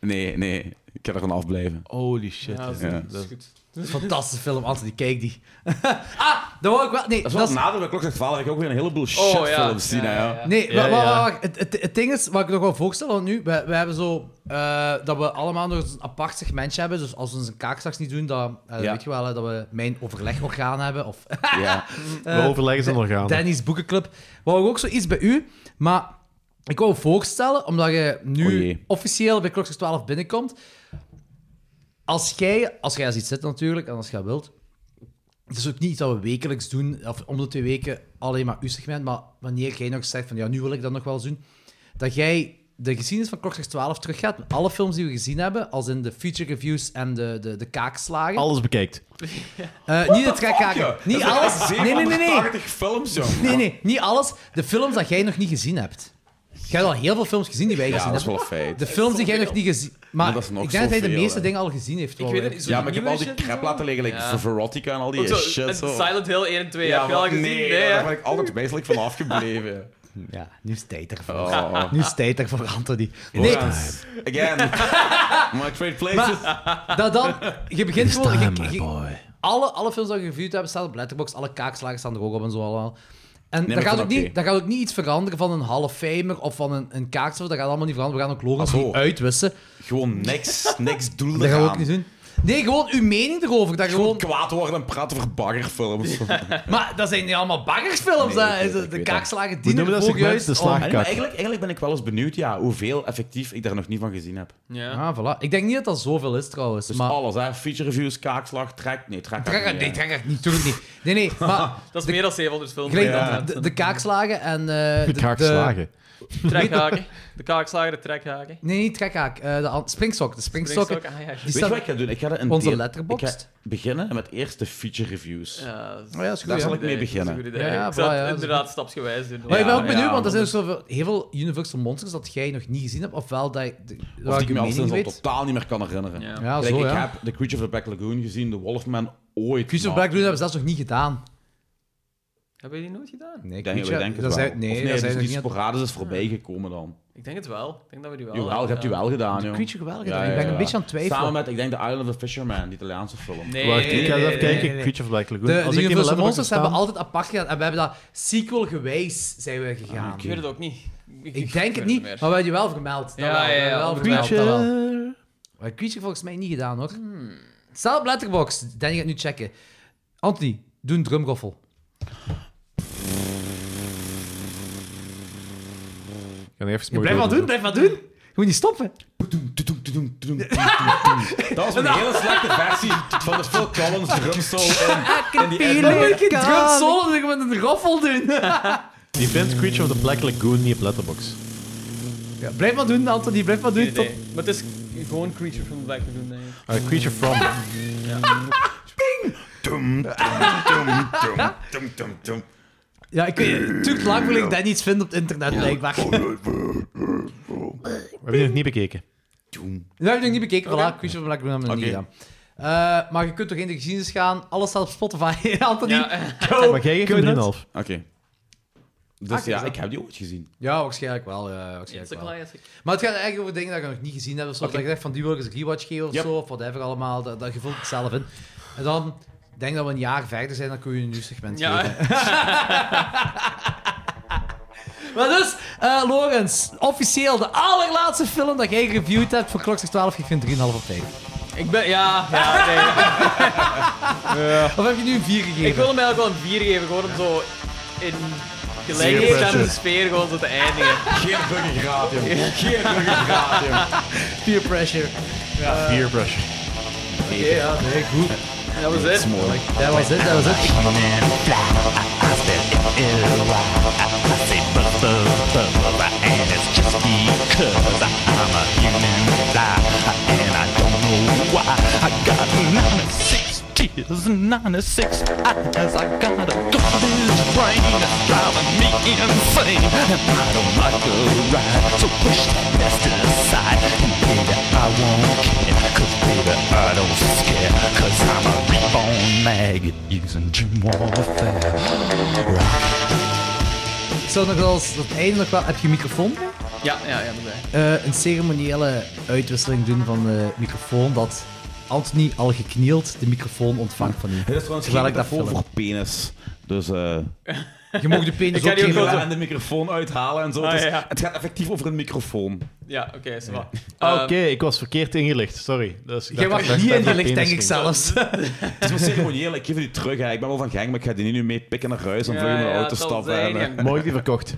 Nee, nee. Ik ga er vanaf blijven. Holy shit. Ja, Ja, dat is- Dat is goed. Een fantastische film, Anthony, kijk die. ah, dat wou ik wel... Nee, Dat is wel nader bij klok zegt 12. Ik heb ook weer een heleboel Oh, shitfilms ja. zien. hè, Ja, Nee, wa- wa- wa- wa- Het, het, het ding is, wat ik nog wel voorstel want nu, we, we hebben zo eh, dat we allemaal nog eens een apart segmentje hebben. Dus als we onze kaak straks niet doen, dan eh, Ja. weet je wel hè, dat we mijn overlegorgaan hebben. Of, Ja. Eh, We overleggen zijn Da- organen. Danny's boekenclub. Wou ik ook zoiets bij u, maar ik wou voorstellen, omdat je nu O jee. officieel bij Kloksters 12 binnenkomt. Als jij, als jij iets zit natuurlijk, en als jij wilt, het is ook niet iets dat we wekelijks doen, of om de twee weken alleen maar uw segment, maar wanneer jij nog zegt van ja, nu wil ik dat nog wel eens doen, dat jij de geschiedenis van Klokslag 12 teruggaat, met alle films die we gezien hebben, als in de feature reviews en de, de, de kaakslagen. Alles bekijkt. Eh, niet het trekhaken. Niet alles. Nee, nee, nee. nee. 80 films, jong. Nee, nee, niet alles. De films dat jij nog niet gezien hebt. Jij hebt al heel veel films gezien die wij gezien dat is hebben. wel een feit. De films die jij nog niet gezien Maar Maar dat is nog ik denk dat hij de zoveel, meeste hè. dingen al gezien heeft. wel, hè. ja, maar ik heb al die crap laten liggen, like Ja. Verotica en al Ook die zo, shit. het Zo. Silent Hill 1 en 2, heb je maar- al gezien? Nee, Nee, daar hè? ben ik altijd meeselijk van afgebleven. Ja, nu is het tijd ervoor. Oh. Nu is het tijd ervoor, Anthony. Nee. Nee, Again. My trade places. maar dat dan... Je begint gewoon... je- je- alle, alle films die je geviewd hebt, staan op Letterboxd. Alle kaakslagen staan er ook op en zo allemaal. En maar dat, ik gaat vind ook dat niet, dat gaat ook niet iets veranderen van een half famer of van een, een kaakslag. Dat gaat allemaal niet veranderen. We gaan ook logisch Azo. niet uitwissen. Gewoon niks, niks doel Dat gaan we ook eraan. niet doen. Nee, gewoon uw mening erover. Dat gewoon... kwaad worden en praten over baggerfilms. Maar dat zijn niet allemaal baggersfilms. Nee, hè. ik weet dat, de ik weet kaakslagen dat. dienen ervoor juist om- Nee, maar eigenlijk, eigenlijk ben ik wel eens benieuwd ja, hoeveel effectief ik daar nog niet van gezien heb. Oh, Ja, voilà. Ik denk niet dat dat zoveel is trouwens. Dus maar... alles, hè. Feature reviews, kaakslag, track. Nee, track. Trek het niet, trek het niet, doe het niet. Nee, nee, maar Dat is meer dan 700 films. gelijk de, de kaakslagen en... eh, de, de- Trekhaken. De kaakslagen, de trekhaken. Nee, niet trekhaak. eh, de an- springstok. De springstokken. Springstokken, ah, ja, ja. die Weet je staan- wat ik ga doen? Ik ga er een Onze deel- letterboxd. Ik ga beginnen met eerst de feature reviews. Ja, Oh ja, dat is goed, Daar ja. zal Nee, ik mee dat is een beginnen. goed idee. Ja, ja, ik zou voilà, ja, het dat is inderdaad stapsgewijs doen. Maar ik ben ook Ja, benieuwd, ja, want er zijn dus zoveel, heel veel Universal Monsters dat jij nog niet gezien hebt. Ofwel dat je de- Of waar die ik ik je me al mening sinds al weet. totaal niet meer kan herinneren. Ja. Ja, Kijk, zo, ik ja. heb The Creature of the Black Lagoon gezien, The Wolfman ooit. Cruise of maar- Black Lagoon hebben ze zelfs nog niet gedaan. Hebben jullie die nooit gedaan? Nee, Denk, Creature- we denken dat het zijn- wel. nee, Of dat nee, zijn dus nog die niet- sporades is voorbij gekomen dan. Ik denk het wel. Ik denk dat we die wel Jawel, je hebt u wel gedaan, joh. Creature wel gedaan. Ik ben een beetje aan het twijfelen. Samen met, ik denk, The Island of the Fisherman, die Italiaanse film. Nee, Wacht, ik ga nee, even nee, kijken. nee, nee. Creature of Black Lagoon. De, Als de ik die Universal wel Monsters hebben staan- altijd apart gedaan. En we hebben dat sequel-gewijs zijn we gegaan. Ah, Ik weet het ook niet. Ik denk het niet, maar we hebben je wel vermeld. Dat Ja, wel, we ja, ja, hebben wel Creature. Hmm. vermeld, dat wel. Maar Creature volgens mij niet gedaan, hoor. Staat op Letterboxd. Danny gaat nu checken. Anthony, doe een drumroffel. Ik ga even Je blijft maar doen, blijf maar doen. Je moet niet stoppen. Dat was een hele slechte versie van de Phil Collins drumsolo in, in die Dan Edinburgh. moet je een drumsolo doen, je moet een roffel doen. Die vindt Creature of the Black Lagoon niet op Letterboxd. Ja, blijf maar doen, Anthony. Blijf maar doen. Nee, nee. Maar het is gewoon Creature from the Black Lagoon, denk ik. Eh, creature from. Dum, dum, dum, dum, dum, dum, dum. Tot- Ja, ik weet het. Tuurlijk lang wil ik dat niet vinden op het internet, blijkbaar. We hebben die nog niet bekeken. Oh, Dat heb ik nog niet bekeken. Voilà, Creature of the Black Lagoon hebben we nog niet gedaan. Eh, maar je kunt toch in de geschiedenis gaan. Alles staat op Spotify, Anthony. Go. Maar jij geeft hem Go een nuts. 3,5. Oké. Dus Ah, kijk ja, eens ik heb die ooit gezien. Ja, waarschijnlijk wel. Ja, waarschijnlijk It's a wel. classic. Maar het gaat eigenlijk over dingen dat je nog niet gezien hebt. Of zo. Dat je zegt van die wil ik eens een rewatch geven of Yep. zo. Of whatever allemaal. Dat, dat je vult het zelf in. En dan ik denk dat we een jaar verder zijn. Dan kun je een nieuw segment Ja. geven. maar dus, eh Lorenz, officieel de allerlaatste film dat jij reviewed hebt voor Klokslag 12. Ik vind 3,5 op 5. Ik ben... Ja, ja, nee. Of heb je nu een 4 gegeven? Ik wil hem eigenlijk wel een 4 geven, gewoon om zo in pressure. gelijkgestemde sfeer gewoon zo te eindigen. Geen buggengraad, joh. Geen buggengraad, joh. Peer pressure. Fear Brush. Ja, nee, goed. Dat was het. Mooi. Dat was het, dat was het. Ik zou nog wel eens op het einde nog wel... Heb je microfoon? Ja, ja, ja, dat is het. Eh, een ceremoniële uitwisseling doen van de microfoon dat Anthony al geknield de microfoon ontvangt van u. Dit is trouwens Terwijl geen ik dat microfoon film. voor penis. Dus eh Je mag de penis Ik ga die ook ook wel geen- zo- en de microfoon uithalen en zo. Ah, Dus ja. Het gaat effectief over een microfoon. Ja, oké, is wel. Ehm, eh, Oké, ik was verkeerd ingelicht, sorry. Dus, Eh. Jij was niet in de licht, denk ik zelfs. Het is wel ceremonieel, ik geef die terug. Hè. Ik ben wel van gang, maar ik ga die niet nu mee pikken naar huis en Ja, vlug in de ja, auto dat zal stappen. zijn, en, eh, ja. Mooi die verkocht.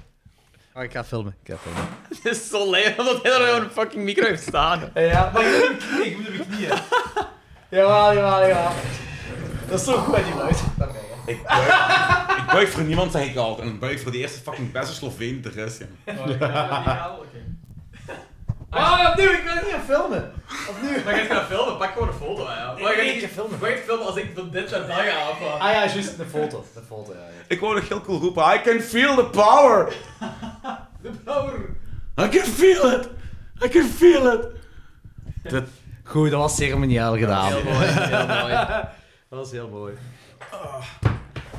Oh, ik ga filmen. Ik ga filmen. Het Eh, is zo leuk dat hij er gewoon een fucking micro heeft staan. Ja, maar ik moet op mijn knieën. Jawel, jawel, jawel. Dat is zo goed, die luid. Ik buig, ik buig voor niemand, zeg ik al. En ik buig voor de eerste fucking beste Sloveen die er is. Ja. Ah, opnieuw, ik wil het niet gaan filmen. Opnieuw. Maar je gaat gaan filmen, pak gewoon een foto. Ja. Nee, nee, ik ga filmen. Mag ik filmen als ik van dit jaar dag aanpak? Ah ja, juist, de foto. De foto, ja. ja. Ik wou nog heel cool roepen. I can feel the power. De power. I can feel it. I can feel it. Dat, Goed, dat was ceremonieel gedaan. heel mooi, heel mooi. dat was heel mooi.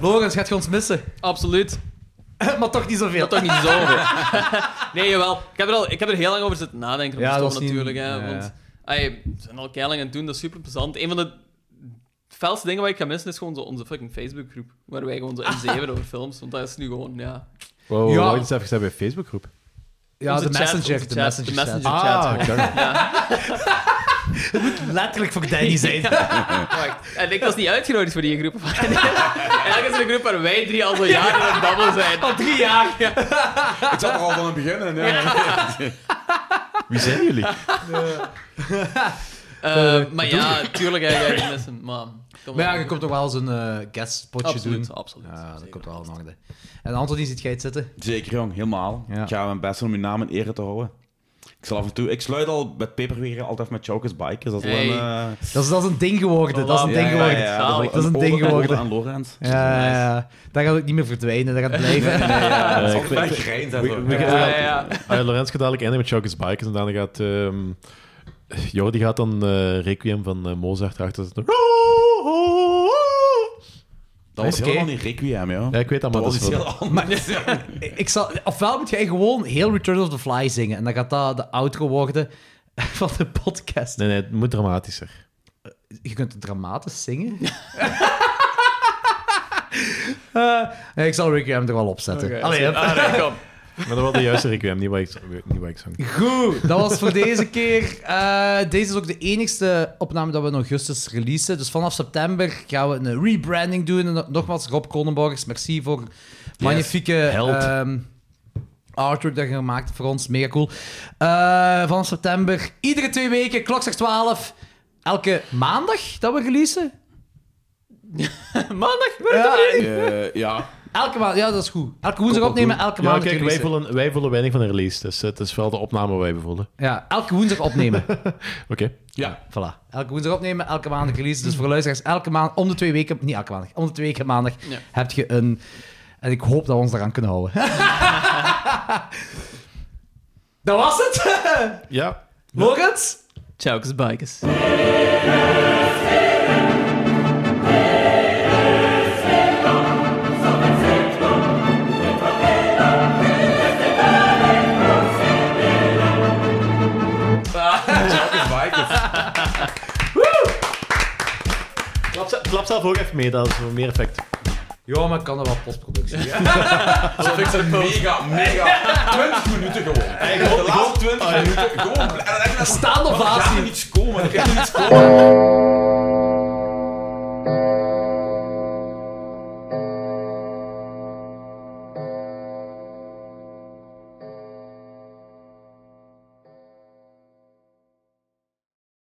Logans, gaat je ons missen? Absoluut. maar toch niet zoveel. Dat toch niet zo. nee, jawel. Ik heb, er al, ik heb er heel lang over zitten nadenken. Op Ja, ja, dat was niet- natuurlijk. Hè, ja, want ja. ai, we zijn al keilang aan het doen, dat is super plezant. Een van de felste dingen waar ik ga missen is gewoon zo onze fucking Facebookgroep. Waar wij gewoon zo in zeven over films. Want dat is nu gewoon, ja. Wow, wow, Ja. wacht eens even, zijn we een Facebookgroep? Ja, de Onze chat, messenger, onze de chat, messenger de messenger chat. chat. Ah, gewoon. oké. ja. Letterlijk voor Danny zijn. Wacht. En ik was niet uitgenodigd voor die groep. Eigenlijk is een groep waar wij drie al zo jaren aan het babbelen zijn. Al drie jaar. ik zat er al van aan het begin. in, Ja. Wie zijn jullie? Eh, maar ja, tuurlijk ga je het missen. Maar, kom Maar ja, op. je komt toch wel eens een eh guest spotje Absoluut, doen. absoluut. Ja, dat komt wel in orde. En Anthony, ziet jij het zitten? Zeker, jong. Helemaal. Ik ga mijn best doen om je naam in ere te houden. Ik zal af en toe... Ik sluit al met peperweren altijd met Chokers Bikers. Dat is wel Hey. een... eh, Dat is, dat is een ding geworden. Dat is een ding geworden. Zalig. Dat is een Een ding ode- geworden. ode aan Lorenz. Ja, ja, ja. Dat gaat ook niet meer verdwijnen. Dat gaat blijven. ja. Dat is Eh, altijd ik- een grijns, hè, we- zo. we- Ja, we- ja, ja. Ah, ja, Lorenz gaat dadelijk eindigen met Chokers Bikers en daarna gaat... ehm Jordi gaat dan eh, Requiem van eh, Mozart erachter zetten. Dat was Oké. helemaal niet Requiem, ja. Ja, ik weet dat, maar dat was dat is iets wel- heel anders. Ik zal, ofwel moet jij gewoon heel Return of the Fly zingen. En dan gaat dat de outro worden van de podcast. Nee, nee, het moet dramatischer. Je kunt het dramatisch zingen. Eh, nee, ik zal Requiem er wel op zetten. Oké, Allee, zet- hup. Allee, kom. Maar dat was de juiste Requiem, niet waar ik, niet waar ik zong. Goed, dat was voor deze keer. Eh, deze is ook de enigste opname dat we in augustus releasen. Dus vanaf september gaan we een rebranding doen. En no- nogmaals, Rob Kronenborgers, merci voor magnifieke held. ehm, artwork dat je gemaakt hebt voor ons. Mega cool. Eh, vanaf september, iedere twee weken, klok zegt 12. Elke maandag dat we releasen. Maandag? Ja, Eh, ja. elke maand, ja, dat is goed. Elke woensdag opnemen, elke Ja, maandag kijk, wij releasen. voelen, wij voelen weinig van een release, dus eh, het is wel de opname waar wij bevoelen. Ja, elke woensdag opnemen. Oké. Ja. Voilà. Elke woensdag opnemen, elke maandag release. Dus voor luisteraars, elke maand, om de twee weken, niet elke maandag, om de twee weken maandag Ja. heb je een. En ik hoop dat we ons daaraan kunnen houden. dat was het! Ja. Logans? Chokers Bikers. Chokers Bikers. Klap, ze- klap zelf ook even mee, dat is voor meer effect. Ja, maar ik kan dat wel postproductie. Dat is mega, mega. 20 minuten gewoon. De Oh, laatste 20 minuten gewoon. Staande Er gaat ovatie. er niets komen. Er gaat er niets komen.